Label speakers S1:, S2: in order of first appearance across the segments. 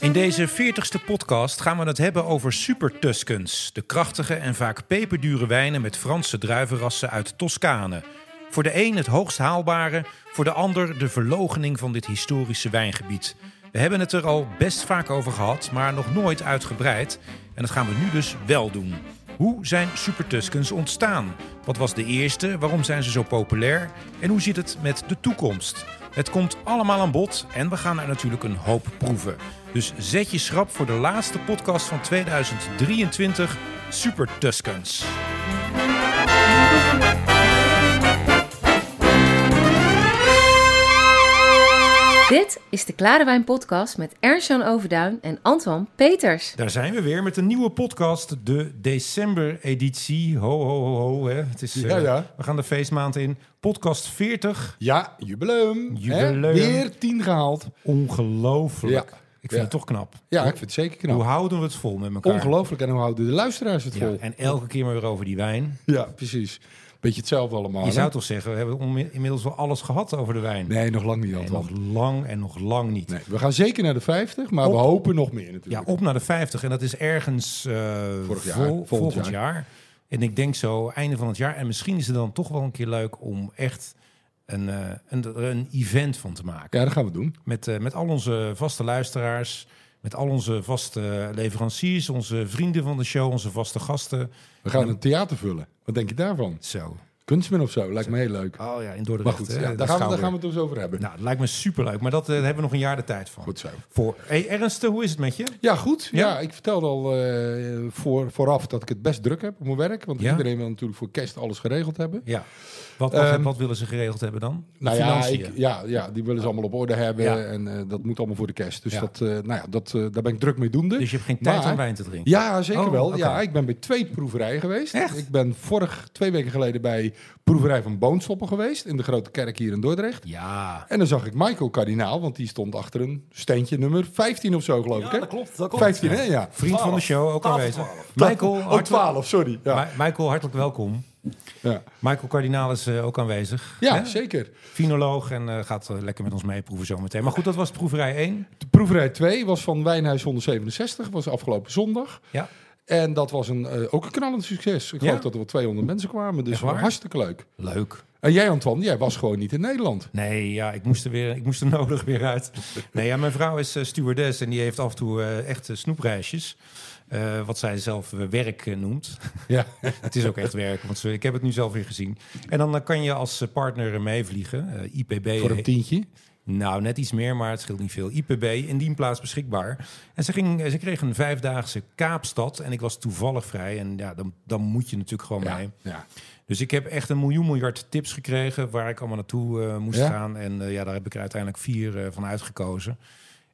S1: In deze 40ste podcast gaan we het hebben over Super Tuscans. De krachtige en vaak peperdure wijnen met Franse druivenrassen uit Toscane. Voor de een het hoogst haalbare, voor de ander de verlogening van dit historische wijngebied. We hebben het er al best vaak over gehad, maar nog nooit uitgebreid. En dat gaan we nu dus wel doen. Hoe zijn Super Tuscans ontstaan? Wat was de eerste? Waarom zijn ze zo populair? En hoe zit het met de toekomst? Het komt allemaal aan bod en we gaan er natuurlijk een hoop proeven. Dus zet je schrap voor de laatste podcast van 2023, Super Tuscans.
S2: Dit is de Klare Wijn Podcast met Ernst-Jan Overduin en Antoine Peters.
S1: Daar zijn we weer met een nieuwe podcast, de december-editie. Ho, ho, ho, ho. Hè. Het is, eh,
S3: Ja, ja.
S1: We gaan de feestmaand in. Podcast 40.
S3: Ja, jubileum.
S1: Jubileum.
S3: Hè? Weer tien gehaald.
S1: Ongelooflijk.
S3: Ja.
S1: Ik vind
S3: Ja.
S1: het toch knap.
S3: Ja, ik vind het zeker
S1: Hoe
S3: knap.
S1: houden we het vol met elkaar?
S3: Ongelooflijk. En hoe houden de luisteraars het
S1: Ja,
S3: vol? Ja,
S1: en elke keer maar weer over die wijn.
S3: precies. Beetje hetzelfde allemaal.
S1: Je
S3: hè?
S1: zou toch zeggen, we hebben onmi- inmiddels wel alles gehad over de wijn.
S3: Nee, nog lang niet,
S1: En
S3: Anton.
S1: nog lang en nog lang niet.
S3: Nee, we gaan zeker naar de 50, maar we
S1: Op-
S3: hopen nog meer
S1: Ja,
S3: natuurlijk.
S1: op naar de 50. En dat is ergens eh,
S3: Vorig jaar,
S1: vol-
S3: volgend
S1: volgend jaar.
S3: jaar.
S1: En ik denk zo, einde van het jaar. En misschien is het dan toch wel een keer leuk om echt een, eh, een, er een event van te maken.
S3: Ja, dat gaan we doen.
S1: Met, eh, met al onze vaste luisteraars, met al onze vaste leveranciers, onze vrienden van de show, onze vaste gasten.
S3: We gaan een theater vullen. Wat denk je daarvan?
S1: Zo.
S3: Kunstmin of zo, lijkt me heel leuk.
S1: Oh ja, in Dordrecht.
S3: Maar goed,
S1: hè,
S3: ja,
S1: de
S3: daar, gaan we, daar
S1: schouwburg.
S3: gaan we het dus over hebben.
S1: Nou, dat lijkt me superleuk. Maar dat eh, daar hebben we nog een jaar de tijd van.
S3: Goed zo.
S1: Voor. Hey, Ernst, eh, hoe is het met je?
S3: Ja, goed. Ja,
S1: Ja.
S3: ik vertelde al eh, voor, vooraf dat ik het best druk heb op mijn werk. Want
S1: Ja.
S3: iedereen wil natuurlijk voor kerst alles geregeld hebben.
S1: Ja. Wat,
S3: Ehm,
S1: wat willen ze geregeld hebben dan? De
S3: Nou ja,
S1: financiën.
S3: ik, ja, ja, die willen ze allemaal op orde hebben.
S1: Ja.
S3: En eh, dat moet allemaal voor de kerst. Dus
S1: Ja.
S3: dat, eh, nou ja, dat, eh, daar ben ik druk mee doende.
S1: Dus je hebt geen tijd
S3: Maar-
S1: om wijn te drinken?
S3: Ja, zeker
S1: Oh,
S3: wel.
S1: oké.
S3: Ja, ik ben bij twee proeverijen geweest.
S1: Echt?
S3: Ik ben vorig, twee weken geleden bij proeverij van Boonstoppen geweest. In de Grote Kerk hier in Dordrecht.
S1: Ja.
S3: En dan zag ik Michael Kardinaal, want die stond achter een steentje nummer 15 of zo, geloof ik. Hè?
S4: dat klopt. Dat klopt.
S3: 15, hè? Ja.
S1: Vriend van de show, ook
S4: Twaalf,
S1: aanwezig.
S4: twaalf.
S1: Michael,
S3: Oh,
S1: hartelijk-
S3: 12, sorry. Ja,
S1: Mi- Michael, hartelijk welkom.
S3: ja.
S1: Michael Kardinaal is eh, ook aanwezig.
S3: ja
S1: Hè?
S3: zeker.
S1: Finoloog en eh, gaat eh, lekker met ons meeproeven zometeen. Maar goed, dat was proeverij 1.
S3: De proeverij 2 was van Wijnhuis 167, was afgelopen zondag.
S1: Ja.
S3: En dat was een, eh, ook een knallend succes. Ik geloof
S1: Ja?
S3: dat er wel 200 mensen kwamen, dus
S1: Echt waar?
S3: hartstikke leuk.
S1: Leuk.
S3: En jij, Antoine, jij was gewoon niet in Nederland.
S1: Nee, ja, ik moest er, weer, ik moest er nodig weer uit. Nee, ja, mijn vrouw is eh, stewardess en die heeft af en toe eh, echt eh, snoepreisjes. Eh, wat zij zelf eh, werk eh, noemt.
S3: Ja.
S1: Het is ook echt werk, want ze- ik heb het nu zelf weer gezien. En dan eh, kan je als eh, partner eh, meevliegen. Eh, IPB.
S3: Voor een
S1: eh,
S3: tientje.
S1: Nou, net iets meer, maar het scheelt niet veel. IPB, in die plaats beschikbaar. En ze, ging, ze kreeg een vijfdaagse Kaapstad en ik was toevallig vrij. En ja, dan, dan moet je natuurlijk gewoon
S3: Ja,
S1: mee.
S3: ja.
S1: Dus ik heb echt een miljoen miljard tips gekregen waar ik allemaal naartoe eh, moest
S3: Ja?
S1: gaan. En eh, ja, daar heb ik er uiteindelijk vier eh, van uitgekozen.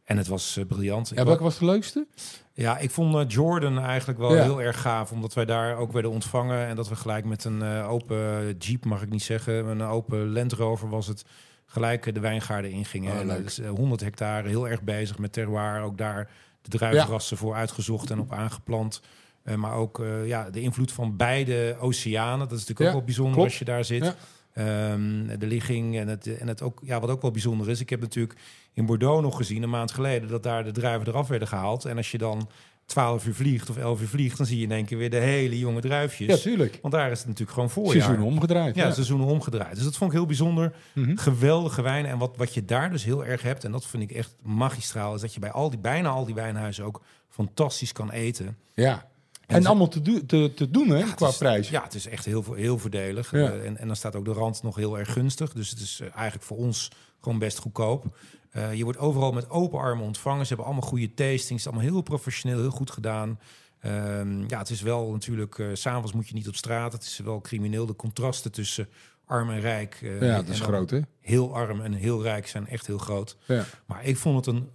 S1: En het was eh, briljant.
S3: Ja,
S1: ik,
S3: welke
S1: wa-
S3: was de leukste?
S1: ja, ik vond eh, Jordan eigenlijk wel
S3: Ja.
S1: heel erg gaaf, omdat wij daar ook werden ontvangen. En dat we gelijk met een eh, open jeep, mag ik niet zeggen, een open Land Rover was het, gelijk eh, de wijngaarden ingingen.
S3: Oh,
S1: en
S3: leuk.
S1: dat is eh, 100 hectare, heel erg bezig met terroir. Ook daar de druivenrassen voor uitgezocht en op aangeplant. Eh, maar ook eh, ja, de invloed van beide oceanen, dat is natuurlijk ook
S3: Ja,
S1: wel bijzonder
S3: klopt.
S1: als je daar zit.
S3: Ja.
S1: Ehm, de ligging en, het, en het ook, ja, wat ook wel bijzonder is. Ik heb natuurlijk in Bordeaux nog gezien, een maand geleden, dat daar de druiven eraf werden gehaald. En als je dan 12 uur vliegt of 11 uur vliegt, dan zie je in één keer weer de hele jonge
S3: Ja,
S1: druifjes.
S3: tuurlijk.
S1: Want daar is het natuurlijk gewoon voorjaar.
S3: Seizoen omgedraaid.
S1: Ja,
S3: Ja,
S1: seizoenen omgedraaid. Dus dat vond ik heel bijzonder.
S3: Mhm.
S1: Geweldige wijnen. En wat, wat je daar dus heel erg hebt, en dat vind ik echt magistraal, is dat je bij al die, bijna al die wijnhuizen ook fantastisch kan eten.
S3: ja. En,
S1: En ze-
S3: allemaal te, do- te, te doen, hè, qua
S1: het is-
S3: prijs.
S1: Ja, het is echt heel, vo- heel voordelig.
S3: Ja.
S1: Eh, en, en dan staat ook de rand nog heel erg gunstig. Dus het is eh, eigenlijk voor ons gewoon best goedkoop. Eh, je wordt overal met open armen ontvangen. Ze hebben allemaal goede tastings. Allemaal heel professioneel, heel goed gedaan. Ehm, ja, het is wel natuurlijk... eh, s S'avonds moet je niet op straat. Het is wel crimineel. De contrasten tussen arm en rijk. eh,
S3: Ja,
S1: en
S3: dat is
S1: dan
S3: groot, hè?
S1: Heel arm en heel rijk zijn echt heel groot.
S3: Ja.
S1: Maar ik vond het een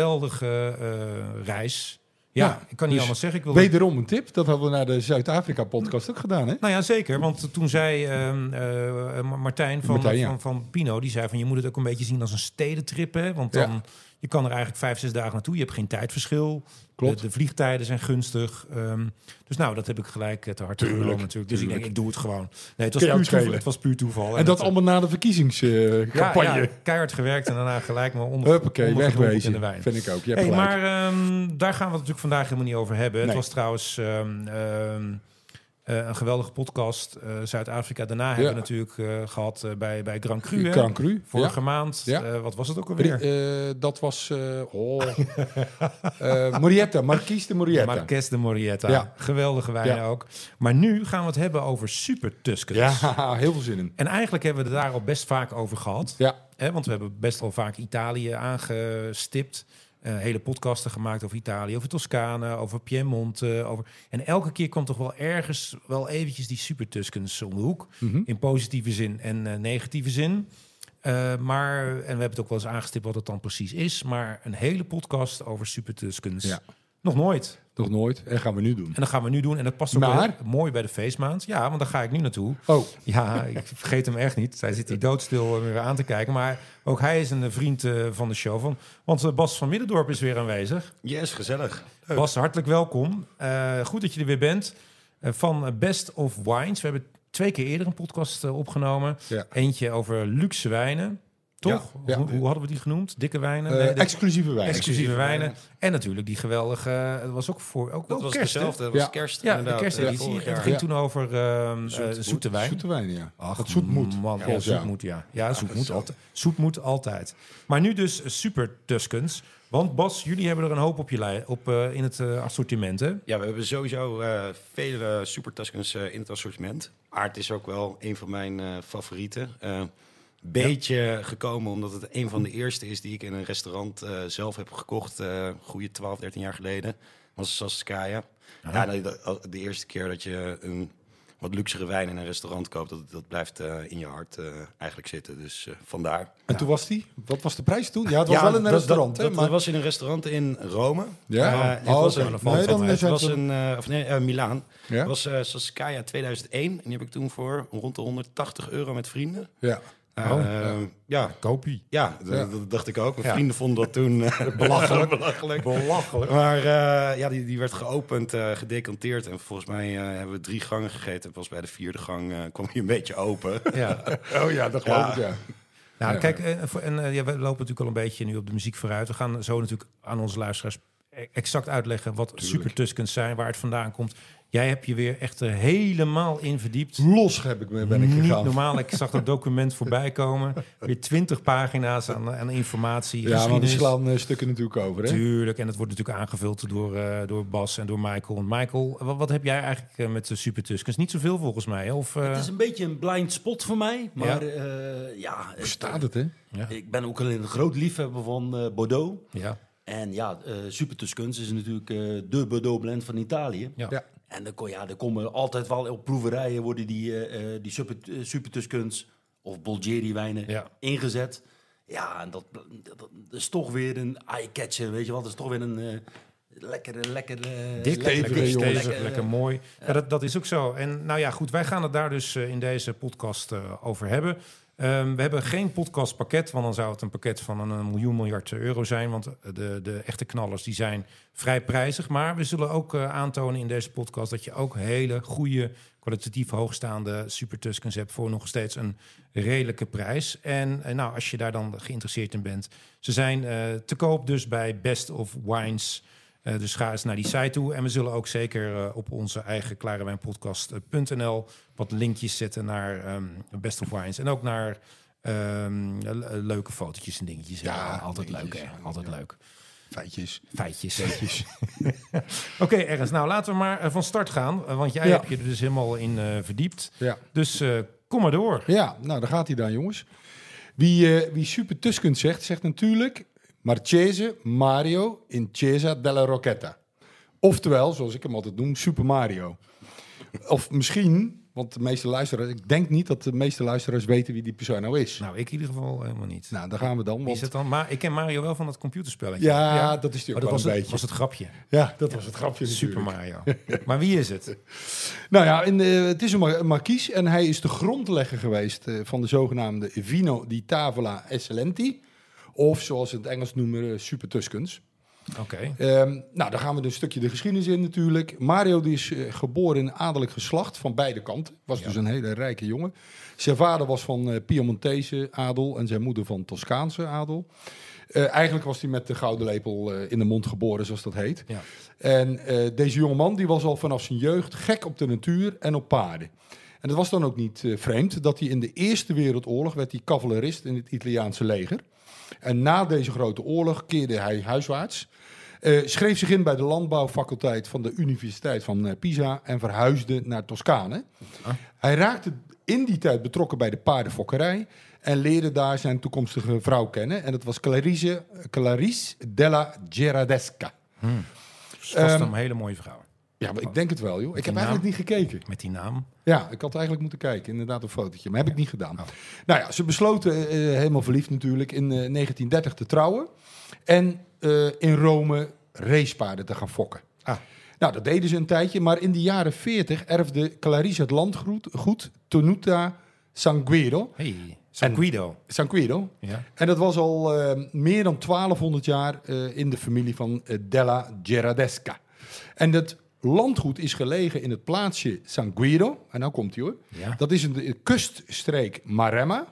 S1: geweldige eh, reis. Ja,
S3: Ja,
S1: ik kan niet
S3: dus
S1: anders zeggen. Ik wil
S3: Wederom een tip, dat hadden we naar de Zuid-Afrika-podcast ook gedaan, hè?
S1: Nou ja, zeker. Want toen zei ehm, eh, Ma- Martijn, van,
S3: Martijn, ja.
S1: van, van Pino, die zei van je moet het ook een beetje zien als een stedentrip. Hè? Want
S3: Ja.
S1: dan, je kan er eigenlijk vijf, zes dagen naartoe. Je hebt geen tijdverschil.
S3: Klopt.
S1: De, de vliegtijden zijn gunstig. Ehm, dus nou, dat heb ik gelijk eh, te hard genomen
S3: Tuurlijk,
S1: natuurlijk. Dus ik denk,
S3: tuurlijk.
S1: ik doe het gewoon. Nee, het was,
S3: Kun je ook
S1: puur toeval,
S3: schelen.
S1: het was puur toeval.
S3: En dat
S1: het-
S3: allemaal na de
S1: ja,
S3: verkiezingscampagne.
S1: ja, keihard gewerkt en daarna gelijk maar onder,
S3: Huppakee,
S1: ondergedompeld in de
S3: wegwezen.
S1: wijn.
S3: Vind ik ook. Je hebt
S1: Hey,
S3: gelijk.
S1: maar ehm, daar gaan we het natuurlijk vandaag helemaal niet over hebben. Het
S3: Nee.
S1: was trouwens ehm, ehm, eh, een geweldige podcast. eh, Zuid-Afrika daarna hebben we natuurlijk eh, gehad eh, bij, bij Grand Cru. hè?
S3: Grand Cru.
S1: Vorige
S3: ja.
S1: maand.
S3: Ja.
S1: Eh, wat was het ook alweer?
S3: Eh, dat was... eh oh. Eh, Morietta, Marquise de Morietta.
S1: Marques de Morietta.
S3: Ja.
S1: Geweldige wijn
S3: Ja.
S1: ook. Maar nu gaan we het hebben over super Tuscans.
S3: ja, heel veel zin in.
S1: En eigenlijk hebben we het daar al best vaak over gehad.
S3: Ja,
S1: Hè, want we hebben best wel vaak Italië aangestipt. Eh, hele podcasten gemaakt over Italië, over Toscane, over Piemonte. eh, over... En elke keer komt toch wel ergens wel eventjes die super Tuscans om de hoek.
S3: Mhm.
S1: In positieve zin en eh, negatieve zin. Eh, maar, en we hebben het ook wel eens aangestipt wat het dan precies is. Maar een hele podcast over super Tuscans.
S3: Ja.
S1: Nog nooit.
S3: nog nooit. En gaan we nu doen.
S1: En dat gaan we nu doen. En dat past ook
S3: Maar-
S1: wel mooi bij de feestmaand. Ja, want daar ga ik nu naartoe.
S3: Oh,
S1: Ja, ik vergeet hem echt niet. Hij zit hier doodstil eh, weer aan te kijken. Maar ook hij is een eh, vriend eh, van de show. Van, want eh, Bas van Middendorp is weer aanwezig.
S4: Yes, gezellig.
S1: Bas, hartelijk welkom. Eh, goed dat je er weer bent. Eh, van eh, Best of Wines. We hebben twee keer eerder een podcast eh, opgenomen.
S3: ja.
S1: Eentje over luxe wijnen. Toch?
S3: Ja, ja.
S1: Hoe, hoe hadden we die genoemd? Dikke wijnen?
S3: Eh,
S1: Nee, de-
S3: exclusieve wijn.
S1: exclusieve wijnen.
S4: wijnen.
S1: En natuurlijk die geweldige... Het was ook voor... Ook,
S4: Dat
S1: ook
S4: was
S1: Oh, kerst, hè?
S4: dezelfde, dat was
S3: Ja.
S4: kerst
S1: Ja, de
S4: inderdaad,
S1: kersteditie.
S4: eh, vorig
S1: En het
S4: jaar.
S1: ging
S3: Ja.
S1: toen over ehm, eh,
S4: Zoete
S1: zoete wijn.
S3: Zoete wijn, ja.
S1: Ach,
S3: dat zoet moet.
S1: Man, ja,
S3: Volgens
S1: zoet
S3: jou.
S1: moet, ja. Ja, zoet moet, altijd, zoet moet altijd. Maar nu dus eh, super Tuscans. Want Bas, jullie hebben er een hoop op je lijn, op, eh, in het eh, assortiment, hè?
S4: Ja, we hebben sowieso eh, vele Super Tuscans eh, in het assortiment. Aard is ook wel een van mijn eh, favorieten. Eh, beetje gekomen omdat het een van de eerste is die ik in een restaurant eh, zelf heb gekocht. eh goede 12, 13 jaar geleden. was Saskaya.
S1: Ah.
S4: Ja, nee, dat- de eerste keer dat je een wat luxere wijn in een restaurant koopt, dat, dat blijft eh, in je hart eh, eigenlijk zitten. Dus eh, vandaar.
S3: En toen was die? Wat was de prijs toen? Ja, het was wel in een
S4: dat-
S3: restaurant,
S4: dat,
S3: hè?
S4: dat,
S3: Maar...
S4: was in een restaurant in Rome.
S3: Ja?
S4: Eh, het
S3: Oh,
S4: was
S3: oké.
S4: een-
S1: Nee,
S4: het
S1: dan
S4: was-
S3: is het
S4: het was
S3: een-
S4: een, eh, of nee, eh, Milaan.
S3: Ja?
S4: Het was eh Saskaya 2001. En die heb ik toen voor rond de 180 euro met vrienden.
S3: Oh, ja.
S4: Eh, ja. ja.
S1: Kopie.
S4: d-
S3: Ja.
S4: dat dacht ik ook. Mijn
S1: Ja.
S4: vrienden vonden dat toen eh, belachelijk.
S1: Belachelijk.
S4: Maar eh, ja, die, die werd geopend, eh, gedecanteerd. En volgens mij eh, hebben we drie gangen gegeten. Pas bij de vierde gang eh, kwam hij een beetje open.
S1: Ja.
S3: Oh ja, dat geloof
S4: Ja.
S3: ik, ja.
S1: Nou,
S3: Ja.
S1: kijk, eh, voor- en, eh, ja, we lopen natuurlijk al een beetje nu op de muziek vooruit. We gaan zo natuurlijk aan onze luisteraars e- exact uitleggen wat super Tuscans zijn, waar het vandaan komt. Jij hebt je weer echt er helemaal in verdiept.
S3: Los heb ik, me- ben ik
S1: Niet
S3: gegaan.
S1: normaal. Ik zag dat document voorbij komen. Weer twintig pagina's aan, eh, aan informatie.
S3: Ja, want die
S1: geschiedenis.
S3: slaan eh, stukken natuurlijk over, hè?
S1: Tuurlijk, en dat wordt natuurlijk aangevuld door, eh, door Bas en door Michael. En Michael, wat, wat heb jij eigenlijk eh, met de Super Tuskens? Niet zoveel volgens mij. hè? Of, eh,
S5: Het is een beetje een blind spot voor mij. Maar eh, ja,
S3: Hoe
S5: ik-
S3: staat het, hè?
S5: ik ben ook al een groot liefhebber van eh, Bordeaux.
S1: ja.
S5: En ja, eh Super Tuscans is natuurlijk eh, de Bordeaux blend van Italië.
S1: Ja.
S3: Ja.
S5: En dan, kon- ja, er komen altijd wel op proeverijen worden die, eh, eh, die Super, eh, Super Tuscans of Bolgeri wijnen
S1: Ja.
S5: ingezet. Ja, en dat, dat, dat is toch weer een eye-catcher, weet je wel. Dat is toch weer een eh, lekkere, lekkere...
S1: Dik,
S5: lekkere-
S1: eh, lekker,
S3: jongens.
S1: stevig,
S5: lekkere-
S1: lekker mooi. Ja, dat, dat is ook zo. En nou ja, goed, wij gaan het daar dus eh, in deze podcast eh, over hebben. Ehm, we hebben geen podcastpakket, want dan zou het een pakket van een, een miljoen miljard euro zijn. Want eh, de, de echte knallers die zijn vrij prijzig. Maar we zullen ook eh, aantonen in deze podcast dat je ook hele goede, kwalitatief hoogstaande Super Tuscans hebt voor nog steeds een redelijke prijs. En eh, nou, als je daar dan geïnteresseerd in bent, ze zijn eh, te koop dus bij Best of Wines. Eh, dus ga eens naar die site toe. En we zullen ook zeker eh, op onze eigen eh, klarewijnpodcast.nl wat linkjes zetten naar ehm, Best of Wines. En ook naar ehm, le- le- leuke fotootjes en dingetjes. Ja, altijd leuk hè. Altijd leuk.
S3: Feitjes.
S1: Feitjes. Oké Ernst, nou laten we maar eh, van start gaan. eh, Want jij
S3: Ja.
S1: hebt je er dus helemaal in eh, verdiept.
S3: Ja.
S1: Dus eh, kom maar door.
S3: Ja, nou, daar gaat hij dan, jongens. Wie, eh wie Super Tuscans zegt, zegt natuurlijk Marchese Mario in Chiesa della Rocchetta. Oftewel, zoals ik hem altijd noem, Super Mario. Of misschien, want de meeste luisteraars... Ik denk niet dat de meeste luisteraars weten wie die persoon nou is.
S1: Nou, ik in ieder geval helemaal niet.
S3: Nou, daar gaan we dan.
S1: Wie
S3: Want,
S1: is het dan? Maar ik ken Mario wel van dat computerspelletje.
S3: ja, dat is
S1: Maar
S3: natuurlijk
S1: dat
S3: wel
S1: was
S3: een
S1: het,
S3: beetje.
S1: was het grapje.
S3: ja, dat was het grapje natuurlijk.
S1: Super Mario. Maar wie is het?
S3: Nou ja, en, eh, het is een mar- een markies en hij is de grondlegger geweest eh, van de zogenaamde Vino di Tavola Eccellenti. Of zoals ze het Engels noemen, eh, Super Tuscans.
S1: Oké.
S3: Ehm, nou, dan gaan we dus een stukje de geschiedenis in natuurlijk. Mario die is eh, geboren in adellijk geslacht van beide kanten. Was dus een hele rijke jongen. Zijn vader was van eh, Piemontese adel en zijn moeder van Toscaanse adel. Eh, eigenlijk was hij met de gouden lepel eh, in de mond geboren, zoals dat heet.
S1: Ja.
S3: En eh, deze jongeman die was al vanaf zijn jeugd gek op de natuur en op paarden. En dat was dan ook niet eh, vreemd dat hij in de Eerste Wereldoorlog werd hij cavalerist in het Italiaanse leger. En na deze grote oorlog keerde hij huiswaarts. eh, schreef zich in bij de landbouwfaculteit van de Universiteit van eh, Pisa en verhuisde naar Toscane.
S1: Ah.
S3: Hij raakte in die tijd betrokken bij de paardenfokkerij en leerde daar zijn toekomstige vrouw kennen. En dat was Clarice, Clarice della Gerardesca.
S1: Dus vast
S3: Ehm,
S1: een hele mooie vrouw.
S3: Ja, maar ik denk het wel, joh. Ik
S1: die
S3: heb
S1: naam?
S3: eigenlijk niet gekeken.
S1: Met die naam.
S3: Ja, ik had eigenlijk moeten kijken. Inderdaad, een fotootje. Maar heb ik niet gedaan. Nou ja, ze besloten, eh, eh, helemaal verliefd natuurlijk, in eh, 1930 te trouwen. En eh, in Rome racepaarden te gaan fokken. Nou, dat deden ze een tijdje. Maar in de jaren 40 erfde Clarice het landgoed goed, Tenuta Sanguero.
S1: Hey, San Guido.
S3: Sanguero.
S1: Ja.
S3: En dat was al eh, meer dan 1200 jaar eh, in de familie van eh, Della Gerardesca. En dat landgoed is gelegen in het plaatsje San Guido. En nou komt hij hoor.
S1: Ja.
S3: Dat is een de kuststreek Maremma.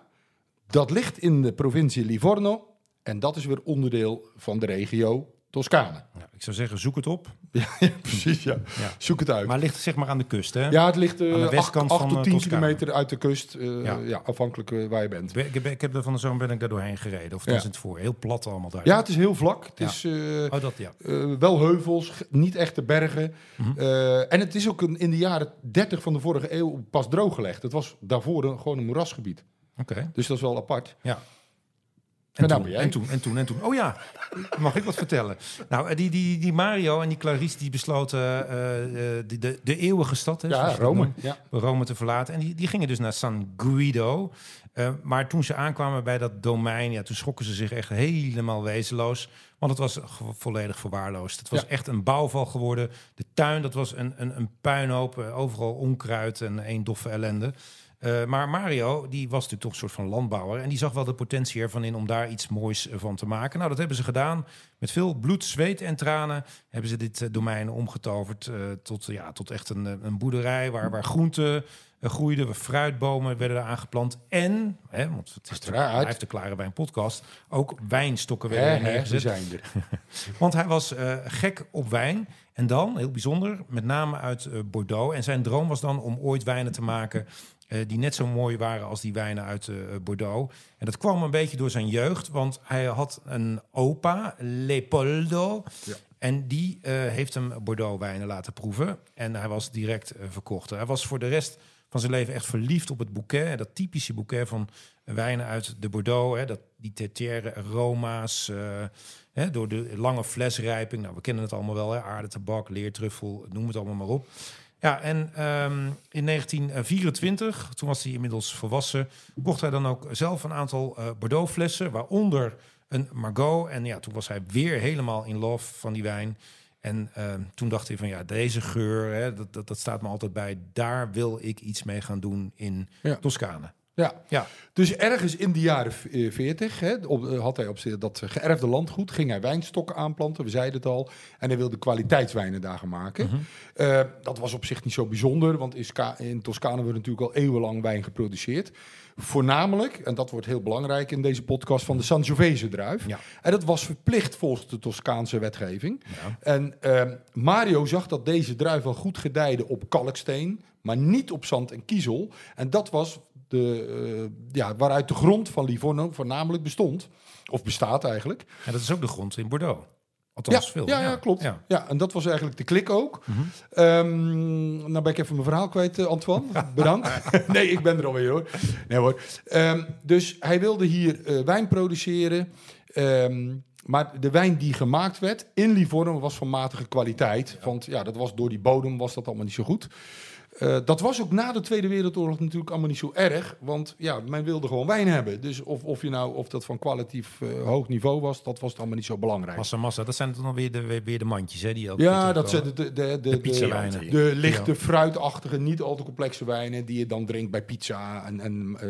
S3: Dat ligt in de provincie Livorno. En dat is weer onderdeel van de regio Toscane.
S1: Ja, ik zou zeggen, zoek het op.
S3: Ja, precies, ja.
S1: Ja.
S3: Zoek het uit.
S1: Maar ligt zeg maar aan de kust, hè?
S3: ja, het ligt eh,
S1: Aan de
S3: acht-
S1: westkant
S3: acht
S1: van,
S3: tot
S1: eh,
S3: 10
S1: Toscane.
S3: kilometer uit de kust. eh,
S1: Ja.
S3: ja. afhankelijk eh, waar je bent.
S1: Ik, heb- ik heb er van de zomer ben ik daar doorheen gereden. Of
S3: Ja.
S1: dat is het voor. Heel plat allemaal daar.
S3: Ja, het is heel vlak. Het
S1: Ja.
S3: is... eh,
S1: Oh, dat ja.
S3: Eh, wel heuvels, g- niet echte bergen. Eh, en het is ook een, in de jaren 30 van de vorige eeuw pas drooggelegd. Het was daarvoor een, gewoon een moerasgebied.
S1: Oké.
S3: Dus dat is wel apart.
S1: Ja.
S3: En
S1: En,
S3: daar
S1: toen,
S3: ben jij.
S1: en toen, en toen, en toen. Oh ja, mag ik wat vertellen? Nou, eh, die, die, die Mario en die Clarice die besloten eh, eh, de, de, de eeuwige stad... Hè, zoals
S3: Ja,
S1: je dat dus
S3: Rome.
S1: noemt,
S3: Ja.
S1: Rome te verlaten. En die, die gingen dus naar San Guido. Eh, maar toen ze aankwamen bij dat domein... Ja, toen schrokken ze zich echt helemaal wezenloos. Want het was ge- volledig verwaarloosd. Het was
S3: Ja.
S1: echt een bouwval geworden. De tuin, dat was een, een, een puinhoop. eh, Overal onkruid en één doffe ellende. Eh, maar Mario, die was natuurlijk toch een soort van landbouwer. En die zag wel de potentie ervan in om daar iets moois eh, van te maken. Nou, dat hebben ze gedaan. Met veel bloed, zweet en tranen hebben ze dit eh, domein omgetoverd. eh, tot, ja, tot echt een, eh, een boerderij waar, waar groenten eh, groeiden. Waar fruitbomen werden er aangeplant. En, hè, want het is
S3: Uiteraard.
S1: hij heeft de klare bij een podcast. Ook wijnstokken
S3: Hè,
S1: werden er
S3: hè, die
S1: neergezet.
S3: zijn er.
S1: Want hij was eh, gek op wijn. En dan, heel bijzonder, met name uit eh, Bordeaux. En zijn droom was dan om ooit wijnen te maken. eh, die net zo mooi waren als die wijnen uit eh, Bordeaux. En dat kwam een beetje door zijn jeugd. Want hij had een opa, Leopoldo. En die eh, heeft hem Bordeaux wijnen laten proeven. En hij was direct eh, verkocht. Hij was voor de rest van zijn leven echt verliefd op het bouquet. Dat typische bouquet van wijnen uit de Bordeaux. Hè, dat, die tertiaire aroma's. eh, hè, door de lange flesrijping. Nou, we kennen het allemaal wel. Hè, aardetabak, leertruffel, noem het allemaal maar op. Ja, en ehm, in 1924, toen was hij inmiddels volwassen... kocht hij dan ook zelf een aantal eh, Bordeaux-flessen... waaronder een Margot. En ja, toen was hij weer helemaal in love van die wijn... En ehm, toen dacht hij van ja, deze geur, hè, dat, dat, dat staat me altijd bij. Daar wil ik iets mee gaan doen in
S3: Ja.
S1: Toscane.
S3: Ja.
S1: Ja,
S3: Dus ergens in de jaren v- eh, 40 hè, op, eh, had hij op z'n- dat geërfde landgoed, ging hij wijnstokken aanplanten, we zeiden het al. En hij wilde kwaliteitswijnen daar gaan maken. Eh, dat was op zich niet zo bijzonder, want in, Ska- in Toscane wordt natuurlijk al eeuwenlang wijn geproduceerd. Voornamelijk, en dat wordt heel belangrijk in deze podcast, van de Sangiovese druif.
S1: Ja.
S3: En dat was verplicht volgens de Toscaanse wetgeving. En ehm, Mario zag dat deze druif wel goed gedijde op kalksteen, maar niet op zand en kiezel. En dat was de, eh, ja, waaruit de grond van Livorno voornamelijk bestond. Of bestaat eigenlijk.
S1: en dat is ook de grond in Bordeaux. Althans,
S3: ja,
S1: veel.
S3: Ja, ja, klopt. Ja.
S1: Ja.
S3: en dat was eigenlijk de klik ook. Ehm, nou ben ik even mijn verhaal kwijt, eh, Antoine. Bedankt. nee, ik ben er alweer hoor. Nee hoor. Ehm, dus hij wilde hier eh, wijn produceren. Ehm, maar de wijn die gemaakt werd in Livorno was van matige kwaliteit. Want ja, dat was door die bodem was dat allemaal niet zo goed. Eh, dat was ook na de Tweede Wereldoorlog natuurlijk allemaal niet zo erg. Want ja, men wilde gewoon wijn hebben. Dus of, of, je nou, of dat van kwalitatief eh, hoog niveau was, dat was allemaal niet zo belangrijk.
S1: Massa, massa. Dat zijn dan weer de, weer- weer de mandjes, hè? Die elke keer
S3: ja,
S1: terugkomen.
S3: dat zijn de, de, de, de,
S1: De pizzawijnen.
S3: de- de lichte, fruitachtige, niet al te complexe wijnen die je dan drinkt bij pizza en, en eh,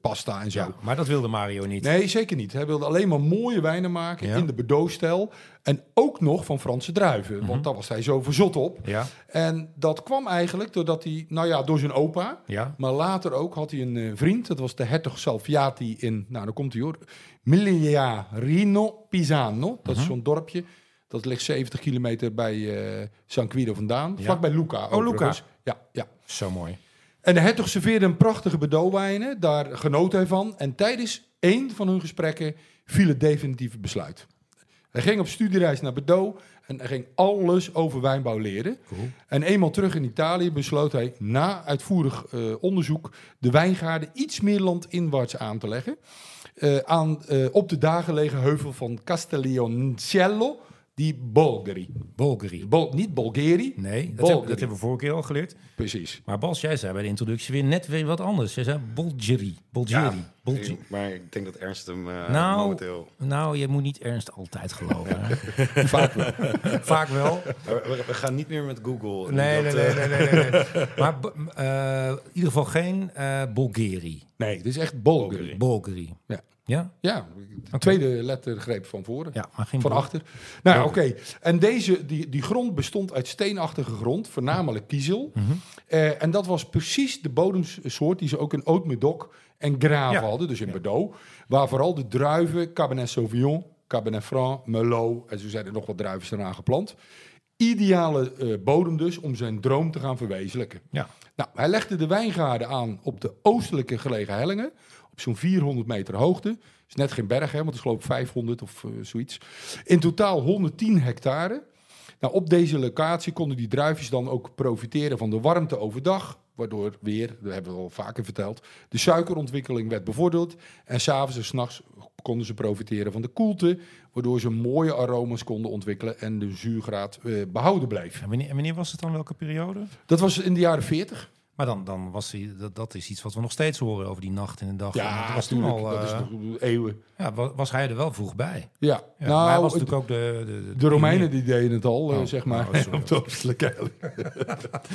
S3: pasta en zo.
S1: Ja, maar dat wilde Mario niet.
S3: Nee, zeker niet. Hij wilde alleen maar mooie wijnen maken
S1: Ja.
S3: in de Bordeaux-stijl. En ook nog van Franse druiven, want daar was hij zo verzot op.
S1: Mhm. Ja,
S3: En dat kwam eigenlijk doordat hij, nou ja, door zijn opa.
S1: ja.
S3: Maar later ook had hij een eh, vriend, dat was de hertog Salviati in, nou dan komt hij hoor, Miglia Rino Pisano. Dat is
S1: Mhm.
S3: zo'n dorpje, dat ligt 70 kilometer bij eh, San Guido vandaan,
S1: Ja.
S3: vlakbij Lucca.
S1: Oh, Lucca.
S3: overigens. Ja, ja.
S1: Zo mooi.
S3: En de hertog serveerde een prachtige Bordeaux-wijnen, daar genoot hij van. En tijdens één van hun gesprekken viel het definitieve besluit. Hij ging op studiereis naar Bordeaux en hij ging alles over wijnbouw leren. En eenmaal terug in Italië besloot hij na uitvoerig eh, onderzoek de wijngaarden iets meer landinwaarts aan te leggen. eh, aan, eh, op de daar gelegen heuvel van Castellioncello di Bolgheri.
S1: Bulgari.
S3: Bol- niet Bulgari,
S1: Nee, dat,
S3: Bulgari.
S1: heb- dat hebben we vorige keer al geleerd.
S3: precies.
S1: Maar Bas, jij zei bij de introductie weer net weer wat anders. Jij zei Bulgari. Bulgari. Bulgari.
S4: Ik- Maar ik denk dat Ernst hem eh,
S1: Nou.
S4: momenteel...
S1: Nou, je moet niet ernst altijd geloven. hè.
S3: Vaak wel.
S1: Vaak wel.
S4: We, we- we gaan niet meer met Google.
S1: Nee, nee,
S4: Dat,
S1: nee,
S4: eh,
S1: nee, nee, nee, nee. Maar b- m, eh, in ieder geval geen eh Bulgari.
S3: Nee, dit is echt Bulgari.
S1: Bulgari.
S3: Ja.
S1: Ja?
S3: Ja, de tweede lettergreep van voren.
S1: Ja, maar geen
S3: Van
S1: Bul-
S3: achter. Nou, ja, oké. En deze, die, die grond bestond uit steenachtige grond, voornamelijk kiezel.
S1: Mhm.
S3: Eh, en dat was precies de bodemsoort die ze ook in Oud-Medoc en Graaf
S1: Ja.
S3: hadden, dus in Bordeaux. Waar vooral de druiven, Cabernet Sauvignon, Cabernet Franc, Merlot en zo zijn er nog wat druiven eraan geplant. Ideale eh, bodem dus om zijn droom te gaan verwezenlijken.
S1: Ja.
S3: Nou, hij legde de wijngaarden aan op de oostelijke gelegen hellingen. Op zo'n 400 meter hoogte. is net geen berg, hè, want het is geloof ik 500 of eh, zoiets. In totaal 110 hectare. Nou, op deze locatie konden die druifjes dan ook profiteren van de warmte overdag. Waardoor weer, dat hebben we al vaker verteld, de suikerontwikkeling werd bevorderd. En s'avonds en s'nachts konden ze profiteren van de koelte. Waardoor ze mooie aroma's konden ontwikkelen en de zuurgraad eh, behouden bleef.
S1: En wanneer, en wanneer was het dan? Welke periode?
S3: Dat was in de jaren 40.
S1: Maar dan, dan was die, dat, dat is iets wat we nog steeds horen over die nacht en de dag. En dat was toen
S3: tuurlijk,
S1: al.
S3: dat is
S1: eh,
S3: nog eeuwen.
S1: ja, wa- was hij er wel vroeg bij?
S3: Ja,
S1: Ja, maar hij
S3: nou,
S1: was
S3: het-
S1: natuurlijk ook de. De, de
S3: de Romeinen
S1: pionier.
S3: die deden het al, eh,
S1: Oh,
S3: zeg maar.
S1: oh, sorry.
S3: op de oostelijke helling.
S1: Ja.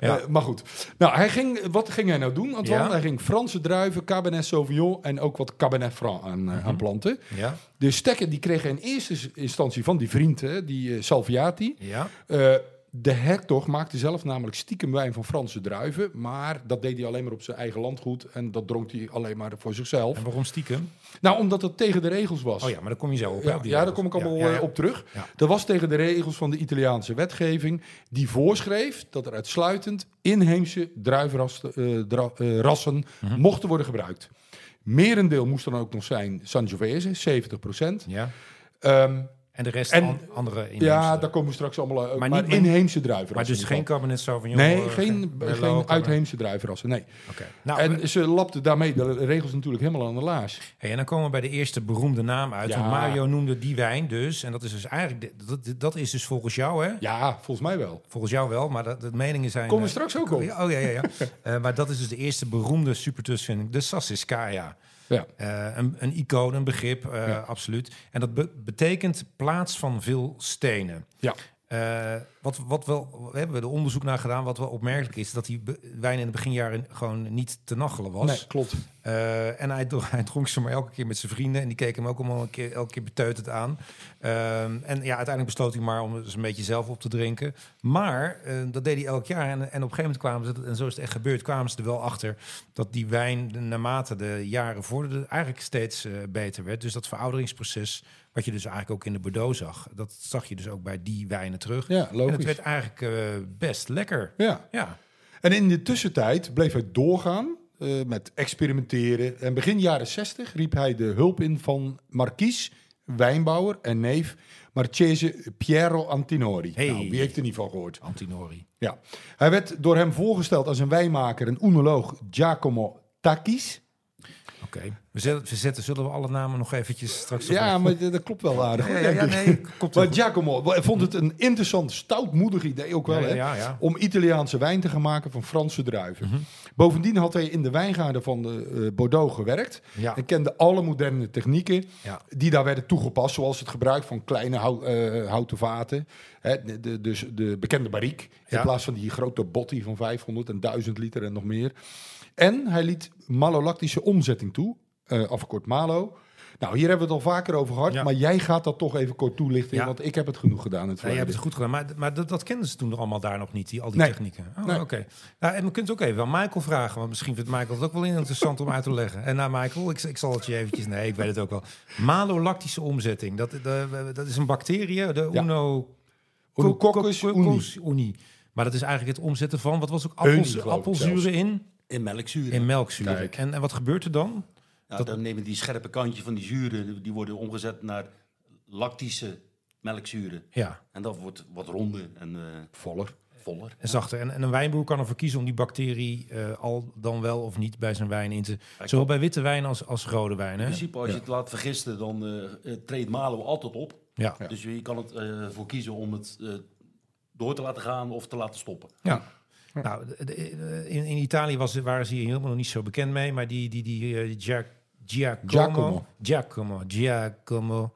S3: Eh, maar goed. Nou, hij ging, wat ging hij nou doen, Anton?
S1: Ja.
S3: Hij ging Franse druiven, Cabernet Sauvignon en ook wat Cabernet Franc aan, eh,
S1: Mhm.
S3: aan planten.
S1: Ja,
S3: De stekker die kreeg hij in eerste instantie van die vriend, hè, die eh, Salviati.
S1: ja.
S3: Eh, de hertog maakte zelf namelijk stiekem wijn van Franse druiven. Maar dat deed hij alleen maar op zijn eigen landgoed. En dat dronk hij alleen maar voor zichzelf.
S1: En waarom stiekem?
S3: Nou, omdat dat tegen de regels was.
S1: Oh ja, maar daar kom je zo op. hè,
S3: Ja,
S1: op die
S3: ja, daar
S1: regels.
S3: kom ik allemaal
S1: Ja, ja, ja.
S3: eh, op terug.
S1: Ja.
S3: Dat was tegen de regels van de Italiaanse wetgeving. Die voorschreef dat er uitsluitend inheemse druivenrassen eh, dra- eh, rassen
S1: Mhm.
S3: mochten worden gebruikt. Merendeel moest dan ook nog zijn Sangiovese, 70%.
S1: Ja.
S3: Ehm,
S1: En de rest
S3: En-
S1: an- andere inheemse.
S3: ja, daar komen we straks allemaal uit.
S1: Maar
S3: Maar,
S1: niet-
S3: inheemse
S1: Maar
S3: druivenrassen.
S1: dus geen Cabernet Sauvignon?
S3: Nee,
S1: eh,
S3: geen,
S1: Merlot,
S3: geen
S1: Cabernet-
S3: uitheemse druivenrassen. Nee.
S1: Oké. Nou, en,
S3: en ze lapten daarmee de regels natuurlijk helemaal aan de laars.
S1: hey, en dan komen we bij de eerste beroemde naam uit.
S3: Ja.
S1: Want Mario noemde die wijn dus. En dat is dus eigenlijk... de- Dat, dat is dus volgens jou, hè?
S3: Ja, volgens mij wel.
S1: Volgens jou wel, maar dat, de meningen zijn...
S3: Komen we
S1: eh,
S3: straks ook op.
S1: Ja, Oh ja, ja, ja. Eh, maar dat is dus de eerste beroemde supertussening, de Sassicaia.
S3: Ja.
S1: Eh, een, een icoon, een begrip, eh,
S3: Ja.
S1: absoluut. En dat be- betekent plaats van veel stenen.
S3: Ja.
S1: Eh, wat, wat wel, we hebben we er onderzoek naar gedaan. Wat wel opmerkelijk is, dat die be- wijn in de beginjaren gewoon niet te nachelen was.
S3: Nee, klopt.
S1: Eh, en hij, dro- hij dronk ze maar elke keer met zijn vrienden. En die keken hem ook allemaal een keer, elke keer beteuterd aan. Ehm, en ja, uiteindelijk besloot hij maar om eens een beetje zelf op te drinken. Maar eh, dat deed hij elk jaar. En, en op een gegeven moment kwamen ze, en zo is het echt gebeurd, kwamen ze er wel achter dat die wijn de- naarmate de jaren vorderde eigenlijk steeds eh, beter werd. Dus dat verouderingsproces, wat je dus eigenlijk ook in de Bordeaux zag, dat zag je dus ook bij die wijnen terug.
S3: Ja,
S1: en het
S3: logisch.
S1: werd eigenlijk eh, best lekker.
S3: Ja.
S1: Ja,
S3: En in de tussentijd bleef hij doorgaan eh, met experimenteren. En begin jaren 60 riep hij de hulp in van markies, wijnbouwer en neef Marchese Piero Antinori.
S1: Hey.
S3: Nou, wie heeft er niet van gehoord?
S1: Antinori.
S3: Ja. Hij werd door hem voorgesteld als een wijnmaker en oenoloog Giacomo Takis.
S1: Oké. We, zetten, we zetten, zullen we alle namen nog eventjes straks op-
S3: Ja, maar dat dat klopt wel aardig.
S1: Ja,
S3: hoor,
S1: ja,
S3: denk
S1: ja,
S3: ik.
S1: nee, komt wel
S3: Maar Giacomo wa- vond het een interessant, stoutmoedig idee ook wel.
S1: Ja,
S3: hè?
S1: ja, ja. Mhm.
S3: Om Italiaanse wijn te gaan maken van Franse druiven. Bovendien had hij in de wijngaarden van de, eh, Bordeaux gewerkt.
S1: Ja.
S3: En kende alle moderne technieken
S1: Ja.
S3: die daar werden toegepast. Zoals het gebruik van kleine hou- eh, houten vaten. Hè, de, de- dus de bekende bariek.
S1: Ja.
S3: In plaats van die grote botti van 500 en 1000 liter en nog meer. En hij liet malolactische omzetting toe. eh, afgekort malo. Nou, hier hebben we het al vaker over gehad.
S1: Ja.
S3: Maar jij gaat dat toch even kort toelichten.
S1: Ja.
S3: Want ik heb het genoeg gedaan in het
S1: Nee, je hebt
S3: verleden.
S1: het goed gedaan, maar, maar dat, dat kenden ze toen allemaal daar nog niet, die, al die
S3: Nee.
S1: technieken. Oh,
S3: Nee.
S1: oké. Nou, en we kunt ook even aan Michael vragen, want misschien vindt Michael het ook wel interessant om uit te leggen. En naar Michael, ik, ik zal het je eventjes... Nee, ik weet het ook wel. Malolactische omzetting, dat, de- dat is een bacterie, de
S3: Ja.
S1: Uno...
S3: Unococcus
S1: co- co-
S3: uni.
S1: coccus uni. Maar dat is eigenlijk het omzetten van, wat was ook,
S3: Uni,
S1: appels,
S3: geloof ik
S1: appelzuren
S3: zelfs.
S1: in,
S5: In melkzuur.
S1: in melkzuur.
S3: Kijk.
S1: En, en wat gebeurt er dan?
S5: Ja,
S1: Dat-
S5: Dan nemen die scherpe kantjes van die zuren, die worden omgezet naar lactische melkzuren.
S1: Ja,
S5: En dat wordt wat ronder en eh,
S3: Voller.
S5: voller.
S1: en zachter. En, en een wijnboer kan ervoor kiezen om die bacterie eh, al dan wel of niet bij zijn wijn in te... Zowel bij witte wijn als, als rode wijn,
S5: In
S1: hè?
S5: principe, als je het laat vergisten, dan eh, eh, treedt Malo altijd op.
S1: Ja.
S5: Dus je kan het eh, voor kiezen om het eh, door te laten gaan of te laten stoppen.
S1: Ja. Nou, de- de- eh, in, in Italië was, waren ze hier helemaal nog niet zo bekend mee, maar die, die, die eh, Gia- Giacomo,
S3: Giacomo.
S1: Giacomo, Giacomo,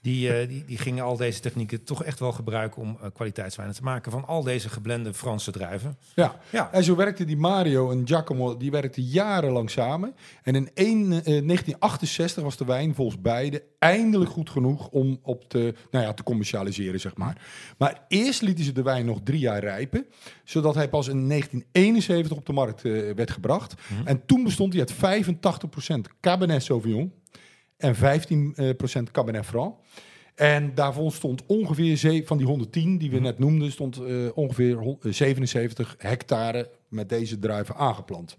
S1: die, eh, die, die gingen al deze technieken toch echt wel gebruiken om eh, kwaliteitswijnen te maken van al deze geblende Franse druiven.
S3: Ja.
S1: Ja.
S3: En zo werkten die Mario en Giacomo, die werkten jarenlang samen. En in één, eh, 1968 was de wijn volgens beiden eindelijk goed genoeg om op te, nou ja, te commercialiseren, zeg maar. Maar eerst lieten ze de wijn nog drie jaar rijpen, zodat hij pas in 1971 op de markt eh, werd gebracht. En toen bestond hij uit 85% Cabernet Sauvignon en 15% Cabernet Franc. En daarvan stond ongeveer, ze- van die 110 die we
S1: Mhm.
S3: net noemden, stond eh, ongeveer hon- eh, 77 hectare met deze druiven aangeplant.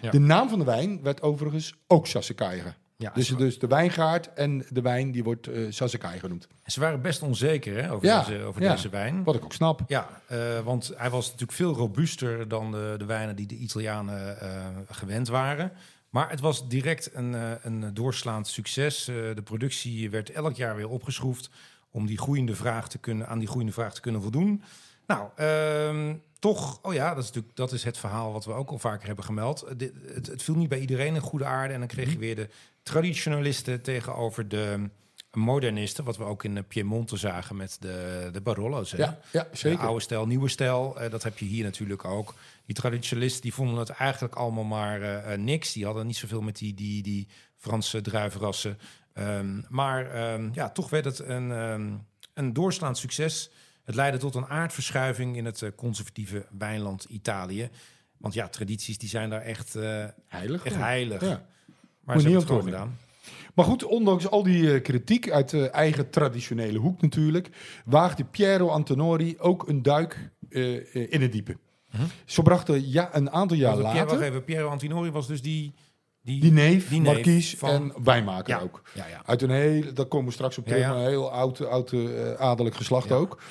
S1: Ja.
S3: De naam van de wijn werd overigens ook Sassakaigen.
S1: Ja,
S3: dus,
S1: ze-
S3: dus de wijngaard en de wijn die wordt eh Sassakaigen genoemd.
S1: Ze waren best onzeker hè, over,
S3: Ja,
S1: deze, over
S3: ja.
S1: deze wijn.
S3: Wat ik ook snap.
S1: Ja, eh, want hij was natuurlijk veel robuuster dan de, de wijnen die de Italianen eh, gewend waren. Maar het was direct een, eh, een doorslaand succes. Eh, de productie werd elk jaar weer opgeschroefd om die groeiende vraag te kunnen, aan die groeiende vraag te kunnen voldoen. Nou, ehm, toch, oh ja, dat is, natuurlijk, dat is het verhaal wat we ook al vaker hebben gemeld. Eh, dit- het, het viel niet bij iedereen in goede aarde. En dan kreeg je weer de traditionalisten tegenover de modernisten. Wat we ook in eh, Piemonte zagen met de, de Barolo's. hè?
S3: Ja, ja zeker.
S1: Eh, oude stijl, nieuwe stijl, eh, dat heb je hier natuurlijk ook. Die traditionalisten die vonden het eigenlijk allemaal maar eh, eh, niks. Die hadden niet zoveel met die, die, die Franse druivenrassen. Ehm, maar ehm, ja, toch werd het een, ehm, een doorslaand succes. Het leidde tot een aardverschuiving in het eh, conservatieve wijnland Italië. Want ja, tradities die zijn daar echt, eh,
S3: Heilig.
S1: echt
S3: ja.
S1: heilig.
S3: Ja.
S1: Maar
S3: Moet
S1: ze
S3: je
S1: hebben
S3: niet
S1: het gewoon
S3: ontkennen.
S1: gedaan.
S3: Maar goed, ondanks al die eh, kritiek uit de eigen traditionele hoek natuurlijk, waagde Piero Antonori ook een duik eh, eh, in het diepe. Zo bracht er ja, een aantal jaar
S1: Want Mhm. Piero,
S3: later
S1: wacht even, Piero Antinori was dus die...
S3: die neef,
S1: die neef
S3: markies
S1: van-
S3: en wijnmaker
S1: ja,
S3: ook.
S1: ja, ja.
S3: Uit een heel, daar komen we straks op terug,
S1: Ja, ja.
S3: maar een heel oud, oud eh, adellijk geslacht ook.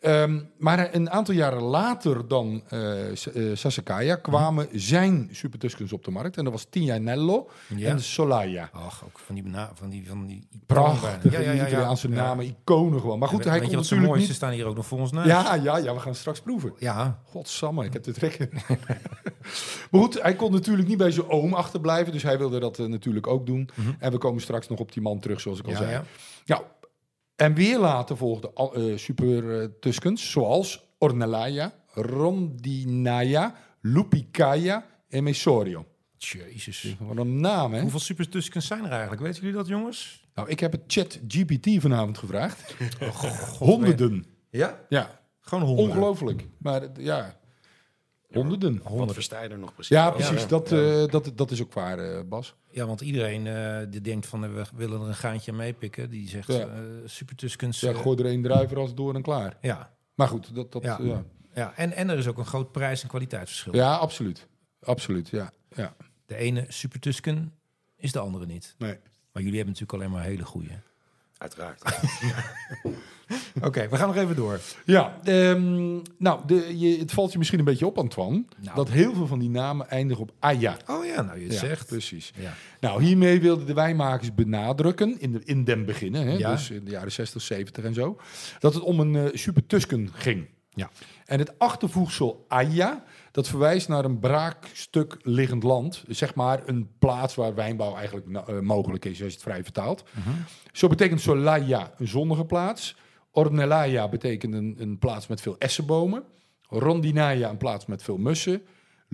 S3: Ehm, maar een aantal jaren later dan eh S- eh, Sassicaia kwamen
S1: Mhm.
S3: zijn Super Tuscans op de markt. En dat was Tignanello
S1: Ja.
S3: en Solaya.
S1: Ach, ook van die, na- van die, van die
S3: Prachtige
S1: Ja, ja, ja, ja.
S3: Italiaanse
S1: Ja.
S3: namen, iconen gewoon. Maar goed,
S1: Weet-
S3: hij
S1: weet
S3: kon
S1: je wat zo
S3: natuurlijk
S1: mooi is?
S3: niet...
S1: Ze staan hier ook nog voor ons neus.
S3: Ja, ja, ja, we gaan straks proeven.
S1: Ja.
S3: Godsamme, ik heb dit trek. in. maar goed, hij kon natuurlijk niet bij zijn oom achterblijven. Dus hij wilde dat eh, natuurlijk ook doen. En we komen straks nog op die man terug, zoals ik al
S1: Mhm. Ja,
S3: zei.
S1: ja.
S3: Nou, en weer later volgden al- eh, super eh, Tuscans, zoals Ornellaia, Rondinaia, Lupicaia en Mesorio.
S1: Jezus.
S3: Wat een naam, hè?
S1: Hoeveel Super Tuscans zijn er eigenlijk? Weten jullie dat, jongens?
S3: Nou, ik heb het chat GPT vanavond gevraagd. Oh, Honderden.
S1: Ja?
S3: Ja,
S1: Gewoon honderden.
S3: Ongelooflijk. Maar eh, ja, honderden.
S4: Wat versta je er nog precies?
S3: Ja,
S4: over?
S3: precies. Dat, eh, dat, dat is ook waar, eh, Bas.
S1: Ja, want iedereen eh, die denkt van eh, we willen er een gaantje aan meepikken. Die zegt
S3: Ja.
S1: eh, Super Tuscans.
S3: Ja,
S1: eh,
S3: gooi er één druiver als door en klaar.
S1: ja.
S3: Maar goed, dat... dat
S1: Ja.
S3: ja. Ja.
S1: ja. En, en er is ook een groot prijs- en kwaliteitsverschil.
S3: absoluut. Absoluut, ja. ja.
S1: De ene Super Tuscan is de andere niet.
S3: Nee.
S1: Maar jullie hebben natuurlijk alleen maar hele goede.
S4: Uiteraard.
S1: Oké, we gaan nog even door.
S3: Ja, ehm, nou, de, je, het valt je misschien een beetje op, Antoine,
S1: Nou.
S3: dat heel veel van die namen eindigen op Aya.
S1: Oh ja, nou je het
S3: Ja,
S1: zegt.
S3: Precies.
S1: Ja.
S3: Nou, hiermee wilden de wijnmakers benadrukken, in, de, in den beginnen, hè,
S1: Ja.
S3: dus in de jaren 60, 70 en zo, dat het om een eh, super Tusken ging.
S1: Ja.
S3: En het achtervoegsel Aya, dat verwijst naar een braakstuk liggend land. Zeg maar een plaats waar wijnbouw eigenlijk nou, eh, mogelijk is, als je het vrij vertaalt. Zo betekent Solaya een zonnige plaats. Ornelaya betekent een, een plaats met veel essenbomen. Rondinaya een plaats met veel mussen.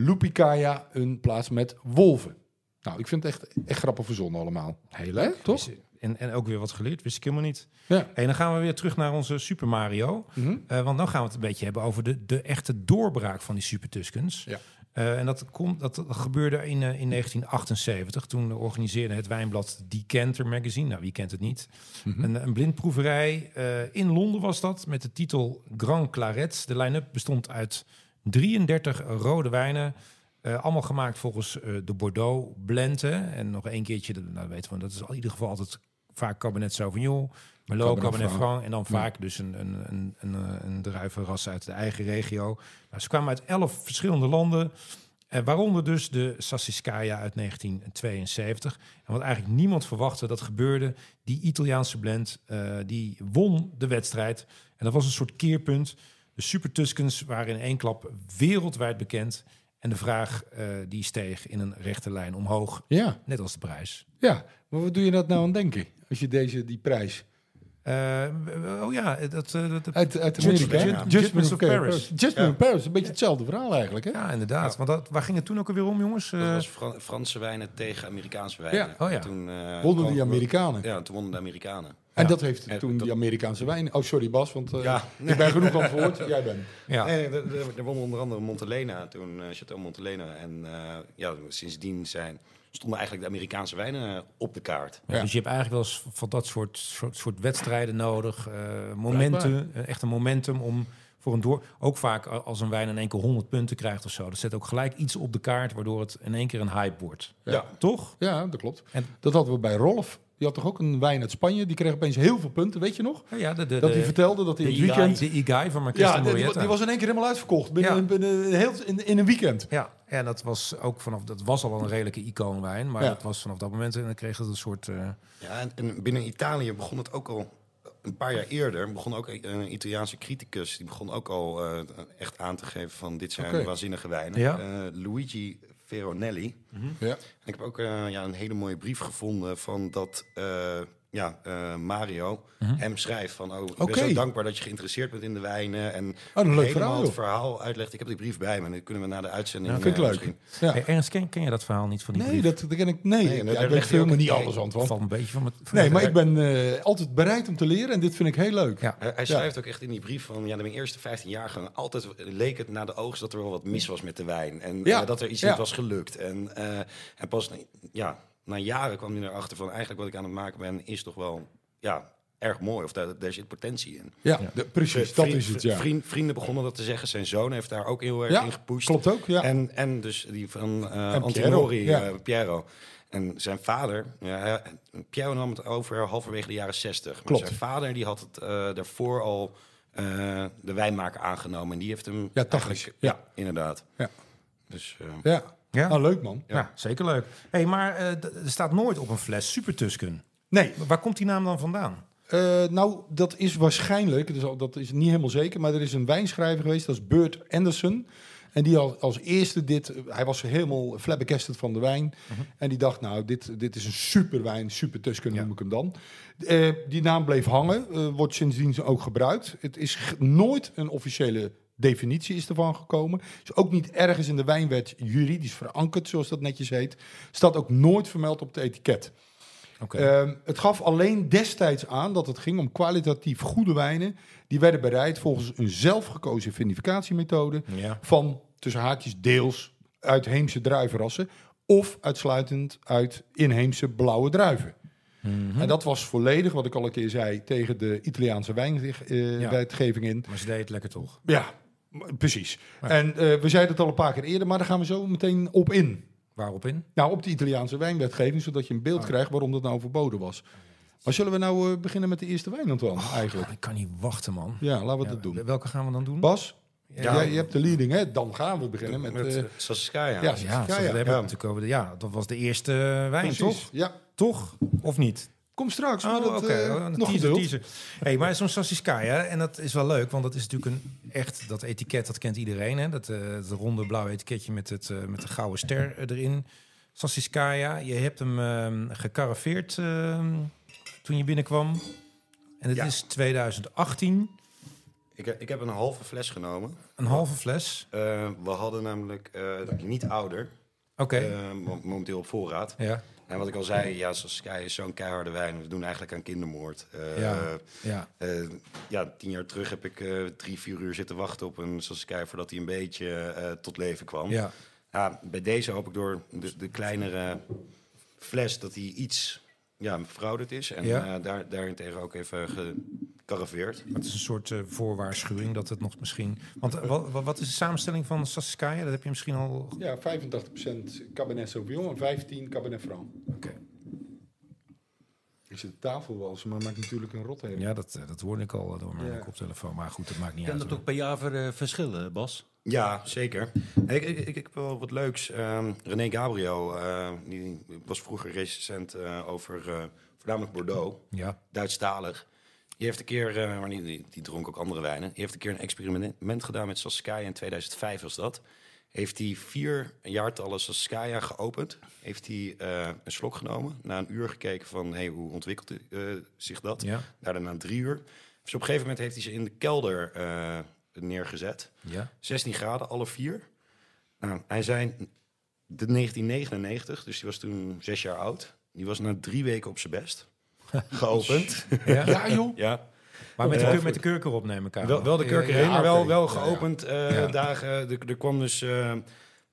S3: Lupicaya een plaats met wolven. Nou, ik vind het echt, echt grappig verzonnen allemaal.
S1: Heel
S3: Hè,
S1: leuk.
S3: toch?
S1: Wist- En, en ook weer wat geleerd, wist ik helemaal niet.
S3: Ja.
S1: Hey, dan gaan we weer terug naar onze Super Mario.
S3: Mhm.
S1: Eh, want dan gaan we het een beetje hebben over de, de echte doorbraak van die Super Tuscans.
S3: Ja.
S1: Eh, en dat, komt, dat gebeurde in, eh, in 1978. Toen organiseerde het wijnblad Decanter Magazine. Nou, wie kent het niet?
S3: Mhm.
S1: Een, een blindproeverij. eh, in Londen was dat, met de titel Grand Claret. De line-up bestond uit 33 rode wijnen. eh, allemaal gemaakt volgens eh, de Bordeaux blend. hè. En nog één keertje, dat, nou, dat weten we, dat is al in ieder geval altijd vaak Cabernet Sauvignon. Merlot,
S3: Cabernet
S1: Cabernet
S3: Franc.
S1: Franc en dan vaak dus een, een, een, een, eh, een druivenras uit de eigen regio. Nou, ze kwamen uit elf verschillende landen, eh, waaronder dus de Sassicaia uit 1972. En wat eigenlijk niemand verwachtte, dat gebeurde. Die Italiaanse blend, eh, die won de wedstrijd. En dat was een soort keerpunt. De Super Tuscans waren in één klap wereldwijd bekend. En de vraag eh, die steeg in een rechte lijn omhoog,
S3: ja,
S1: net als de prijs.
S3: ja. Maar wat doe je dat nou aan denken? Als je deze, die prijs...
S1: Eh, oh ja, dat, eh, dat,
S3: Uit, uit
S1: Judge-
S3: Amerika.
S1: Judge-
S3: hè?
S1: Judgments of Paris.
S3: Judgment of Paris. Een beetje hetzelfde verhaal eigenlijk, hè?
S1: Ja, inderdaad. Want dat, waar ging het toen ook alweer om, jongens? Eh,
S4: Dat was Fran- Franse wijnen tegen Amerikaanse wijnen.
S1: Ja, oh ja.
S4: Toen, eh,
S3: Wonnen
S4: kwam-
S3: die Amerikanen.
S4: Ja, toen wonnen de Amerikanen.
S3: En
S1: Ja.
S3: dat heeft
S4: En
S3: toen
S4: dat-
S3: die Amerikaanse wijn... Oh, sorry Bas, want eh,
S4: Ja.
S3: ik ben genoeg aan het woord. Jij bent.
S1: ja.
S4: Nee, er, er- er won onder andere Montelena, toen eh Chateau Montelena. En eh, ja, sindsdien zijn, stonden eigenlijk de Amerikaanse wijnen eh, op de kaart.
S1: Ja,
S3: Ja.
S1: Dus je hebt eigenlijk wel eens van dat soort, soort, soort wedstrijden nodig. eh momenten, eh, echt een momentum om voor een door... Ook vaak a- als een wijn in één keer 100 punten krijgt of zo. Dat zet ook gelijk iets op de kaart, waardoor het in één keer een hype wordt.
S4: Ja.
S1: Toch?
S3: Ja, dat klopt.
S1: En-
S3: Dat hadden we bij Rolf. Die had toch ook een wijn uit Spanje. Die kreeg opeens heel veel punten, weet je nog?
S1: Ja, ja, de, de,
S3: Dat hij
S1: de,
S3: vertelde dat hij
S1: de
S3: in het weekend...
S1: de E-guy van Marquise
S3: Ja,
S1: de
S3: die, die
S1: Morietta.
S3: was in één keer helemaal uitverkocht. Binnen,
S1: Ja.
S3: binnen een heel, in, in een weekend.
S1: Ja, en dat was ook vanaf... Dat was al wel een redelijke icoonwijn, maar
S3: Ja.
S1: dat was vanaf dat moment... En dan kreeg het een soort... eh,
S4: Ja, en, en binnen Italië begon het ook al een paar jaar eerder. Begon ook een, een Italiaanse criticus. Die begon ook al eh, echt aan te geven van dit zijn
S3: Oké.
S4: waanzinnige wijnen.
S1: Ja.
S4: Eh, Luigi Veronelli.
S3: Ja.
S4: En ik heb ook eh, ja, een hele mooie brief gevonden van dat eh, ja, eh, Mario hem schrijft van... Oh, ik ben
S3: Mhm. Oké. Oh,
S4: zo dankbaar dat je geïnteresseerd bent in de wijnen. En
S3: een leuk
S4: helemaal
S3: verhaal,
S4: het
S3: joh.
S4: verhaal uitlegt. Ik heb die brief bij me. En dan kunnen we na de uitzending
S3: vind ik
S4: eh,
S3: leuk.
S4: misschien-
S3: Ja.
S1: hey, Ernst, ken, ken je dat verhaal niet van die
S3: Nee,
S1: brief?
S3: dat, dat ken ik... Nee,
S4: Nee,
S3: ja,
S4: daar
S3: ik
S4: leg
S3: weet
S4: je
S3: helemaal
S4: ook-
S3: niet
S4: nee.
S3: alles,
S1: Dat
S3: Antoine.
S1: valt een beetje van... mijn- van
S3: Nee,
S1: mijn-
S3: maar ik ben eh, altijd bereid om te leren. En dit vind ik heel leuk.
S1: Ja.
S4: Hij hij
S3: Ja.
S4: schrijft ook echt in die brief van, ja, de mijn eerste 15 jaar gang, altijd leek het na de oogst dat er wel wat mis was met de wijn. En
S3: Ja.
S4: eh, dat er iets
S3: Ja.
S4: niet was gelukt. En, eh, en pas na, ja, na jaren kwam hij erachter van, eigenlijk wat ik aan het maken ben, is toch wel, ja, erg mooi. Of daar, daar zit potentie in.
S3: Ja, de- precies. Dat is het, ja.
S4: Vriend- vrienden begonnen dat te zeggen. Zijn zoon heeft daar ook heel erg
S3: Ja,
S4: in gepusht.
S3: klopt ook, ja.
S4: En, en dus die van eh
S3: En
S4: Antinori,
S3: Piero,
S4: Piero,
S3: ja.
S4: Piero. En zijn vader, ja, hij- Piero nam het over halverwege de jaren 60. Maar
S3: Klopt.
S4: Zijn vader die had het eh, daarvoor al eh, de wijnmaker aangenomen. En die heeft hem.
S3: Ja, tachtig.
S4: eigenlijk-
S3: Ja.
S4: Inderdaad.
S3: Ja.
S4: Dus, eh,
S3: Ja.
S1: Ja.
S3: Nou, leuk man.
S1: Ja, zeker leuk. hey, maar eh, d- er staat nooit op een fles Super Tusken.
S3: Nee,
S1: Waar komt die naam dan vandaan?
S3: Eh, nou, dat is waarschijnlijk, dus al- dat is niet helemaal zeker, maar er is een wijnschrijver geweest, dat is Bert Anderson. En die al, als eerste dit, eh, hij was helemaal flabbergasted van de wijn. En die dacht, nou, dit, dit is een super wijn, super Tusken noem ik hem dan. Eh, die naam bleef hangen, eh, wordt sindsdien ook gebruikt. Het is g- nooit een officiële definitie is ervan gekomen. Is ook niet ergens in de wijnwet juridisch verankerd, zoals dat netjes heet. Staat ook nooit vermeld op het etiket.
S1: Oké.
S3: Ehm, het gaf alleen destijds aan dat het ging om kwalitatief goede wijnen. Die werden bereid volgens een zelfgekozen vinificatiemethode
S1: ja.
S3: van tussen haakjes deels uitheemse druivenrassen of uitsluitend uit inheemse blauwe druiven.
S1: Mhm.
S3: En dat was volledig, wat ik al een keer zei, tegen de Italiaanse
S1: Ja.
S3: wijnwetgeving in.
S1: Maar ze deed het lekker toch?
S3: Ja, m- precies. En eh, we zeiden het al een paar keer eerder, maar daar gaan we zo meteen op in.
S1: Waarop in?
S3: Nou, op de Italiaanse wijnwetgeving, zodat je een beeld krijgt waarom dat nou verboden was. Maar zullen we nou eh, beginnen met de eerste wijn, Antoine, eigenlijk?
S1: Ik kan niet wachten, man.
S3: Ja, laten we
S1: Ja,
S3: dat doen.
S1: Welke gaan we dan doen?
S3: Bas,
S4: Ja.
S3: jij, je hebt de leading, hè? Dan gaan we beginnen met...
S4: Met
S3: eh,
S4: eh, Sassiskaya.
S3: ja,
S1: Ja,
S3: ja,
S1: zo,
S3: ja,
S1: we hebben natuurlijk over de- ja, dat was de eerste eh, wijn,
S3: precies.
S1: toch?
S3: Ja,
S1: Toch? Of niet?
S3: kom straks. maar
S1: Oh,
S3: dat,
S1: oké.
S3: eh,
S1: Oh, een
S3: nog
S1: teaser,
S3: geduld.
S1: teaser. Hey, maar zo'n Sassiskaya, en dat is wel leuk, want dat is natuurlijk een echt, dat etiket, dat kent iedereen, hè? Dat, eh dat ronde blauwe etiketje met, het, eh, met de gouden ster eh, erin. Sassiskaya, je hebt hem ehm gecaraveerd ehm, toen je binnenkwam. En het
S4: Ja.
S1: is 2018,
S4: Ik, heb- ik heb een halve fles genomen.
S1: een halve fles.
S4: Eh, we hadden namelijk eh, niet ouder,
S1: Oké,
S4: eh, mo- momenteel op voorraad.
S1: ja,
S4: En wat ik al zei, ja, Sassiskaya is zo'n keiharde wijn. We doen eigenlijk aan kindermoord. Eh,
S1: Ja. ja.
S4: Eh, ja, tien jaar terug heb ik eh, drie, vier uur zitten wachten op een Saskia voordat hij een beetje eh, tot leven kwam.
S1: Ja,
S4: Ja, bij deze hoop ik door de, de kleinere fles dat hij iets ja, verouderd is. En
S1: Ja.
S4: eh, daar, daarentegen ook even gecaraveerd.
S1: maar het is een soort eh, voorwaarschuwing dat het nog misschien... Want eh, wa- wa- wat is de samenstelling van Sassiskaya? Dat heb je misschien al...
S3: Ja, 85% Cabernet Sauvignon en 15% Cabernet Franc.
S1: Oké.
S3: Ik zit de tafel wel, maar maakt natuurlijk een rot heen.
S1: Ja, dat, eh, dat hoorde ik al eh, door mijn
S3: Ja.
S1: koptelefoon. Maar goed, dat maakt niet
S5: Kan
S1: uit.
S5: dat
S1: hoor.
S5: ook per jaar ver- eh, verschillen, Bas?
S4: Ja, zeker. Ik, ik, ik, ik heb wel wat leuks. Ehm, René Gabriel, eh, die was vroeger recensent eh, over eh, voornamelijk Bordeaux.
S1: Ja,
S4: Duitsstalig. Die heeft een keer, eh, maar die, die, die dronk ook andere wijnen. Die heeft een keer een experiment gedaan met Saskaya in 2005 was dat. Heeft hij vier jaartallen Saskaya geopend. Heeft hij eh, een slok genomen. Na een uur gekeken van hey, hoe ontwikkelt eh, zich dat.
S1: ja,
S4: Daarna na drie uur. Dus op een gegeven moment heeft hij ze in de kelder eh, neergezet.
S1: ja.
S4: 16 graden, alle vier. Nou, hij zei de 1999, dus die was toen zes jaar oud. Die was na drie weken op zijn best. Geopend.
S1: ja.
S3: Ja, joh.
S4: ja.
S1: Maar met de,
S4: Ja,
S1: keur, met de kurker opnemen elkaar.
S4: Wel, wel de kurk
S1: Ja,
S4: heen,
S1: ja,
S4: maar wel,
S1: oké.
S4: wel
S1: Ja, ja.
S4: geopend eh,
S1: Ja.
S4: dagen. Er, er kwam dus eh,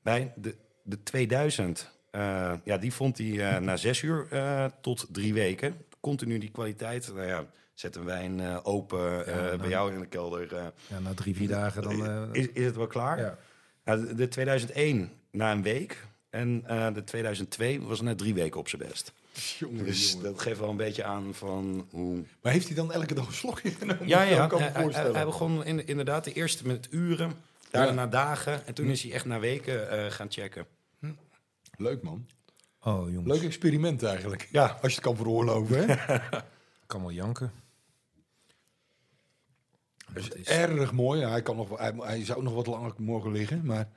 S4: bij de, de 2000. eh, ja, die vond hij eh, na zes uur eh, tot drie weken. Continu die kwaliteit. Nou ja, zet een wijn eh, open eh,
S1: nou.
S4: bij jou in de kelder. eh,
S1: Ja, na drie, vier dagen dan... eh,
S4: is, is het wel klaar?
S1: ja.
S4: Ja, de, de 2001 na een week. En eh, de 2002 was na drie weken op zijn best.
S3: Jongen,
S4: Dus
S3: jongen.
S4: dat geeft wel een beetje aan van hoe
S3: Maar heeft hij dan elke dag een slokje genomen?
S4: Ja, ja.
S3: Ik kan me
S4: Hij- hij-
S3: voorstellen.
S4: Hij begon in- inderdaad de eerste met uren, daarna
S3: Ja.
S4: na dagen. En toen is hij echt na weken eh, gaan checken.
S3: Leuk, man.
S1: Oh, jongens,
S3: Leuk experiment eigenlijk.
S4: Ja.
S3: Als je het kan veroorloven, hè?
S1: ik kan wel janken. Dat is-
S3: Erg mooi. Hij, kan nog, wel- hij, hij zou nog wat langer mogen liggen, maar...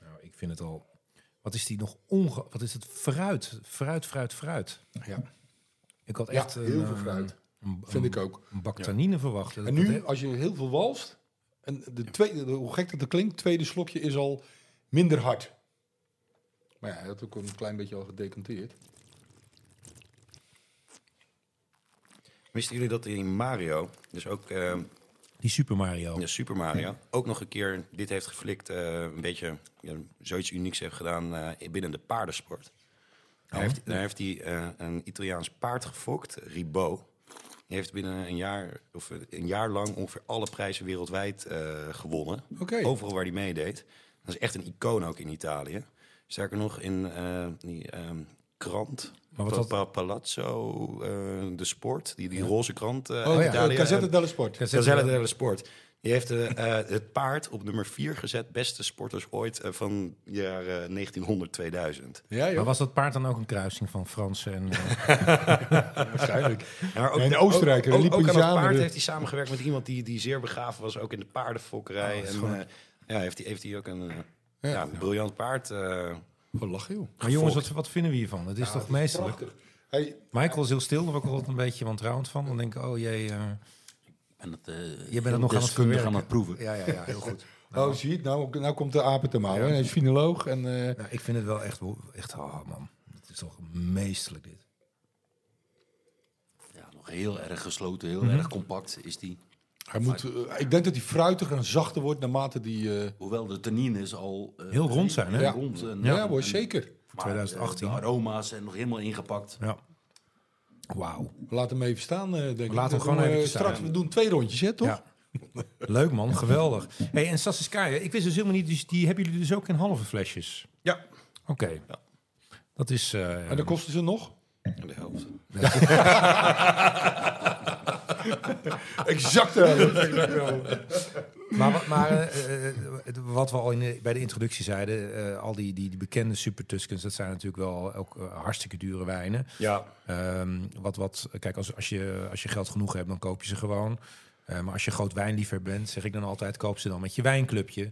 S1: nou, ik vind het al... Wat is die nog onge... Wat is het? Fruit. Fruit, fruit, fruit.
S3: Ja,
S1: Ik had
S3: Ja,
S1: echt... een,
S3: heel veel
S1: eh,
S3: fruit.
S1: Een,
S3: vind ik ook.
S1: Een bak tannine verwacht. Dat-
S3: En
S1: dat he-
S3: nu, als je heel veel walst... En de tweede, de- hoe gek dat het klinkt, het tweede slokje is al minder hard. Maar ja, hij had ook een klein beetje al gedecanteerd.
S4: Wisten jullie dat in Mario, dus ook eh,
S1: Die Super Mario.
S4: ja, Super Mario, ook nog een keer dit heeft geflikt, eh, een beetje ja, zoiets unieks heeft gedaan eh, binnen de paardensport. Daar heeft, daar heeft hij eh, een Italiaans paard gefokt, Ribot. Die heeft binnen een jaar, of een jaar lang ongeveer alle prijzen wereldwijd eh, gewonnen.
S3: Oké.
S4: Overal waar hij meedeed. Dat is echt een icoon ook in Italië. Sterker nog, in eh, die ehm, krant,
S1: Maar wat
S4: Pa-
S1: had-
S4: Pa- Palazzo, eh, de sport, die, die roze krant eh,
S3: Oh
S4: uit
S3: ja,
S4: Italië.
S3: Cassette dello Sport.
S1: Cassette
S4: Gazelle
S1: dello-
S4: dello Sport. Die heeft eh, eh, het paard op nummer 4 gezet, beste sporters ooit eh, van het jaar eh, 1900, 2000.
S3: Ja,
S1: Maar
S3: joh.
S1: was dat paard dan ook een kruising van Fransen en... eh,
S3: waarschijnlijk.
S4: Ja, maar ook,
S3: Nee, een Oostenrijker,
S4: ook,
S3: een
S4: ook, ook aan het
S3: Lipizzane,
S4: paard
S3: de-
S4: heeft hij samengewerkt met iemand die, die zeer begaafd was, ook in de paardenfokkerij. en, eh, ja, heeft hij heeft hij ook een, eh, ja, een briljant paard. eh,
S3: Wat lachen, joh.
S1: Maar jongens, wat, wat vinden we hiervan? Het is toch meesterlijk?
S3: Hey,
S1: Michael is heel stil, daar word ik altijd een beetje wantrouwend van. Dan denk ik, oh jee, eh,
S5: En dat, eh
S1: je bent het nog aan het
S5: deskundig
S1: verwerken.
S5: aan het proeven.
S1: Ja, ja, ja, heel goed.
S3: oh, zie je, het? nou, nou komt de apen te mouwen. Hij is finoloog en... eh,
S1: Nou, ik vind het wel echt, wo- echt oh man, het is toch meesterlijk dit.
S5: Ja, nog heel erg gesloten, heel
S1: Mhm.
S5: erg compact is die.
S3: Hij moet, eh, ik denk dat hij fruitiger en zachter wordt naarmate die... eh,
S5: Hoewel de tannines al... eh,
S1: Heel rond zijn, hè?
S5: heel
S3: Ja.
S5: rond en-
S3: ja,
S5: en-
S3: hoor, zeker.
S5: maar,
S1: 2018.
S5: eh, de aroma's en nog helemaal ingepakt.
S1: Ja. Wauw.
S3: Laat hem even staan, eh, denk ik.
S1: Laat hem
S3: We
S1: gewoon
S3: doen,
S1: even
S3: eh,
S1: staan.
S3: Straks, we doen twee rondjes, hè, toch?
S1: Ja. Leuk man, geweldig. Hey, en Sassiskaya, ik wist dus helemaal niet, dus die hebben jullie dus ook in halve flesjes?
S4: Ja.
S1: Oké. Dat is... eh,
S3: En dan kosten ze nog?
S4: de helft.
S1: ja,
S3: Exact. de
S1: Maar, wa- maar eh, eh, het- wat we al in de- bij de introductie zeiden, eh, al die, die, die bekende Super Tuskens, dat zijn natuurlijk wel ook eh, hartstikke dure wijnen.
S4: Ja.
S1: Ehm, wat, wat, kijk, als, als, je, als je geld genoeg hebt, dan koop je ze gewoon. Eh, maar als je groot wijnliefhebber bent, zeg ik dan altijd, koop ze dan met je wijnclubje.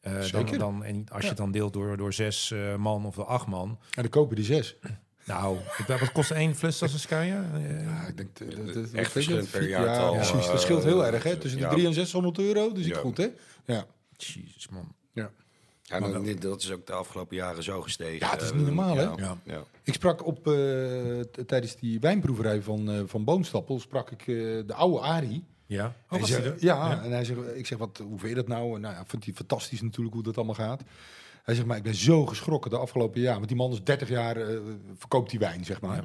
S1: Eh, dan,
S3: Zeker.
S1: dan, en als je het dan deelt door, door zes eh, man of door acht man.
S3: En dan kopen die zes.
S1: Nou, ik- wat kost één fles als een Scania? Eh,
S3: Ja, ik denk, dat, dat, dat-
S4: Echt verschillend per jaar
S3: Ja,
S4: al,
S3: precies.
S4: eh,
S3: Dat scheelt heel erg, hè? Tussen
S4: ja.
S3: de 3 en 600 euro. Dus ik
S4: Ja.
S3: goed, hè? Ja.
S1: Jezus, man.
S3: ja.
S4: Ja, maar dit- dat is ook de afgelopen jaren zo gestegen. Ehm,
S3: Ja, het is niet normaal, hè?
S4: Ja,
S1: Ja.
S4: ja.
S3: Ik sprak op, eh, t- tijdens die wijnproeverij van, eh, van Boomstappel, sprak ik eh, de oude Arie.
S1: Ja.
S3: Hij
S1: Oh, was
S3: zegt-
S1: die er?
S3: ja, en hij zegt, ik zeg, wat, hoe vind je dat nou? En nou ja, vindt hij fantastisch natuurlijk hoe dat allemaal gaat. Hij zegt, maar ik ben zo geschrokken de afgelopen jaar. Want die man is 30 jaar, eh, verkoopt die wijn, zeg maar.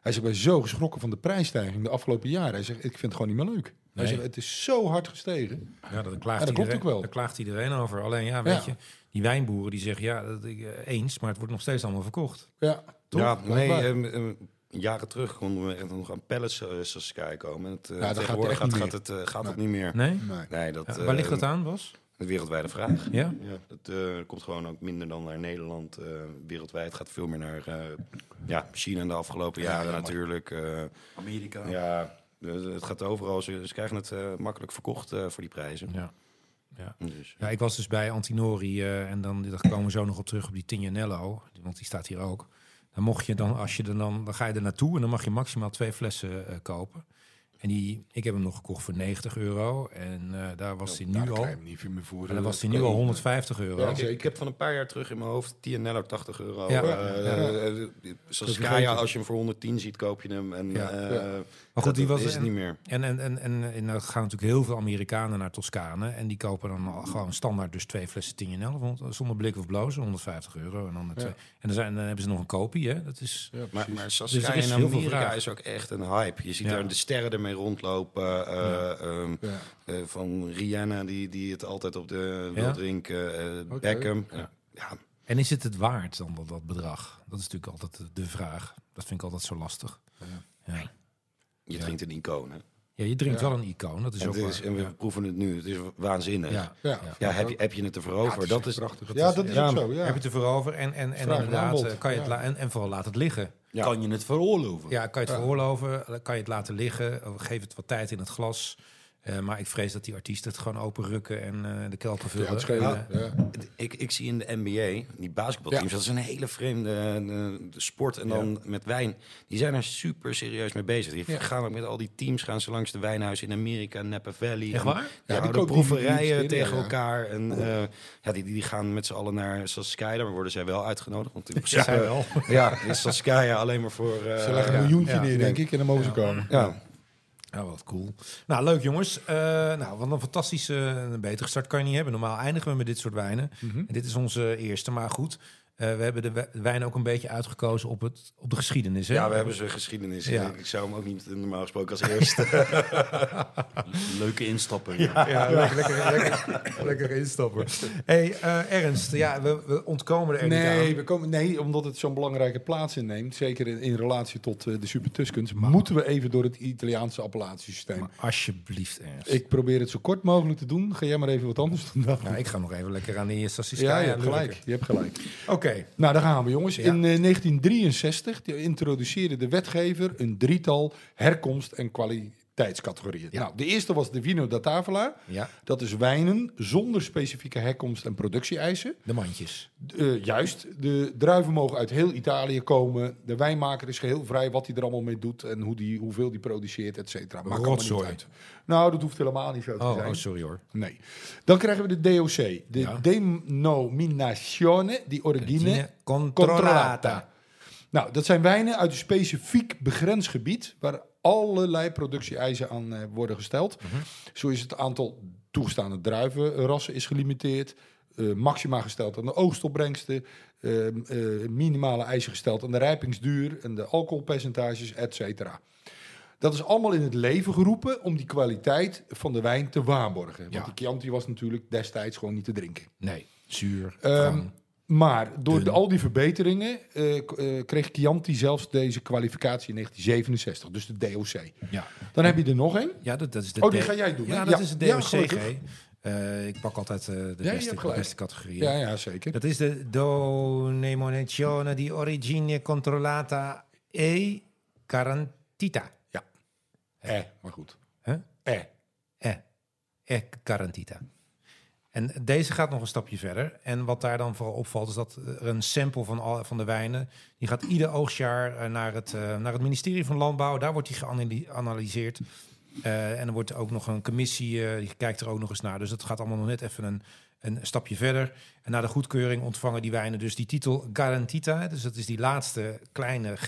S3: Hij zegt, ik ben zo geschrokken van de prijsstijging de afgelopen jaren. Hij zegt, ik vind het gewoon niet meer leuk. Hij
S1: Nee.
S3: zegt, het is zo hard gestegen.
S1: Ja, dat klaagt,
S3: Ja, dat klopt
S1: iedereen,
S3: ook wel.
S1: Daar klaagt iedereen over. Alleen ja, weet
S3: Ja.
S1: je, die wijnboeren die zeggen ja, dat, ik, eh, eens, maar het wordt nog steeds allemaal verkocht.
S3: Ja, toch?
S4: Ja, nee,
S3: Blijkbaar.
S4: ehm, ehm, jaren terug konden we echt nog aan pallets eh, Saskia komen. En het, eh,
S3: Ja, dat gaat
S4: tegenwoordig
S3: echt
S4: gaat,
S3: niet
S4: gaat, het, eh, gaat het niet meer.
S1: Nee?
S3: Nee.
S4: Nee, dat,
S1: Ja,
S4: eh,
S1: waar ligt dat aan, Bas?
S4: Een wereldwijde vraag.
S1: Ja?
S4: Ja, het eh, komt gewoon ook minder dan naar Nederland. eh, wereldwijd gaat veel meer naar eh, ja, China de afgelopen jaren natuurlijk. eh,
S5: Amerika.
S4: ja, dus het gaat overal. Ze, ze krijgen het eh, makkelijk verkocht eh, voor die prijzen.
S1: Ja.
S4: Dus,
S1: ja, ik was dus bij Antinori eh, en dan daar komen we zo nog op terug op die Tignanello, want die staat hier ook. Dan mocht je dan, als je er dan, dan ga je er naartoe en dan mag je maximaal twee flessen eh, kopen. En die, ik heb hem nog gekocht voor 90 euro en eh, daar was hij
S3: Nou,
S1: nu
S3: daar
S1: al.
S3: kan je hem niet meer voor. eh,
S1: En dan was hij nu al 150 euro.
S3: Ja,
S4: ik, ik
S3: zeker.
S4: heb van een paar jaar terug in mijn hoofd Tianello 80 euro. eh,
S1: Ja.
S4: Ja.
S3: Ja.
S4: Saskia, als je hem voor 110 ziet, koop je hem. En,
S1: Ja.
S4: eh,
S3: Ja.
S1: Maar goed,
S4: dat-
S1: die
S4: dat
S1: was-
S4: is het niet meer.
S1: En, en, en, en, en er gaan natuurlijk heel veel Amerikanen naar Toscane. En die kopen dan al gewoon standaard dus twee flessen 10 en 11. want eh, Zonder blik of blozen, 150 euro. En dan, de twee. en dan, zijn, dan hebben ze nog een kopie. Hè? Dat is,
S4: Maar,
S3: eh.
S4: maar
S1: Dus
S4: Saskia
S1: er is
S4: in
S1: heel veel
S4: Amerika
S1: vraag.
S4: is ook echt een hype. Je ziet
S1: Ja.
S4: daar de sterren ermee rondlopen. eh, ehm,
S3: Ja.
S4: eh, van Rihanna, die, die het altijd op de
S1: Ja.
S4: wil drinken. eh, Beckham. Ja. Ja.
S1: en is het het waard dan dat, dat bedrag? Dat is natuurlijk altijd de- de vraag. Dat vind ik altijd zo lastig. Ja, ja.
S4: je drinkt een icoon. Hè?
S1: je drinkt wel een icoon. Dat is
S4: En,
S1: ook
S4: het is-
S1: waar.
S4: en we
S1: Ja.
S4: proeven het nu. Het is waanzinnig.
S1: Ja.
S4: Ja.
S3: Ja,
S4: heb, je, heb je het ervoor over? dat is
S3: prachtig. Ja, dat is
S4: Ja,
S3: ook zo. Ja.
S1: Heb je het ervoor over? En, en, en
S3: Vraag en
S1: inderdaad,
S3: aanbod.
S1: eh, kan je het
S3: Ja.
S1: la- en, en vooral laat het liggen.
S4: Ja.
S5: Kan je het veroorloven?
S1: Ja, kan je het veroorloven? Eh, Kan je het laten liggen? Of Geef het wat tijd in het glas. Eh, maar ik vrees dat die artiesten het gewoon openrukken en eh, de kelken vullen.
S3: Ja, het schelen.
S1: En, eh,
S3: Ja.
S4: Ik, ik zie in de NBA, die basketbalteams,
S3: Ja.
S4: dat is een hele vreemde eh, de sport. En dan met wijn, die zijn er super serieus mee bezig. Die
S3: Ja.
S4: gaan ook met al die teams gaan ze langs de wijnhuis in Amerika, Napa Valley.
S1: Echt
S4: En
S1: waar? Ja,
S4: die
S3: die
S4: houden
S3: kopen die- die
S4: proeverijen
S3: die- die-
S4: tegen
S3: ja.
S4: elkaar. En eh, ja, die, die gaan met z'n allen naar Saskia. Daar worden zij wel uitgenodigd. Want in
S1: Ja,
S4: principe
S1: wel.
S4: ja, is Saskia alleen maar voor... eh,
S3: Ze leggen
S4: ja.
S3: een miljoentje
S1: ja.
S3: neer, denk ik, en dan mogen ze komen.
S4: Ja.
S1: Ja, wat cool. Nou, leuk jongens. Eh, nou, wat een fantastische, een betere start kan je niet hebben. Normaal eindigen we met dit soort wijnen.
S3: Mhm.
S1: En dit is onze eerste, maar goed. eh, we hebben de wij- wijn ook een beetje uitgekozen op, het, op de geschiedenis. Hè?
S4: ja, we hebben zijn geschiedenis.
S1: Ja.
S4: Ik zou hem ook niet eh, normaal gesproken als eerste
S5: Leuke instappen.
S1: Ja, lekker, lekker, lekker, lekker instappen. hey, eh, Ernst, ja, we, we ontkomen er echt niet
S3: Nee,
S1: aan.
S3: we komen, nee, omdat het zo'n belangrijke plaats inneemt, zeker in, in relatie tot eh, de Super Tuscans, moeten we even door het Italiaanse appellatiesysteem.
S1: Maar alsjeblieft, Ernst.
S3: Ik probeer het zo kort mogelijk te doen. Ga jij maar even wat anders doen dan.
S1: Ja, Nou, ik ga nog even lekker aan die Sassiskaya
S3: Ja, je hebt
S1: lurken.
S3: gelijk. Je hebt gelijk.
S1: Oké.
S3: Nou, daar gaan we, jongens.
S1: Ja.
S3: In eh, 1963 die introduceerde de wetgever een drietal herkomst- en kwaliteitscategorieën. Nou, de eerste was de Vino da Tavola.
S1: Ja.
S3: Dat is wijnen zonder specifieke herkomst- en productie-eisen.
S1: De mandjes.
S3: Eh, juist, de druiven mogen uit heel Italië komen. De wijnmaker is geheel vrij wat hij er allemaal mee doet en hoe die, hoeveel die produceert, et cetera. Maakt allemaal niet
S1: Rotzooi.
S3: uit. Nou, dat hoeft helemaal niet zo te
S1: Oh,
S3: zijn.
S1: oh, sorry hoor.
S3: Nee. Dan krijgen we de DOC, de
S1: Ja.
S3: Denominazione di Origine
S1: Origine Controllata.
S3: Controllata. Nou, dat zijn wijnen uit een specifiek begrensd gebied waar allerlei productie-eisen aan eh, worden gesteld. Zo is het aantal toegestaande druivenrassen is gelimiteerd. eh, maxima gesteld aan de oogstopbrengsten. eh, eh, minimale eisen gesteld aan de rijpingsduur en de alcoholpercentages, et cetera. Dat is allemaal in het leven geroepen om die kwaliteit van de wijn te waarborgen. Want
S1: Ja.
S3: die Chianti was natuurlijk destijds gewoon niet te drinken.
S1: Nee, zuur.
S3: Ehm,
S1: wrang.
S3: Maar door
S5: Dun.
S3: de- al die verbeteringen eh, k- eh, kreeg Chianti zelfs deze kwalificatie in 1967, dus de DOC.
S1: Ja.
S3: Dan heb je er nog één.
S1: Ja, dat, dat is de
S3: Oh, die
S1: D-
S3: ga jij doen, hè?
S1: Ja, dat
S3: Ja.
S1: is de
S3: Ja,
S1: DOCG.
S3: gelukkig.
S1: Eh, ik pak altijd eh, de,
S3: je hebt
S1: beste, de
S3: gelijk.
S1: beste categorie.
S3: Ja, ja, zeker.
S1: Dat is de Donemonazione di origine controllata e carantita.
S3: Eh, maar goed.
S1: Hè?
S3: Eh.
S1: Eh, eh, carantita. En deze gaat nog een stapje verder. En wat daar dan vooral opvalt, is dat er een sample van, al, van de wijnen... die gaat ieder oogstjaar eh, naar het, eh, naar het ministerie van Landbouw. Daar wordt die geanalyseerd. Eh, en er wordt ook nog een commissie, eh, die kijkt er ook nog eens naar. Dus dat gaat allemaal nog net even een, een stapje verder. En na de goedkeuring ontvangen die wijnen dus die titel Garantita. Dus dat is die laatste kleine G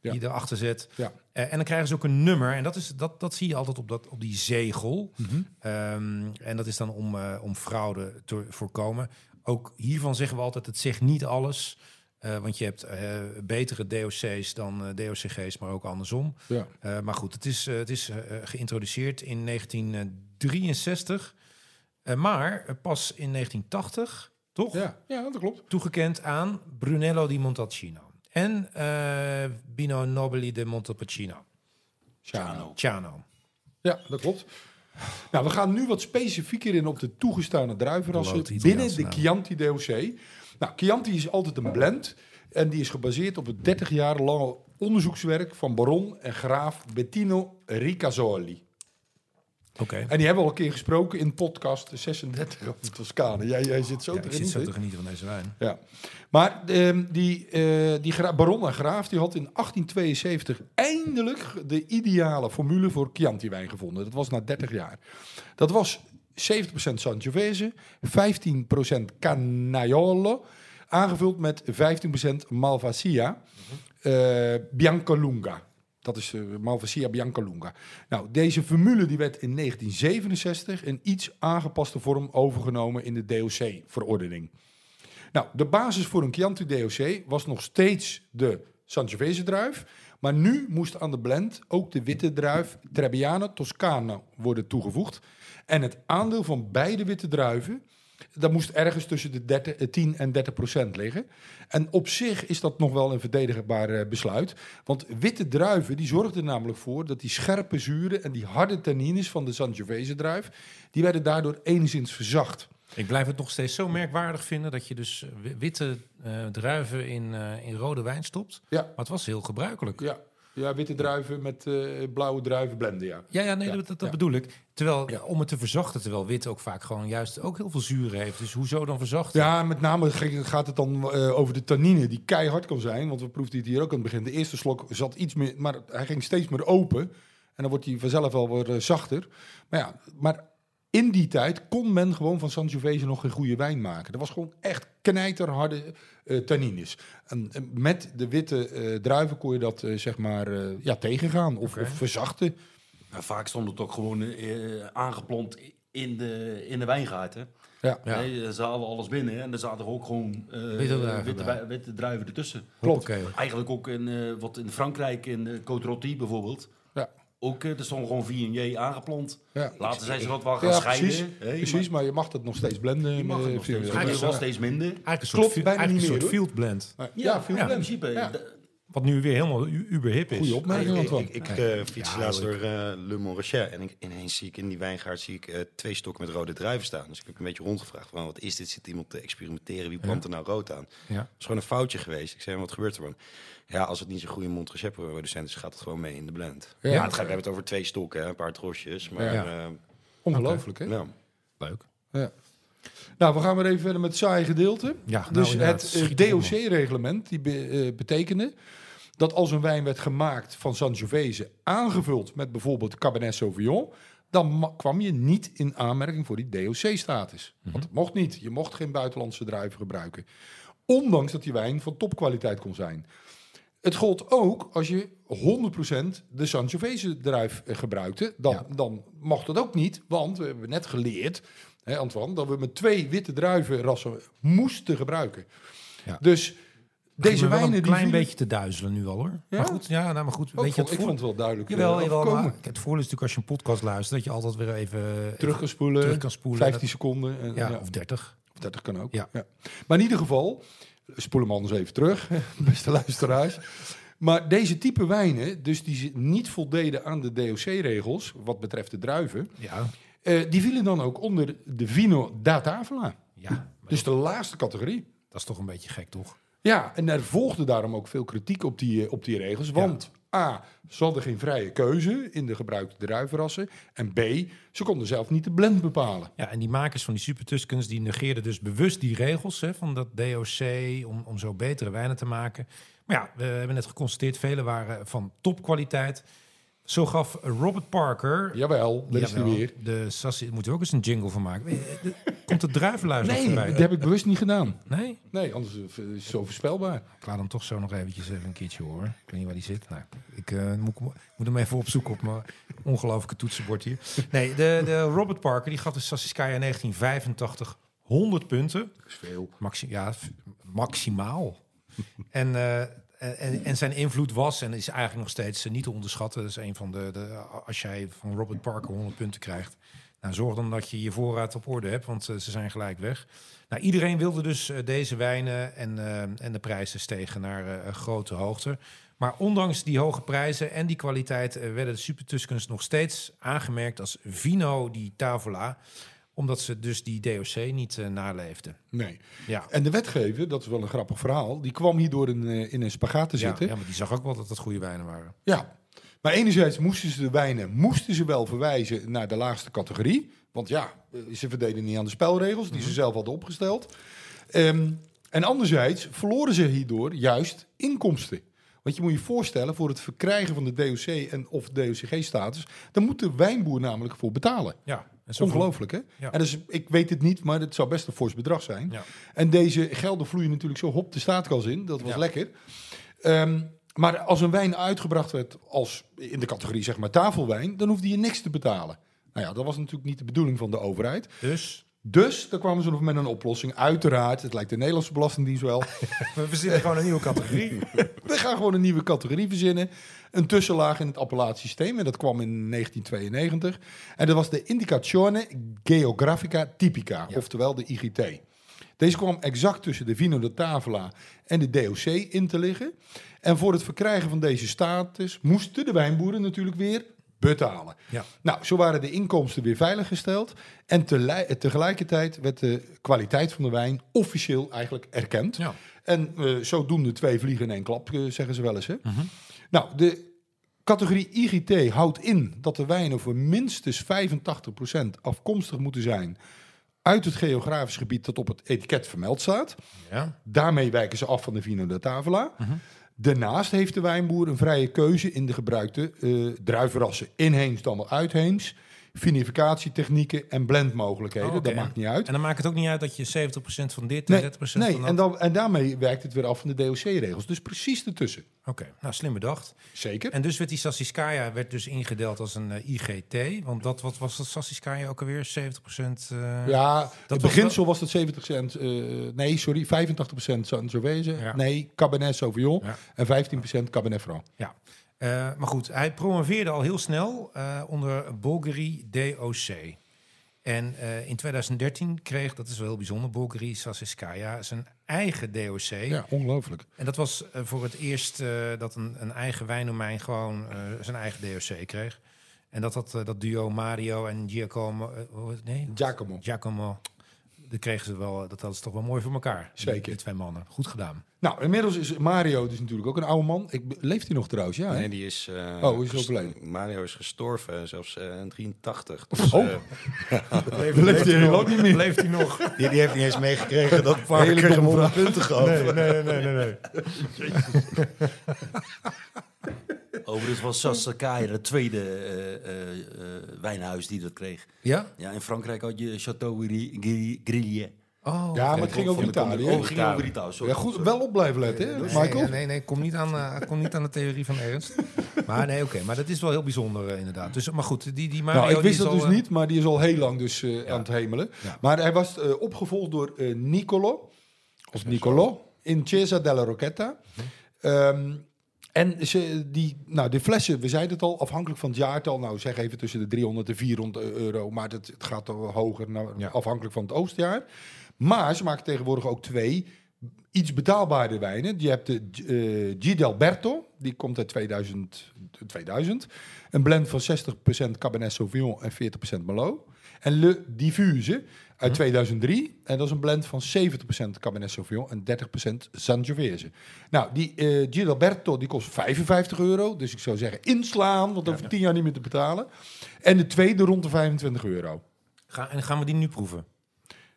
S1: die je erachter zet.
S3: Ja.
S1: Eh, en dan krijgen ze ook een nummer. En dat, is, dat, dat zie je altijd op, dat, op die zegel. Ehm, en dat is dan om, eh, om fraude te voorkomen. Ook hiervan zeggen we altijd, het zegt niet alles. Eh, want je hebt eh, betere DOC's dan eh, DOCG's, maar ook andersom.
S3: Ja.
S1: Eh, maar goed, het is, eh, het is eh, geïntroduceerd in 1963. eh, maar eh, pas in 1980, toch?
S3: Ja. ja, dat klopt.
S1: Toegekend aan Brunello di Montalcino. En eh Bino Nobili de Montepulciano.
S3: Shano.
S1: Ciano.
S3: Ja, dat klopt. Nou, we gaan nu wat specifieker in op de toegestane druivenrassen
S1: Blote Italiaanse
S3: binnen de
S1: naam.
S3: Chianti DOC. Nou, Chianti is altijd een blend en die is gebaseerd op het 30 jaar lange onderzoekswerk van baron en graaf Bettino Ricasoli.
S1: Oké.
S3: En die hebben we al een keer gesproken in podcast 36 over Toscane. Jij, jij zit zo
S1: Ja,
S3: te
S1: ik zit zo
S3: genieten.
S1: te genieten van deze wijn.
S3: Ja. Maar ehm, die, eh, die gra- baron en graaf die had in 1872 eindelijk de ideale formule voor Chianti-wijn gevonden. Dat was na 30 jaar. Dat was 70% Sangiovese, 15% Canaiolo, aangevuld met 15% Malvasia, eh, Biancolunga. Dat is eh, Malvasia Biancolunga. Nou, deze formule die werd in 1967 een iets aangepaste vorm overgenomen in de DOC-verordening. Nou, de basis voor een Chianti DOC was nog steeds de Sangiovese druif. Maar nu moest aan de blend ook de witte druif Trebbiano Toscano worden toegevoegd. En het aandeel van beide witte druiven, dat moest ergens tussen de 30, eh, 10 en 30 procent liggen. En op zich is dat nog wel een verdedigbaar eh, besluit. Want witte druiven die zorgden namelijk voor dat die scherpe zuren en die harde tannines van de Sangiovese druif, die werden daardoor enigszins verzacht.
S1: Ik blijf het nog steeds zo merkwaardig vinden dat je dus wi- witte eh, druiven in, eh, in rode wijn stopt.
S3: Ja.
S1: Maar het was heel gebruikelijk.
S3: Ja, ja witte druiven met eh, blauwe druiven blenden, ja.
S1: Ja, ja, nee,
S3: Ja,
S1: dat, dat
S3: ja.
S1: bedoel ik. Terwijl,
S3: Ja.
S1: om het te verzachten, terwijl wit ook vaak gewoon juist ook heel veel zuur heeft. Dus hoezo dan verzachten?
S3: Ja, met name ging- gaat het dan eh, over de tannine, die keihard kan zijn. Want we proefden het hier ook aan het begin. De eerste slok zat iets meer, maar hij ging steeds meer open. En dan wordt hij vanzelf wel weer eh, zachter. Maar ja, maar in die tijd kon men gewoon van Sangiovese nog geen goede wijn maken. Dat was gewoon echt knijterharde eh tannines. En, en met de witte eh, druiven kon je dat eh, zeg maar eh, ja, tegengaan of, of verzachten.
S5: Nou, vaak stond het ook gewoon eh, aangeplompt in de, in de wijngaard. Hè?
S3: Ja,
S1: Ja.
S5: Nee, ze hadden alles binnen hè, en er zaten ook gewoon eh,
S1: Witte druiven
S5: witte,
S1: bij.
S5: wij- witte druiven ertussen.
S3: klopt.
S1: Hoppakee.
S5: Eigenlijk ook in, eh, wat in Frankrijk, in eh, Côte Rôtie bijvoorbeeld.
S3: Ja.
S5: Ook, eh, er stond gewoon Viognier aangeplant.
S3: Ja.
S5: Later zijn ze dat wel gaan
S3: Ja,
S5: scheiden.
S3: precies.
S5: hè, maar
S3: precies, maar je mag dat nog steeds blenden.
S5: Je mag
S3: eh,
S5: het nog steeds.
S3: via-
S5: Maar het
S1: Eigenlijk-
S5: is wel steeds minder.
S1: Eigenlijk een
S3: Klopt,
S1: soort, fi-
S3: bijna
S1: eigenlijk
S3: niet
S1: een soort
S3: meer,
S1: field blend.
S3: Ja, ja, veel
S5: in
S3: blenden.
S5: principe. eh,
S3: Ja.
S5: De-
S1: Wat nu weer helemaal u- uberhip is.
S3: Goeie opmerking,
S4: ik,
S3: Antoine.
S4: ik, ik, eh, fiets laatst door eh, Le Montrachet en ik, ineens zie ik in die wijngaard zie ik, eh, twee stokken met rode druiven staan. Dus ik heb een beetje rondgevraagd van wat is dit? Zit iemand te experimenteren? Wie plant er nou rood aan?
S1: Ja.
S4: Het is gewoon een foutje geweest. Ik zei, wat gebeurt er dan? Ja, als het niet zo'n goede Montrachet producent is, gaat het gewoon mee in de blend. Ja,
S3: Ja.
S4: het gaat, we hebben het over twee stokken, hè, een paar trosjes. Maar
S1: Ja.
S4: eh,
S3: Ongelooflijk, hè?
S4: nou,
S1: Leuk.
S3: Ja. Nou, we gaan weer even verder met het saaie gedeelte.
S1: Ja, nou,
S3: dus
S1: inderdaad,
S3: het
S1: schiet
S3: eh,
S1: erop, man.
S3: DOC-reglement die be- eh, betekende dat als een wijn werd gemaakt van Sangiovese, aangevuld met bijvoorbeeld Cabernet Sauvignon, dan ma- kwam je niet in aanmerking voor die DOC-status. Want dat mocht niet. Je mocht geen buitenlandse druiven gebruiken. Ondanks dat die wijn van topkwaliteit kon zijn. Het gold ook als je 100% de Sangiovese druif eh, gebruikte. Dan, dan mocht dat ook niet, want we hebben net geleerd, hè Antoine, dat we met twee witte druivenrassen moesten gebruiken.
S1: Ja.
S3: Dus
S1: Begint
S3: deze
S1: me wel
S3: wijnen...
S1: een
S3: die
S1: klein
S3: vielen-
S1: beetje te duizelen nu al hoor.
S3: Ja?
S1: Maar goed, ja, nou, maar goed.
S3: Oh, ik
S1: weet je,
S3: vond,
S1: het
S3: ik vond
S1: voel...
S3: het wel duidelijk. eh,
S1: Jawel, jawel,
S3: overkomen.
S1: maar het voordeel is natuurlijk als je een podcast luistert... dat je altijd weer even...
S3: Terug kan spoelen,
S1: terug kan spoelen.
S3: 15 seconden. en-
S1: Ja,
S3: ja.
S1: of 30.
S3: Of 30 kan ook.
S4: Ja.
S3: Maar in ieder geval, spoel hem anders even terug, beste luisteraars. Maar deze type wijnen, dus die ze niet voldeden aan de DOC-regels, wat betreft de druiven,
S4: Ja,
S3: eh, die vielen dan ook onder de Vino da Tavola.
S4: ja maar
S3: Dus de laagste categorie.
S4: dat is toch een beetje gek, toch?
S3: Ja, en er volgde daarom ook veel kritiek op die, eh, op die regels. Want A, ze hadden geen vrije keuze in de gebruikte druivenrassen. En B, ze konden zelf niet de blend bepalen.
S1: Ja, en die makers van die Super Tuskens die negeerden dus bewust die regels hè, van dat DOC om, om zo betere wijnen te maken. Maar ja, we hebben net geconstateerd, vele waren van topkwaliteit. Zo gaf Robert Parker.
S3: Jawel, dat is die
S1: Jawel,
S3: weer.
S1: De Sassi, moeten we ook eens een jingle van maken? Eh, de- Komt de druivenluister
S3: Nee,
S1: voorbij?
S3: dat heb ik bewust niet gedaan.
S1: Nee?
S3: Nee, anders eh, is het zo voorspelbaar.
S1: Ik laat hem toch zo nog eventjes even een keertje horen. Ik weet niet waar die zit. Nou, ik eh, moet, ik moet hem even opzoeken op mijn ongelooflijke toetsenbord hier. Nee, de, de Robert Parker die gaf de Sassiskaya 1985 100 punten.
S3: Dat is veel.
S1: Maxi ja, v- maximaal. en, eh, en, en zijn invloed was en is eigenlijk nog steeds eh, niet te onderschatten. Dat is een van de, de. Als jij van Robert Parker 100 punten krijgt. Nou, zorg dan dat je je voorraad op orde hebt, want eh, ze zijn gelijk weg. Nou, iedereen wilde dus eh, deze wijnen en, eh, en de prijzen stegen naar eh, een grote hoogte. Maar ondanks die hoge prijzen en die kwaliteit eh, werden de Super Tuscans nog steeds aangemerkt als Vino di Tavola. Omdat ze dus die DOC niet eh, naleefden.
S3: Nee.
S1: Ja.
S3: En de wetgever, dat is wel een grappig verhaal, die kwam hierdoor in, eh, in een spagaat te
S1: Ja,
S3: zitten.
S1: ja, maar die zag ook wel dat het goede wijnen waren.
S3: Ja, maar enerzijds moesten ze de wijnen moesten ze wel verwijzen naar de laagste categorie. Want ja, eh, ze verdeden niet aan de spelregels die ze
S1: Mhm.
S3: zelf hadden opgesteld. Ehm, en anderzijds verloren ze hierdoor juist inkomsten. Want je moet je voorstellen, voor het verkrijgen van de DOC en of DOCG-status, dan moet de wijnboer namelijk voor betalen.
S1: Ja, en
S3: Dat is ongelooflijk, hè?
S1: Ja.
S3: En dus, ik weet het niet, maar het zou best een fors bedrag zijn.
S1: Ja.
S3: En deze gelden vloeien natuurlijk zo hop de staatkas in. Dat was
S1: Ja.
S3: lekker. Ehm, maar als een wijn uitgebracht werd als in de categorie zeg maar tafelwijn, dan hoefde je niks te betalen. Nou ja, dat was natuurlijk niet de bedoeling van de overheid.
S1: Dus
S3: Dus daar kwamen ze nog met een oplossing. Uiteraard, het lijkt de Nederlandse Belastingdienst wel.
S1: we verzinnen gewoon een nieuwe categorie.
S3: We gaan gewoon een nieuwe categorie verzinnen. Een tussenlaag in het appellatiesysteem. En dat kwam in 1992. En dat was de Indicazione Geografica Typica, oftewel de IGT. Deze kwam exact tussen de Vino de Tavola en de DOC in te liggen. En voor het verkrijgen van deze status moesten de wijnboeren natuurlijk weer betalen.
S1: Ja.
S3: Nou, zo waren de inkomsten weer veiliggesteld. En tele- eh, tegelijkertijd werd de kwaliteit van de wijn officieel eigenlijk erkend.
S1: Ja.
S3: En eh, zodoende twee vliegen in één klap, eh, zeggen ze wel eens. Hè?
S1: Mhm.
S3: Nou, de categorie IGT houdt in dat de wijnen voor minstens 85% afkomstig moeten zijn uit het geografisch gebied dat op het etiket vermeld staat.
S1: Ja,
S3: Daarmee wijken ze af van de Vino da Tavola.
S1: Mhm.
S3: Daarnaast heeft de wijnboer een vrije keuze in de gebruikte eh druivenrassen. Inheems dan wel uitheems. Vinificatietechnieken en blendmogelijkheden.
S1: Oh, oké.
S3: Dat maakt niet uit.
S1: en dan maakt het ook niet uit dat je 70% van dit en
S3: Nee,
S1: 30%
S3: nee,
S1: van dat.
S3: en, dan, en daarmee werkt het weer af van de DOC-regels. Dus precies ertussen.
S1: Oké, nou slim bedacht.
S3: Zeker.
S1: En dus werd die Sassiskaya werd dus ingedeeld als een eh, IGT. Want dat, wat was dat Sassiskaya ook alweer? 70%? eh,
S3: ja,
S1: was
S3: het beginsel was dat 70 cent... eh, nee, sorry, 85 cent zou het zo wezen.
S1: Ja.
S3: Nee, Cabernet Sauvignon
S1: Ja.
S3: en 15 Cabernet Franc.
S1: Ja. Eh, maar goed, hij promoveerde al heel snel eh, onder Bulgari DOC. En eh, in 2013 kreeg, dat is wel heel bijzonder, Bulgari Sassiskaya zijn eigen DOC.
S3: Ja, ongelooflijk.
S1: En dat was eh, voor het eerst eh, dat een, een eigen wijndomein gewoon eh, zijn eigen DOC kreeg. En dat dat, eh, dat duo Mario en Giacomo... eh, hoe heet- nee?
S3: Giacomo.
S1: Giacomo. Dat kregen ze wel, dat hadden ze toch wel mooi voor elkaar. die-
S3: Zeker.
S1: Die twee mannen. Goed gedaan.
S3: Nou, inmiddels is Mario dus natuurlijk ook een oude man. Ik, be- leeft hij nog trouwens? Ja, hè?
S4: Nee, die is... eh,
S3: Oh, is
S4: gest-
S3: overleden.
S4: Mario is gestorven, zelfs eh, in 83. Dus,
S3: Oh.
S4: eh,
S3: leeft, hij heel ook niet meer.
S1: Leeft hij nog?
S4: die, die heeft niet eens meegekregen dat
S3: Hele
S4: Parker
S3: domme
S4: hem 100
S3: vraag.
S4: punten gaf.
S1: nee, nee, nee, nee.
S5: Overigens was Sassakaya het tweede eh, eh, eh, wijnhuis die dat kreeg.
S1: Ja?
S5: Ja, in Frankrijk had je Château Gri- Gri- Grillier.
S1: Oh,
S3: Ja, maar het ging over
S5: Van de-
S3: Italië.
S5: Oh, het ging over Italië. sorry.
S3: Ja, goed, wel op blijven letten, hè,
S1: Nee,
S3: Michael?
S1: Nee, nee, nee, kom niet aan, eh, kom niet aan de theorie van Ernst. Maar nee, oké, maar dat is wel heel bijzonder eh, inderdaad. Dus, maar goed, die, die Mario...
S3: Nou, ik
S1: die
S3: wist
S1: is
S3: dat
S1: al,
S3: dus
S1: eh,
S3: niet, maar die is al heel lang dus eh, aan het hemelen.
S1: Ja.
S3: Maar hij was eh, opgevolgd door eh, Nicolo, of Nicolo, in Chiesa della Rocchetta.
S1: Hm.
S3: Ehm, en ze, die, nou, de flessen, we zeiden het al, afhankelijk van het jaartal, nou zeg even tussen de 300 en 400 euro, maar het, het gaat al hoger, nou,
S1: Ja.
S3: afhankelijk van het oostjaar. Maar ze maken tegenwoordig ook twee iets betaalbaarder wijnen. Je hebt de eh Gidalberto, die komt uit 2000, 2000. Een blend van 60% Cabernet Sauvignon en 40% Merlot. En Le Diffuse
S1: Hm.
S3: uit 2003. En dat is een blend van 70% Cabernet Sauvignon en 30% Sangiovese. Nou, die eh Gidalberto die kost 55 euro. Dus ik zou zeggen inslaan, want over 10 jaar niet meer te betalen. En de tweede rond de 25 euro.
S1: Ga, en gaan we die nu proeven?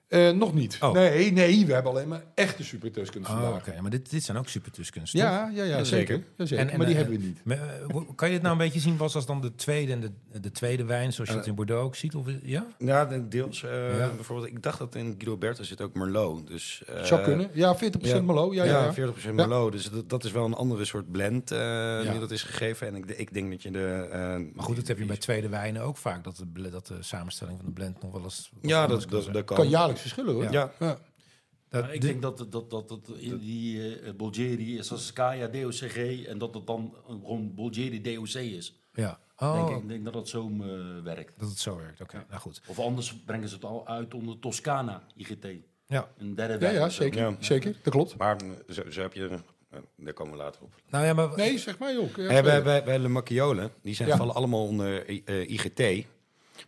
S3: Eh, nog niet.
S1: Oh.
S3: Nee, nee, we hebben alleen maar echte super Tuscans
S1: Oh,
S3: vandaag.
S1: oké. Maar dit, dit zijn ook super Tuscans, toch?
S3: Ja, ja, ja, zeker. Ja, zeker.
S1: En- en,
S3: maar die
S1: eh,
S3: hebben we niet.
S1: Me- eh, wo- Kan je het nou een beetje zien was als dan de tweede en de, de tweede wijn, zoals je het in Bordeaux ook ziet? Of, eh, ja?
S4: Ja, de- deels. eh,
S1: Ja.
S4: Bijvoorbeeld, ik dacht dat in Guidoberto zit ook Merlot. Dus, eh,
S3: Zou kunnen. Ja, 40%
S4: ja.
S3: Merlot. Ja, ja, ja.
S4: 40% Merlot. Dus dat, dat is wel een andere soort blend eh die dat is gegeven. En ik, ik denk dat je de... eh,
S1: Maar goed, dat heb je bij tweede wijnen ook vaak, dat de, bl- dat de samenstelling van de blend nog wel eens... wat
S4: Ja,
S1: anders
S4: dat,
S1: kan
S4: dat,
S1: zijn.
S4: dat kan.
S3: Kan jaarlijks verschillen hoor.
S4: Ja.
S1: Dat-
S5: Maar ik
S1: de-
S5: denk dat, dat, dat, dat, dat in die eh Bulgari, Saskaya, DOCG en dat het dan gewoon Bulgari DOC is.
S1: Ja. Oh,
S5: Denk ik, ik denk dat dat zo eh, werkt.
S1: dat het zo werkt. Oké, nou goed.
S5: Of anders brengen ze het al uit onder Toscana IGT.
S1: Ja.
S5: Een derde eh,
S3: Ja,
S5: wijn
S3: ja,
S5: of zo.
S3: zeker.
S4: Ja.
S3: Zeker, dat klopt.
S4: Maar eh, zo, zo heb je... eh, daar komen we later op. Eh,
S1: Nou ja, maar...
S3: Nee, zeg maar joh. Ja,
S4: Hey, bij, bij, bij Le Macchiole, die zijn,
S3: Ja.
S4: vallen allemaal onder I- eh, IGT.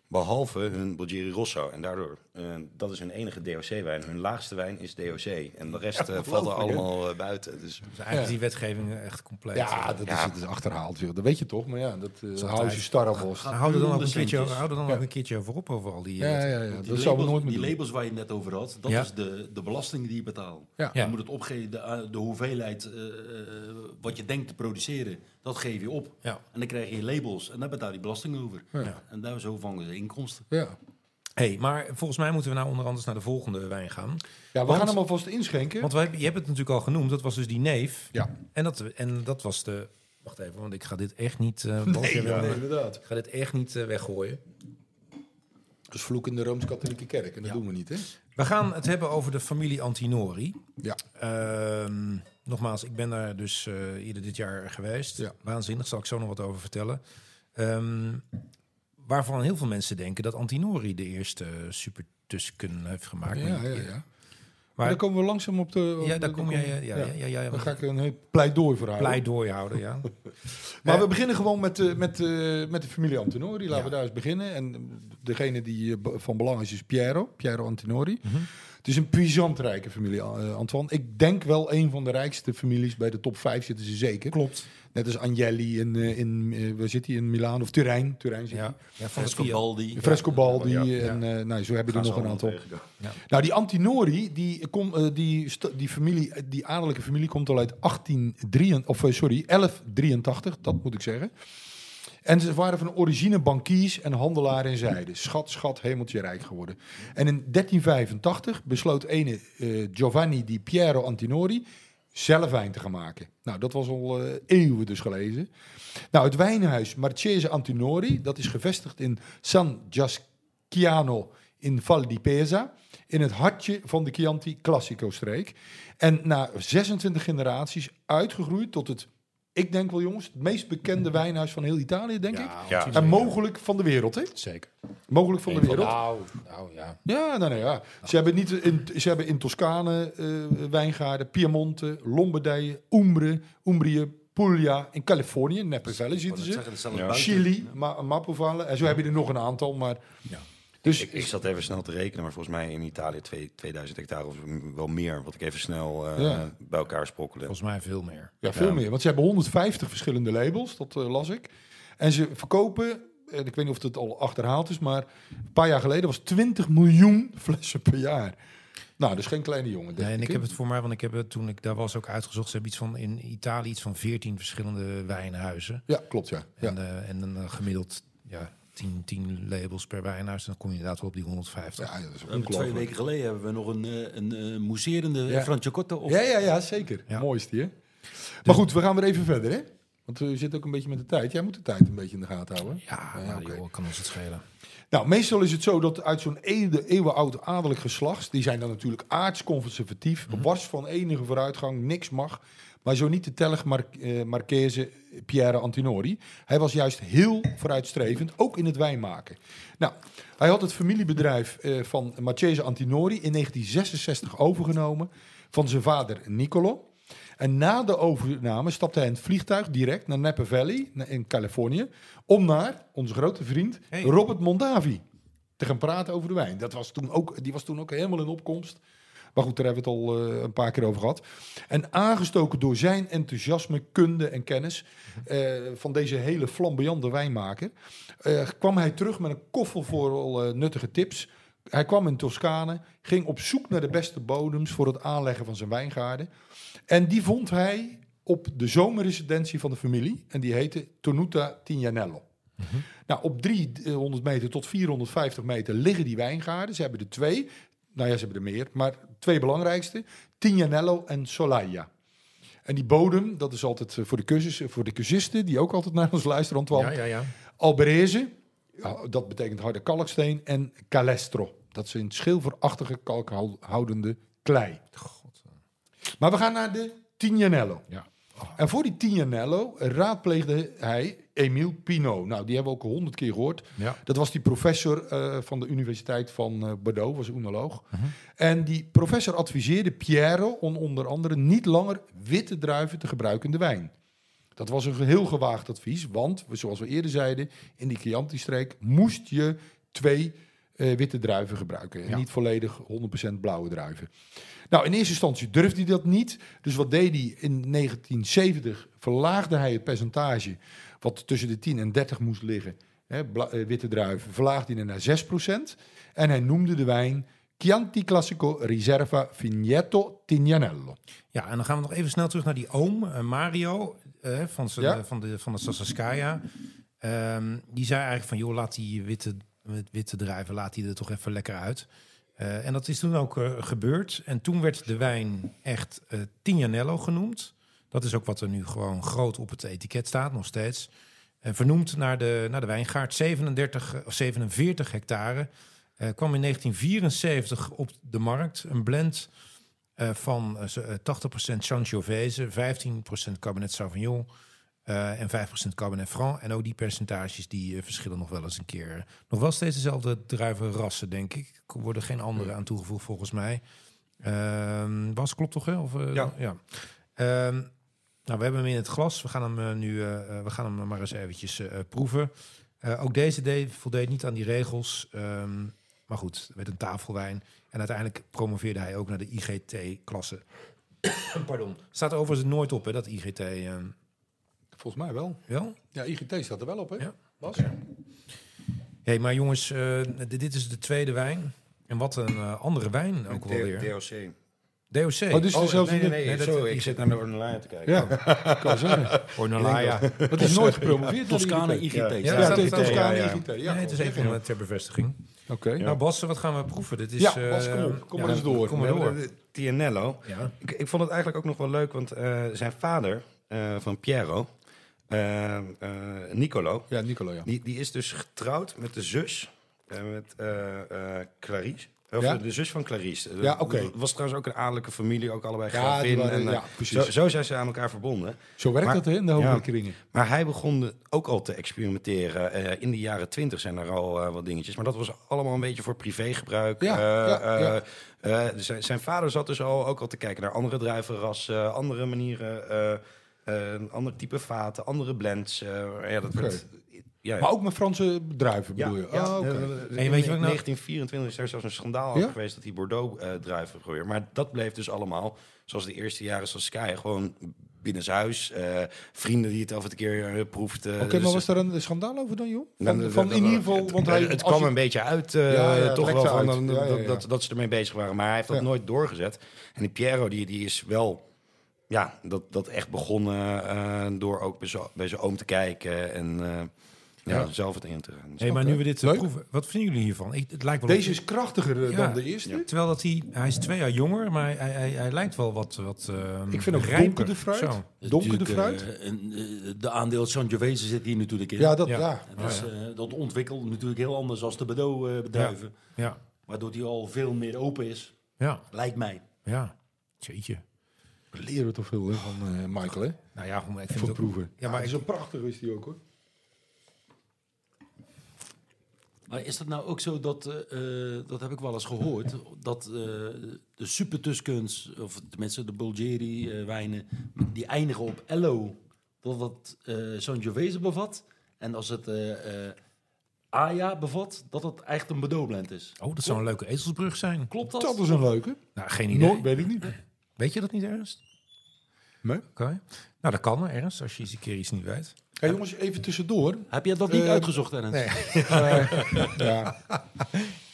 S4: Behalve hun Bulgari Rosso. En daardoor, eh, dat is hun enige DOC-wijn. Hun laagste wijn is DOC. En de rest eh, valt er allemaal eh, buiten. Dus
S1: Dus eigenlijk is die wetgeving eh, echt compleet.
S3: Ja, dat is,
S4: Ja.
S3: dat is achterhaald. Joh. Dat weet je toch, maar ja, dat eh haal je starrenbos.
S1: Nou, hou er dan ook een
S5: Miljoenen
S1: keertje,
S5: centjes.
S1: hou er dan
S3: Ja.
S1: ook een keertje over op over al die...
S3: Ja, ja,
S1: eh,
S3: ja,
S5: Want
S3: dat
S5: Die,
S3: zouden we
S5: labels,
S3: nooit meer
S5: die
S3: doen.
S5: labels waar je het net over had, dat
S1: Ja.
S5: is de, de belasting die je betaalt.
S3: Ja.
S1: Ja.
S5: Je moet het opgeven, de, eh, de hoeveelheid eh, eh, wat je denkt te produceren, dat geef je op.
S1: Ja.
S5: En dan krijg je labels en daar betaal je belasting over.
S1: Ja.
S5: En daar zo vangen ze inkomsten.
S3: Ja.
S1: Hey, maar volgens mij moeten we nou onder andere naar de volgende wijn gaan.
S3: Ja, we
S1: Want-
S3: gaan hem alvast inschenken.
S1: Want we hebben- je hebt het natuurlijk al genoemd, dat was dus die neef.
S3: ja.
S1: En dat, en dat was de... Wacht even, want ik ga dit echt niet... eh, Bas, jij
S3: Nee,
S1: wil-
S3: ja, inderdaad.
S1: Ik ga dit echt niet eh, weggooien.
S3: Dat is Dus vloek in de Rooms-Katholieke Kerk. En dat
S1: Ja.
S3: doen we niet, hè?
S1: We gaan het hebben over de familie Antinori.
S3: Ja.
S1: Ehm, nogmaals, ik ben daar dus eh, ieder dit jaar geweest.
S3: Ja.
S1: Waanzinnig, zal ik zo nog wat over vertellen. Ehm, waarvan heel veel mensen denken dat Antinori de eerste eh, super Tusken heeft gemaakt.
S3: Ja, ja, ja. Maar
S1: Maar,
S3: daar komen we langzaam op de... op
S1: ja,
S3: de-
S1: daar kom
S3: komen-
S1: jij. Ja, ja, ja, ja, ja,
S3: Dan ga ik een heel pleidooi voor houden.
S1: pleidooi houden. Ja.
S3: Maar
S1: Eh.
S3: we beginnen gewoon met, eh, met, eh, met de familie Antinori. Laten we
S1: Ja.
S3: daar eens beginnen. En eh, degene die eh, be- van belang is, is Piero. Piero Antinori.
S1: Mhm.
S3: Het is een puissant rijke familie, eh, Antoine. Ik denk wel een van de rijkste families. Bij de top 5 zitten ze zeker.
S1: Klopt.
S3: Net als Agnelli in, eh, in eh, waar zit hij? In Milaan of Turijn. Turijn zit
S1: Ja.
S3: ja.
S1: Ja, van het via-
S5: Frescobaldi.
S3: Frescobaldi.
S4: Ja, ja.
S3: En, eh, nou, zo hebben we
S4: gaan
S3: er
S4: ze
S3: nog een
S4: allemaal
S3: aantal.
S4: tegenkomen.
S3: Nou, die Antinori, die, kom, eh, die, st- die, familie, eh, die adellijke familie komt al uit 18, of, eh, sorry, 1183, dat moet ik zeggen. En ze waren van origine bankiers en handelaar in zijde. Schat, schat, hemeltje rijk geworden. En in 1385 besloot ene eh, Giovanni di Piero Antinori zelf wijn te gaan maken. Nou, dat was al eh, eeuwen dus gelezen. Nou, het wijnhuis Marchese Antinori, dat is gevestigd in San Giasciano in Val di Pesa, in het hartje van de Chianti Classico-streek. En na 26 generaties uitgegroeid tot het, ik denk wel jongens, het meest bekende wijnhuis van heel Italië, denk ik.
S4: Ja.
S1: Antinori,
S3: En mogelijk van de wereld, hè?
S1: Zeker.
S3: Mogelijk van de wereld.
S1: Nou, nou ja.
S3: Ja, nou, nou ja. Ze hebben, niet in, ze hebben in Toscane eh, wijngaarden, Piemonte, Lombardije, Umbre, Umbrië, Puglia. In Californië, Napa-Valley zitten ze. Chili, Ma Mapovallen. En zo heb je er nog een aantal, maar...
S1: Ja.
S3: Dus
S4: Ik, ik zat even snel te rekenen, maar volgens mij in Italië twee- 2000 hectare of m- wel meer. Wat ik even snel eh,
S3: Ja.
S4: bij elkaar sprokkelde.
S1: Volgens mij veel meer.
S3: ja, veel meer. Want ze hebben 150 verschillende labels, dat eh, las ik. En ze verkopen, en ik weet niet of het al achterhaald is, maar een paar jaar geleden was 20 miljoen flessen per jaar. Nou, dus geen kleine jongen. denk
S1: Nee, en ik
S3: hè?
S1: heb het voor mij, want ik heb het toen ik daar was ook uitgezocht. Ze hebben iets van in Italië iets van 14 verschillende wijnhuizen.
S3: Ja, klopt, ja. ja.
S1: En, eh, en dan eh, gemiddeld ja, 10, 10 labels per wijnhuis. Dan kom je inderdaad wel op die 150.
S3: Ja, ja, dat is
S5: We hebben Twee
S3: ongelooflijk.
S5: weken geleden hebben we nog een, eh, een eh, mousserende
S3: Ja.
S5: Franciacorta op.
S3: Ja, ja, ja, zeker.
S1: Ja.
S3: Mooi is die, hè? Maar goed, we gaan weer even verder, hè? Want we zitten ook een beetje met de tijd. Jij moet de tijd een beetje in de gaten houden.
S1: Ja,
S3: Ja,
S1: nou,
S3: oké.
S1: joh, kan ons het schelen.
S3: Nou, meestal is het zo dat uit zo'n eeuwen, eeuwenoud adellijk geslacht... die zijn dan natuurlijk aardsconservatief, wars van enige vooruitgang, niks mag. Maar zo niet de telg Mar eh, Marchese Pierre Antinori. Hij was juist heel vooruitstrevend, ook in het wijnmaken. Nou, hij had het familiebedrijf eh, van Marchese Antinori in 1966 overgenomen van zijn vader Niccolo. En na de overname stapte hij in het vliegtuig direct naar Napa Valley na- in Californië om naar onze grote vriend
S1: Hey.
S3: Robert Mondavi te gaan praten over de wijn. Dat was toen ook, die was toen ook helemaal in opkomst. Maar goed, daar hebben we het al eh, een paar keer over gehad. En aangestoken door zijn enthousiasme, kunde en kennis eh, van deze hele flamboyante wijnmaker, eh, kwam hij terug met een koffer vol eh, nuttige tips. Hij kwam in Toscane, ging op zoek naar de beste bodems voor het aanleggen van zijn wijngaarden. En die vond hij op de zomerresidentie van de familie. En die heette Tonuta Tignanello.
S1: Mhm.
S3: Nou, op 300 meter tot 450 meter liggen die wijngaarden. Ze hebben er twee. Nou ja, ze hebben er meer. Maar twee belangrijkste. Tignanello en Solaia. En die bodem, dat is altijd eh, voor de, cursus, eh, voor de cursisten... die ook altijd naar ons luisteren, Antoine.
S1: ja, ja.
S3: Alberese, ja, dat betekent harde kalksteen. En Calestro, dat is een schilverachtige kalkhoudende klei. Maar we gaan naar de Tignanello.
S6: Ja.
S3: En voor die Tignanello raadpleegde hij Emile Pino. Nou, die hebben we ook honderd keer gehoord.
S6: Ja.
S3: Dat was die professor eh, van de Universiteit van eh, Bordeaux, was oenoloog.
S6: Mhm.
S3: En die professor adviseerde Piero om onder andere niet langer witte druiven te gebruiken in de wijn. Dat was een heel gewaagd advies, want we- zoals we eerder zeiden, in die Chianti-streek moest je twee eh, witte druiven gebruiken. En
S6: Ja.
S3: niet volledig 100% blauwe druiven. Nou, in eerste instantie durfde hij dat niet. Dus wat deed hij? In 1970 verlaagde hij het percentage wat tussen de 10 en 30 moest liggen. Hè, bla- eh, witte druiven verlaagde hij naar 6%. En hij noemde de wijn Chianti Classico Riserva Vigneto Tignanello.
S1: Ja, en dan gaan we nog even snel terug naar die oom, eh, Mario, eh, van, zijn,
S3: Ja.
S1: eh, van, de, van de Sassascaia. Ehm, die zei eigenlijk van, joh, laat die witte, met witte druiven, laat die er toch even lekker uit. Eh, en dat is toen ook eh, gebeurd. En toen werd de wijn echt eh Tignanello genoemd. Dat is ook wat er nu gewoon groot op het etiket staat, nog steeds. En vernoemd naar de, naar de wijngaard, 37 eh, of 47 hectare. Eh, kwam in 1974 op de markt. Een blend eh, van eh, zo- eh, 80% Sangiovese, 15% Cabernet Sauvignon eh, en 5% Cabernet Franc. En ook die percentages die eh, verschillen nog wel eens een keer. Nog wel steeds dezelfde druivenrassen, denk ik. Er worden geen andere aan toegevoegd volgens mij. Ehm was klopt toch? Hè? Of, eh,
S4: Ja.
S1: Ehm, nou, we hebben hem in het glas. We gaan hem eh, nu eh, eh, we gaan hem maar eens eventjes eh, eh, proeven. Eh, ook deze deed, voldeed niet aan die regels. Ehm, maar goed, het werd een tafelwijn. En uiteindelijk promoveerde hij ook naar de IGT-klasse. Pardon. Staat overigens nooit op, hè, dat IGT. eh,
S3: Volgens mij wel.
S1: wel?
S3: Ja, IGT staat er wel op, hè?
S1: Ja.
S3: Bas?
S1: Hé, maar jongens, eh, dit, dit is de tweede wijn. En wat een eh, andere wijn ook
S4: D-
S1: alweer.
S4: DOC.
S1: DOC.
S3: Oh, dus dezelfde
S4: nee, nee,
S3: ding.
S4: nee,
S1: Nee, dat-
S4: zo, ik zit naar de online te kijken.
S3: Ja, ik kan zeggen.
S1: Ornalaya.
S3: Dat is nooit gepromoveerd. door de
S5: Toscane
S3: IGT.
S5: IGT.
S4: Ja.
S3: Ja,
S1: nou, Ja,
S3: het is
S1: staat-
S3: Toscane
S4: ja, ja.
S3: IGT. Ja,
S1: nee, het is
S3: klopt.
S1: even eh, ter bevestiging.
S3: Oké.
S1: Nou, Bas, wat gaan we proeven? Dit is,
S3: Ja,
S1: eh,
S3: Bas, kom op. Kom
S1: ja,
S3: maar eens door.
S1: Kom maar door.
S4: De- de- de Tianello.
S1: Ja.
S4: Ik, ik vond het eigenlijk ook nog wel leuk, want eh, zijn vader eh, van Piero, eh, eh, Nicolo,
S3: Ja, Nicolo, ja.
S4: die, die is dus getrouwd met de zus, eh, met eh, eh, Clarice. Of
S3: Ja?
S4: de zus van Clarice.
S3: Ja,
S4: Dat
S3: oké.
S4: was trouwens ook een adellijke familie, ook allebei
S3: Ja,
S4: gravin.
S3: die waren-
S4: en, eh,
S3: ja, precies.
S4: Zo, zo zijn ze aan elkaar verbonden.
S3: Zo werkt
S4: Maar-
S3: dat hè, in de
S4: Ja.
S3: hogere kringen.
S4: Maar hij begon de- ook al te experimenteren. Eh, in de jaren twintig zijn er al eh, wat dingetjes. Maar dat was allemaal een beetje voor privégebruik.
S3: Ja,
S4: Eh,
S3: ja, ja.
S4: eh, eh, zijn, zijn vader zat dus al, ook al te kijken naar andere druivenrassen, andere manieren, eh, eh, een ander type vaten, andere blends. eh, ja, dat werd, ja, ja.
S3: Maar ook met Franse druiven bedoel je?
S4: Ja,
S3: Ah, oké.
S4: eh,
S1: En weet je
S4: in
S1: wat ik nou-
S4: 1924 is er zelfs een schandaal
S3: Ja?
S4: geweest dat die Bordeaux-druiven probeerde. Maar dat bleef dus allemaal, zoals de eerste jaren Saskia, gewoon binnenshuis. eh vrienden die het af en toe keer eh, proefden.
S3: Oké, maar was daar een schandaal over dan, joh?
S4: Nou,
S3: Van,
S4: dat-
S3: van
S4: dat-
S3: in
S4: dat-
S3: ieder geval,
S4: het-
S3: want
S4: het-
S3: hij...
S4: het
S3: als
S4: kwam
S3: je-
S4: een beetje uit, eh,
S3: Ja, ja, het
S4: toch wel
S3: lekte
S4: van
S3: uit.
S4: dan-
S3: Ja, ja, ja.
S4: Dat, dat ze ermee bezig waren. Maar hij heeft dat
S3: Ja.
S4: nooit doorgezet. En die Piero, die, die is wel... Ja, dat, dat echt begonnen eh, door ook bij zo- bij zijn oom te kijken en eh, ja, zelf het in te gaan. Dus
S1: Hey, maar nu we dit eh,
S3: Leuk.
S1: proeven, wat vinden jullie hiervan? Ik, het lijkt wel
S3: Deze is krachtiger eh,
S1: Ja.
S3: dan de eerste.
S1: Ja. Terwijl dat hij, hij is twee jaar jonger, maar hij, hij, hij lijkt wel wat, wat ehm,
S3: Ik vind ook
S1: rijper.
S3: donkerder fruit.
S1: Zo.
S3: Donkerder
S5: Natuurlijk,
S3: fruit.
S5: eh, en, eh, de aandeel Sangiovese zit hier natuurlijk in.
S3: Ja, dat,
S1: Ja.
S3: ja.
S5: dat, is, eh, dat ontwikkelt natuurlijk heel anders als de eh, Bordeaux-bedrijven.
S1: Ja,
S5: Waardoor die al veel meer open is,
S1: ja,
S5: lijkt mij.
S1: ja. Jeetje.
S3: leren we toch veel hè, van eh, Michael, hè?
S1: Nou ja, goed, maar ik vind
S3: Voor
S1: het ook-
S3: proeven. Ah,
S1: Ja, maar ik-
S3: zo prachtig is die ook, hoor.
S5: Maar is dat nou ook zo dat, eh, eh, dat heb ik wel eens gehoord, dat eh, de super Tuscans, of tenminste de Bulgari eh, wijnen, die eindigen op Ello, dat dat eh Sangiovese bevat. En als het eh eh Aya bevat, dat dat echt een bedoelblend is.
S1: Oh, dat zou een leuke ezelsbrug zijn.
S5: Klopt dat?
S3: Dat is een leuke.
S1: Nou, geen idee.
S3: Nooit, weet ik niet.
S1: Weet je dat niet, Ernst?
S3: Nee.
S1: Oké. Nou, dat kan, Ernst, als je eens een keer iets niet weet.
S3: Hé, jongens, even tussendoor.
S5: Heb je dat niet
S3: Eh,
S5: uitgezocht, Ernst?
S1: nee.
S3: Ja,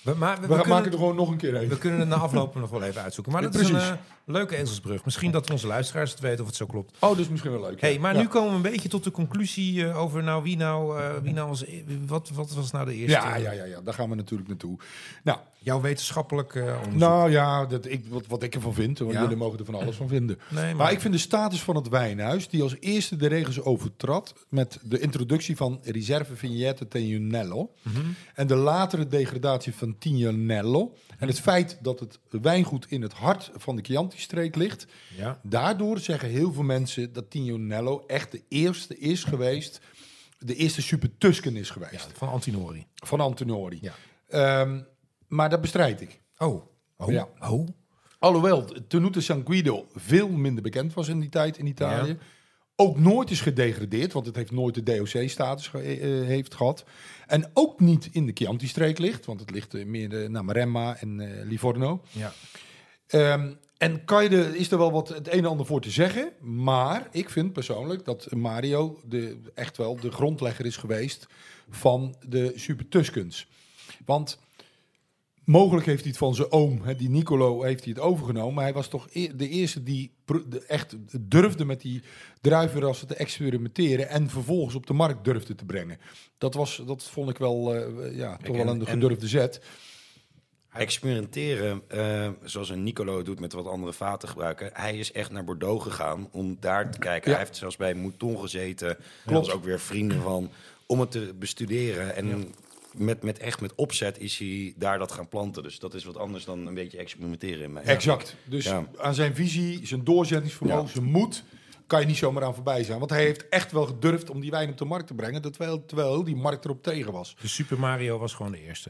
S1: We, maar we,
S3: we,
S1: we
S3: gaan maken
S1: kunnen,
S3: er gewoon nog een keer
S1: we
S3: even.
S1: kunnen het na afloop nog wel even uitzoeken. Maar dat is
S3: Precies.
S1: een eh, leuke ezelsbrug. Misschien dat onze luisteraars het weten of het zo klopt.
S3: Oh, dat is misschien wel leuk.
S1: Hey, maar
S3: Ja.
S1: nu komen we een beetje tot de conclusie eh, over nou wie nou, eh, wie nou als, wat, wat was nou de eerste?
S3: Ja, ja, ja, ja, daar gaan we natuurlijk naartoe. Nou,
S1: Jouw wetenschappelijk eh, onderzoek.
S3: nou ja, dat ik, wat, wat ik ervan vind, want
S1: Ja.
S3: jullie mogen er van alles van vinden.
S1: nee, maar,
S3: Maar ik vind de status van het wijnhuis, die als eerste de regels overtrad met de introductie van Reserve Vignette Tegnello
S1: Mhm.
S3: en de latere degradatie van Tignanello en het feit dat het wijngoed in het hart van de Chianti-streek ligt.
S1: Ja.
S3: Daardoor zeggen heel veel mensen dat Tignanello echt de eerste is geweest, de eerste super Tusken is
S1: Ja,
S3: geweest
S1: van Antinori.
S3: van Antonori.
S1: Ja.
S3: Ehm, maar dat bestrijd ik.
S1: Oh, oh,
S3: Ja.
S1: oh.
S3: Alhoewel Tenute San Guido veel minder bekend was in die tijd in Italië. Ook nooit is gedegradeerd, want het heeft nooit de DOC-status ge- eh, heeft gehad. En ook niet in de Chianti-streek ligt, want het ligt eh, meer eh, naar Maremma en eh, Livorno.
S1: Ja.
S3: Ehm, en kan je de, is er wel wat het een en ander voor te zeggen. Maar ik vind persoonlijk dat Mario de, echt wel de grondlegger is geweest van de Super Tuscans. Want mogelijk heeft hij het van zijn oom, hè, die Nicolo, heeft hij het overgenomen. Maar hij was toch e- de eerste die pro- de- echt durfde met die druivenrassen te experimenteren. En vervolgens op de markt durfde te brengen. Dat, was, dat vond ik wel, eh, ja, toch wel
S4: en-
S3: een
S4: en-
S3: gedurfde zet.
S4: Experimenteren, eh, zoals een Nicolo doet met wat andere vaten gebruiken. Hij is echt naar Bordeaux gegaan om daar te kijken.
S3: Ja.
S4: Hij heeft zelfs bij Mouton gezeten. Klopt. was ook weer vrienden van. Om het te bestuderen. En met, met echt met opzet is hij daar dat gaan planten. Dus dat is wat anders dan een beetje experimenteren in mijn
S3: Exact. Dus
S4: Ja.
S3: aan zijn visie, zijn doorzettingsvermogen,
S4: Ja.
S3: zijn moed kan je niet zomaar aan voorbij zijn. Want hij heeft echt wel gedurfd om die wijn op de markt te brengen, terwijl, terwijl die markt erop tegen was.
S1: Dus Super Mario was gewoon de eerste.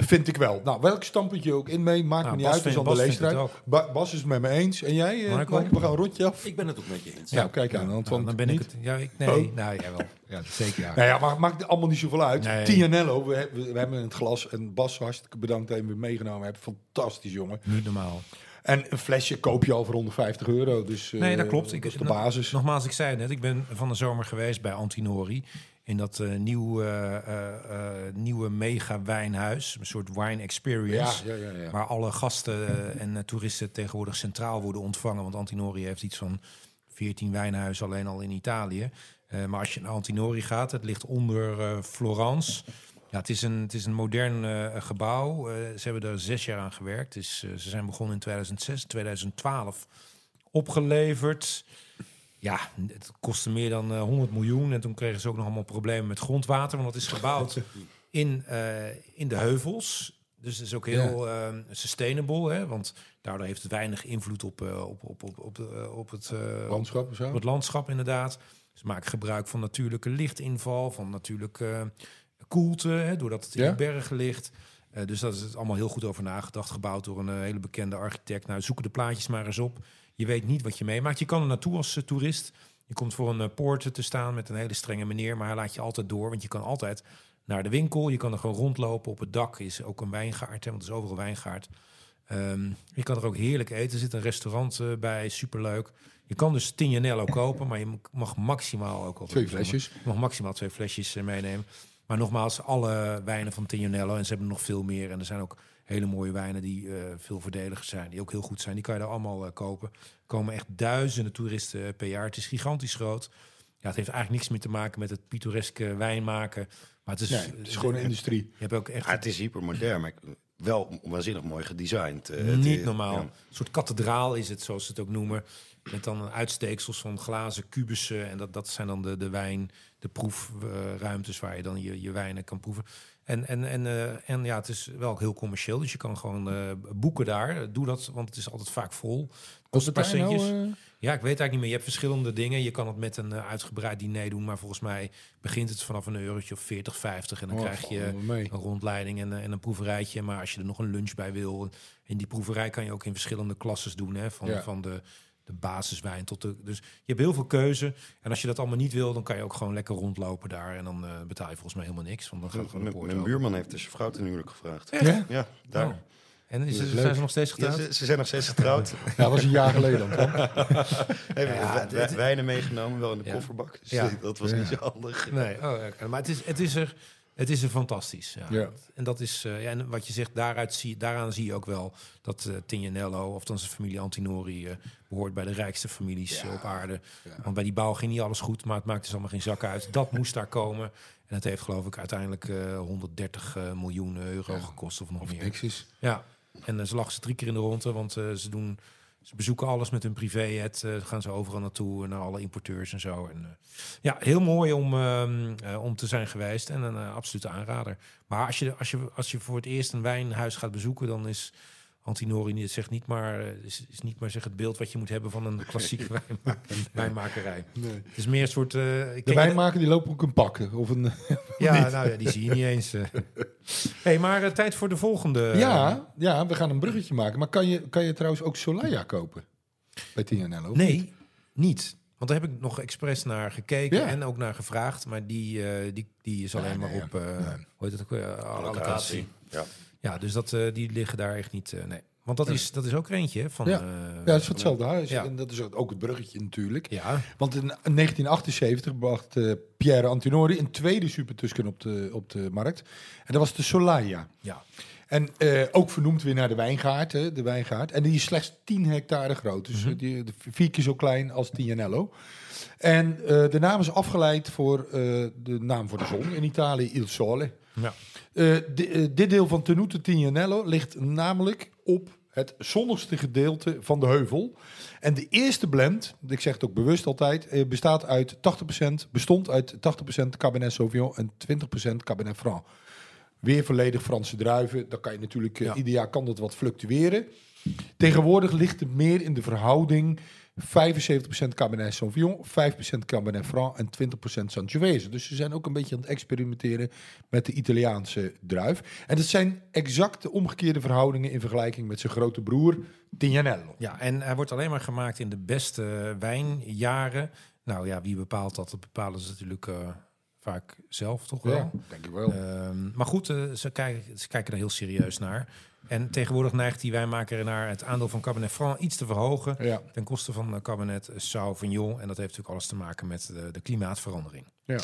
S3: Vind ik wel. Nou, welk standpunt je ook in mee, maakt
S1: Nou,
S3: me niet
S1: Bas
S3: uit. Dat is aan
S1: vindt-
S3: de
S1: Bas vindt het
S3: leestrijd. Ba- Bas is het met me eens. En jij, eh,
S1: Michael?
S3: Mike, we gaan een rondje af.
S5: Ik ben het ook met je eens.
S3: Ja, kijk aan. Want
S1: Nou, dan ben
S3: niet.
S1: ik het. Ja, ik, nee,
S3: Oh.
S1: nou jij wel. Ja, zeker ja.
S3: Nou ja, maar het maakt allemaal niet zoveel uit.
S1: Nee.
S3: Tianello, we, he- we, we hebben het glas. En Bas, hartstikke bedankt dat je hem weer meegenomen hebt. Fantastisch, jongen.
S1: Niet normaal.
S3: En een flesje koop je al voor 150 euro. Dus, eh,
S1: Nee, dat klopt. Ik, nou,
S3: dat is de basis.
S1: Nogmaals, ik zei het net, ik ben van de zomer geweest bij Antinori. In dat eh, nieuw, eh, eh, eh, nieuwe mega wijnhuis. Een soort wine
S3: Ja,
S1: experience.
S3: ja, ja, ja.
S1: Waar alle gasten eh, en eh, toeristen tegenwoordig centraal worden ontvangen. Want Antinori heeft iets van 14 wijnhuizen alleen al in Italië. Eh, maar als je naar Antinori gaat, het ligt onder eh, Florence. Ja, het is een, het is een modern eh, gebouw. Eh, ze hebben daar zes jaar aan gewerkt. Dus, eh, ze zijn begonnen in 2006, 2012 opgeleverd. Ja, het kostte meer dan eh, 100 miljoen. En toen kregen ze ook nog allemaal problemen met grondwater. Want dat is gebouwd in, eh, in de heuvels. Dus het is ook heel eh, sustainable. Hè? Want daardoor heeft het weinig invloed op, eh, op, op, op, op, de, eh, op het... eh,
S3: Landschap en zo.
S1: op het landschap inderdaad. Ze maken gebruik van natuurlijke lichtinval, van natuurlijke eh, koelte, hè, doordat het in
S3: Ja.
S1: de bergen ligt. Eh, dus dat is het allemaal heel goed over nagedacht, gebouwd door een eh, hele bekende architect. Nou, zoeken de plaatjes maar eens op. Je weet niet wat je meemaakt. Je kan er naartoe als eh, toerist. Je komt voor een eh, poort te staan met een hele strenge meneer, maar hij laat je altijd door, want je kan altijd naar de winkel. Je kan er gewoon rondlopen. Op het dak is ook een wijngaard, hè, want er is overal wijngaard. Ehm, je kan er ook heerlijk eten. Er zit een restaurant eh, bij, superleuk. Je kan dus Tignanello kopen, maar je m- mag maximaal ook... al-
S3: Twee flesjes.
S1: Je mag maximaal twee flesjes eh, meenemen. Maar nogmaals, alle wijnen van Tignanello, en ze hebben nog veel meer. En er zijn ook hele mooie wijnen die eh, veel voordeliger zijn, die ook heel goed zijn. Die kan je daar allemaal eh, kopen. Er komen echt duizenden toeristen eh, per jaar. Het is gigantisch groot. Ja, het heeft eigenlijk niks meer te maken met het pittoreske wijnmaken. Maar het is, eh,
S3: Nee, het is gewoon Ah, een industrie.
S1: je hebt ook echt
S4: Ja, het is hypermodern, maar wel waanzinnig mooi gedesigned. eh, het-
S1: Niet normaal.
S4: ja.
S1: Een soort kathedraal is het, zoals ze het ook noemen. Met dan uitsteeksels van glazen kubussen. En dat, dat zijn dan de, de wijn, de de proefruimtes waar je dan je, je wijnen kan proeven. En, en, en, eh, en ja, het is wel heel commercieel, dus je kan gewoon eh, boeken daar. Doe dat, want het is altijd vaak vol. Kost een paar
S3: Partij nou,
S1: centjes.
S3: eh,
S1: Ja, ik weet eigenlijk niet meer. Je hebt verschillende dingen. Je kan het met een eh, uitgebreid diner doen, maar volgens mij begint het vanaf een eurotje of 40, 50. En dan
S3: oh,
S1: krijg je
S3: vallen we mee.
S1: een rondleiding en, eh, en een proeverijtje. Maar als je er nog een lunch bij wil, in die proeverij kan je ook in verschillende klasses doen. Hè? Van,
S3: Ja.
S1: van de, de basiswijn tot de. Dus je hebt heel veel keuze. En als je dat allemaal niet wil, dan kan je ook gewoon lekker rondlopen daar. En dan eh, betaal je volgens mij helemaal niks. Want dan gaat gewoon de
S4: Mijn
S1: poort
S4: mijn
S1: open.
S4: buurman heeft dus zijn vrouw ten huwelijk gevraagd.
S3: Ja?
S4: Ja, daar.
S1: Oh. En is,
S3: Dat is
S1: zijn
S3: leuk.
S1: ze nog steeds
S4: Ja,
S1: getrouwd?
S4: ze, ze zijn nog steeds getrouwd.
S3: Ja, dat was een jaar geleden dan. toch?
S4: Hebben wij- wij- wijnen meegenomen, wel in de
S1: Ja.
S4: kofferbak. Dus
S1: Ja.
S4: dat was niet zo handig.
S1: Nee, oh, oké. maar het is, het is er. Het is er fantastisch. Ja.
S3: Ja.
S1: En dat is, eh, ja, en wat je zegt, daaruit zie, daaraan zie je ook wel dat eh Tignanello, of dan zijn familie Antinori, eh, behoort bij de rijkste families eh, op aarde. Want bij die bouw ging niet alles goed, maar het maakt dus allemaal geen zak uit. Dat moest daar komen. En het heeft geloof ik uiteindelijk eh, 130 eh, miljoen euro gekost of nog meer.
S3: Niks is.
S1: Ja, en eh, ze lachen ze drie keer in de ronde, want eh, ze doen... Ze bezoeken alles met hun privé. Het gaan ze overal naartoe, eh, naar alle importeurs en zo. En, eh, ja, heel mooi om, ehm, eh, om te zijn geweest en een eh, absolute aanrader. Maar als je, als, je, als je voor het eerst een wijnhuis gaat bezoeken, dan is Antinori niet, zeg niet maar, eh, is, is niet maar zeg het beeld wat je moet hebben van een klassieke wijnma- wijnmakerij.
S3: Nee.
S1: Het is meer een soort. eh, ik
S3: De
S1: ken-
S3: wijnmaker die loopt ook een pak. eh, Of een,
S1: Ja, nou ja, die zie je niet eens. eh. hey, maar eh, tijd voor de volgende.
S3: ja, ja, we gaan een bruggetje maken. Maar kan je, kan je trouwens ook Solaya kopen? Bij TNL? of niet?
S1: Nee, niet. Want daar heb ik nog expres naar gekeken
S3: Ja.
S1: en ook naar gevraagd. Maar die, eh, die, die is alleen
S3: nee,
S1: maar
S3: ja.
S1: op... eh Hoe heet dat ook weer? Eh, allocatie.
S4: Ja.
S1: Ja, dus dat, eh, die liggen daar echt niet... eh, nee. Want dat, is, dat is ook er eentje hè, van...
S3: Ja.
S1: eh,
S3: Ja, dat is hetzelfde huis.
S1: Ja.
S3: En dat is ook het bruggetje natuurlijk.
S1: ja.
S3: Want in 1978 bracht eh, Pierre Antinori een tweede Super Tusken op de, op de markt. En dat was de Solaya.
S1: ja.
S3: En eh, ook vernoemd weer naar de wijngaard, hè, de wijngaard. En die is slechts 10 hectare groot. Dus
S1: Mhm.
S3: eh, die, de- vier keer zo klein als Tignanello. En eh, de naam is afgeleid voor eh, de naam voor de zon. In Italië Il Sole.
S1: Ja.
S3: Eh, di- eh, dit deel van Tenuto Tignanello ligt namelijk op het zonnigste gedeelte van de heuvel. En de eerste blend, ik zeg het ook bewust altijd, eh, bestaat uit 80%, bestond uit 80% Cabernet Sauvignon en 20% Cabernet Franc. Weer volledig Franse druiven. Dan kan je natuurlijk, eh,
S1: Ja.
S3: ieder jaar kan dat wat fluctueren. Tegenwoordig ligt het meer in de verhouding 75% Cabernet Sauvignon, 5% Cabernet Franc en 20% Sangiovese. Dus ze zijn ook een beetje aan het experimenteren met de Italiaanse druif. En dat zijn exact de omgekeerde verhoudingen in vergelijking met zijn grote broer Tignanello.
S1: ja, en hij wordt alleen maar gemaakt in de beste wijnjaren. Nou ja, wie bepaalt dat? Dat bepalen ze natuurlijk eh, vaak zelf toch wel.
S3: denk ik wel.
S1: Ehm, maar goed, eh, ze, kijken, ze kijken er heel serieus naar. En tegenwoordig neigt die wijnmaker naar het aandeel van Cabernet Franc iets te verhogen.
S3: ja.
S1: Ten koste van eh, Cabernet Sauvignon. En dat heeft natuurlijk alles te maken met de, de klimaatverandering.
S3: Ja.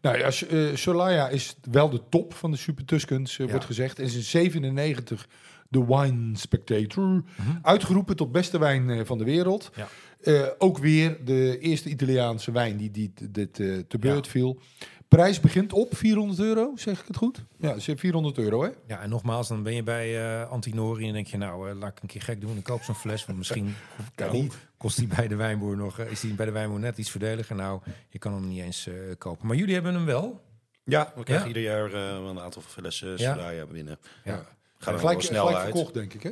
S3: Nou ja, S- eh, Solaya is wel de top van de Super Tuscans, eh,
S1: Ja.
S3: wordt gezegd. En is in 97 de Wine Spectator. Uitgeroepen tot beste wijn eh, van de wereld.
S1: Mhm. Ja.
S3: Eh, ook weer de eerste Italiaanse wijn die, die t- dit eh, te beurt
S1: Ja.
S3: viel. Prijs begint op 400 euro, zeg ik het goed? Ja, ze- 400 euro, hè?
S1: Ja, en nogmaals, dan ben je bij eh, Antinori en denk je... nou, eh, laat ik een keer gek doen. Ik koop zo'n fles, want misschien
S3: Kan
S1: niet. kost die bij de wijnboer nog... eh, is die bij de wijnboer net iets voordeliger. Nou, je kan hem niet eens eh, kopen. Maar jullie hebben hem wel.
S4: Ja, we krijgen
S1: Ja.
S4: ieder jaar eh, wel een aantal flessen
S1: Ja.
S4: Soraya binnen.
S1: Ja.
S4: Gaan er wel
S3: gelijk
S4: snel
S3: gelijk
S4: uit.
S3: verkocht, denk ik, hè?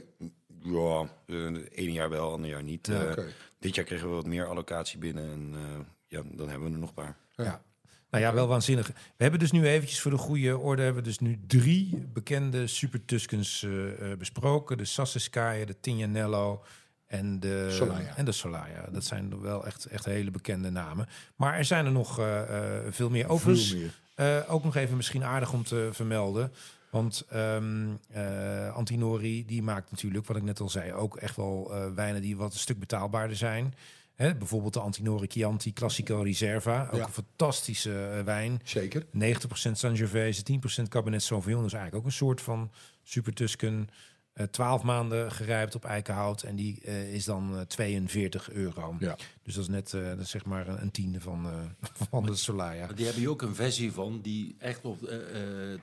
S4: Ja, eh, ene jaar wel, ander jaar niet.
S1: Ja,
S4: Eh,
S3: Oké.
S4: Dit jaar kregen we wat meer allocatie binnen en eh, ja, dan hebben we er nog een paar.
S1: Ja. Nou ja, wel waanzinnig. We hebben dus nu eventjes voor de goede orde... hebben we dus nu drie bekende Super Tuscans eh, eh, besproken. De Sassiskaya, de Tignanello en de
S3: Solaya.
S1: En de Solaya. Dat zijn wel echt, echt hele bekende namen. Maar er zijn er nog eh, eh, veel meer. Overigens,
S3: Veel meer.
S1: eh, ook nog even misschien aardig om te vermelden. Want ehm, eh, Antinori die maakt natuurlijk, wat ik net al zei, ook echt wel eh, wijnen die wat een stuk betaalbaarder zijn. Hè, bijvoorbeeld de Antinori Chianti Classico Reserva. Ook
S3: Ja.
S1: een fantastische eh, wijn.
S3: Zeker.
S1: 90% Sangiovese, 10% Cabernet Sauvignon. Dat is eigenlijk ook een soort van Super Tusken. Eh, 12 maanden gerijpt op eikenhout. En die eh, is dan eh, 42 euro.
S3: Ja.
S1: Dus dat is net eh, dat is zeg maar een tiende van, eh, van de Solaya.
S5: Maar Die hebben hier ook een versie van die echt op eh eh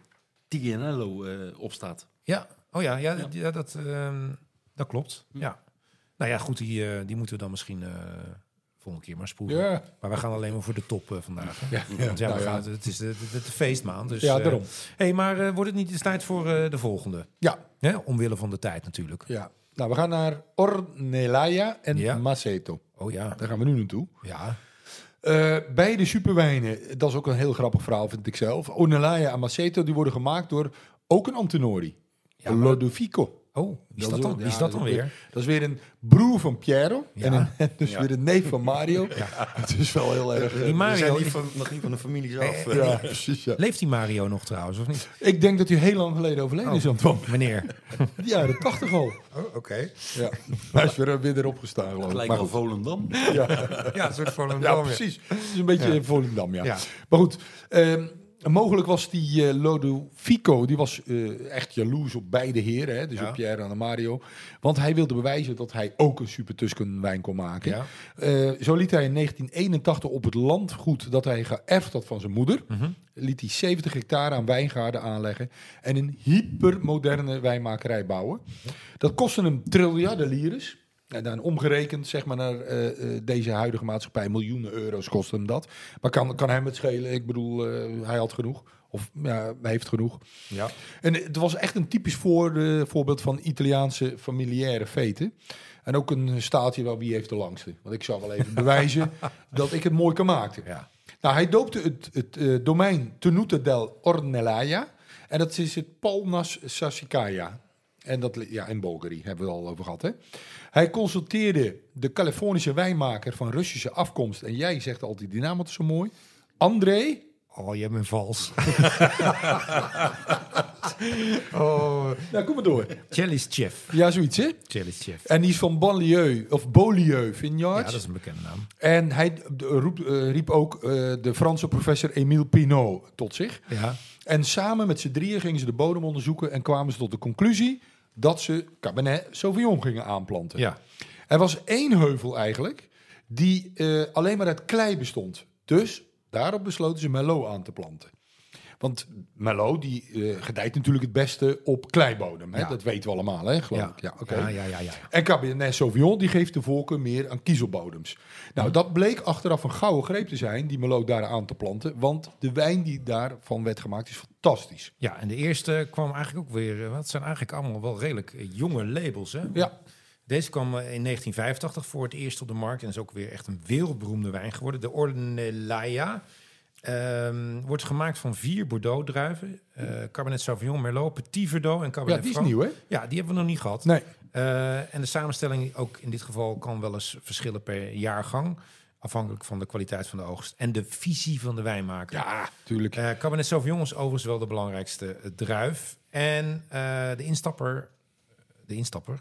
S5: TNLO eh, opstaat.
S1: Ja, oh ja, ja,
S5: Ja.
S1: d- ja,
S3: Hm.
S1: dat, ehm, dat klopt. Ja. Nou ja, goed, die, eh, die moeten we dan misschien eh, volgende keer maar spoelen.
S3: Ja,
S1: Maar we gaan alleen maar voor de top eh, vandaag. hè.
S3: ja,
S1: Want ja, we
S3: nou ja.
S1: gaan, het is de, de, de feestmaand. Dus,
S3: Ja,
S1: eh,
S3: daarom.
S1: hey, maar eh, wordt het niet eens tijd voor eh, de volgende?
S3: Ja,
S1: Hè? Omwille van de tijd natuurlijk.
S3: ja. Nou, we gaan naar Ornellaia en
S1: Ja.
S3: Maceto.
S1: Oh ja.
S3: Daar gaan we nu naartoe.
S1: Ja.
S3: Eh, beide superwijnen, dat is ook een heel grappig verhaal, vind ik zelf. Ornellaia en Maceto, die worden gemaakt door ook een Antenori.
S1: maar-
S3: Lodovico.
S1: Oh, wie is dat
S3: is
S1: dan,
S3: ook-
S1: wie is
S3: ja,
S1: dat dan
S3: is ook
S1: weer?
S3: Dat Eh, is weer een broer van Piero.
S1: Ja.
S3: En, een- en dus
S4: Ja.
S3: weer een neef van Mario. Het is wel heel erg... eh,
S1: Die
S4: We zijn
S1: Mario,
S4: niet van, nog niet van de familie zelf. eh.
S3: ja, precies. Ja.
S1: leeft die Mario nog trouwens, of niet? Oh,
S3: Ik denk dat hij heel lang geleden overleden is, Antoine.
S1: Meneer.
S3: De jaren tachtig al.
S1: Oh, oké.
S3: Ja. Hij is weer, weer erop gestaan, geloof ik.
S5: Gelijk
S3: Maar
S5: al
S3: goed.
S5: Volendam.
S1: Ja, een soort van
S3: Ja, precies. Het is een beetje
S1: Ja.
S3: Volendam, ja.
S1: Ja.
S3: Maar goed, ehm, mogelijk was die eh Lodovico, die was eh, echt jaloers op beide heren, hè, dus
S1: Ja.
S3: op Pierre en op Mario. Want hij wilde bewijzen dat hij ook een super Tusken wijn kon maken.
S1: Ja.
S3: Eh, zo liet hij in 1981 op het landgoed dat hij geërfd had van zijn moeder,
S1: Mhm.
S3: liet hij 70 hectare aan wijngaarden aanleggen en een hypermoderne wijnmakerij bouwen. Dat kostte hem triljarden lires. En dan omgerekend zeg maar naar eh, eh, deze huidige maatschappij, miljoenen euro's kost hem dat. Maar kan, kan hem het schelen? Ik bedoel, eh, hij had genoeg. Of ja, hij heeft genoeg.
S1: Ja.
S3: En het was echt een typisch voor, eh, voorbeeld van Italiaanse familiaire feten. En ook een staaltje wel wie heeft de langste. Want ik zal wel even bewijzen dat ik het mooi kan maken.
S1: Ja.
S3: Nou, hij doopte het, het eh, domein Tenuta del Ornellaia. En dat is het Palnas Sassicaia. En dat, li- ja, in Bulgari hebben we het al over gehad, hè? Hij consulteerde de Californische wijnmaker van Russische afkomst. En jij zegt altijd die naam altijd zo mooi. André.
S1: Oh, jij bent vals.
S3: Nou, kom maar door.
S1: Jelly's Chef.
S3: Ja, zoiets, hè?
S1: Jelly's Chef.
S3: En die is van banlieue, of Beaulieu
S1: Ja,
S3: Vineyards.
S1: dat is een bekende naam.
S3: En hij d- roep- eh, riep ook eh, de Franse professor Émile Pinot tot zich.
S1: Ja.
S3: En samen met z'n drieën gingen ze de bodem onderzoeken en kwamen ze tot de conclusie dat ze Cabernet Sauvignon gingen aanplanten.
S1: Ja.
S3: Er was één heuvel eigenlijk die eh, alleen maar uit klei bestond. Dus daarop besloten ze Merlot aan te planten. Want Merlot die eh, gedijt natuurlijk het beste op kleibodem. Hè?
S1: Ja.
S3: Dat weten we allemaal, hè, geloof
S1: Ja.
S3: ik. Ja, oké.
S1: Ja, ja, ja, ja.
S3: En Cabernet Sauvignon die geeft de voorkeur meer aan kiezelbodems. Nou, dat bleek achteraf een gouden greep te zijn, die Merlot daar aan te planten. Want de wijn die daarvan werd gemaakt is fantastisch.
S1: Ja, en de eerste kwam eigenlijk ook weer... eh, want Het zijn eigenlijk allemaal wel redelijk eh, jonge labels, hè?
S3: Ja,
S1: Deze kwam eh, in 1985 voor het eerst op de markt en is ook weer echt een wereldberoemde wijn geworden. De Ornellaia ehm, wordt gemaakt van vier Bordeaux-druiven. eh, Cabernet Sauvignon, Merlot, Petit Verdot en
S3: ja
S1: Cabernet
S3: die is
S1: Franc.
S3: nieuw, hè?
S1: Ja, die hebben we nog niet gehad.
S3: Nee.
S1: Eh, en de samenstelling ook in dit geval kan wel eens verschillen per jaargang. Afhankelijk van de kwaliteit van de oogst en de visie van de wijnmaker.
S3: Ja, tuurlijk.
S1: Eh, Cabernet Sauvignon is overigens wel de belangrijkste eh, druif. En eh, de instapper... eh, De instapper?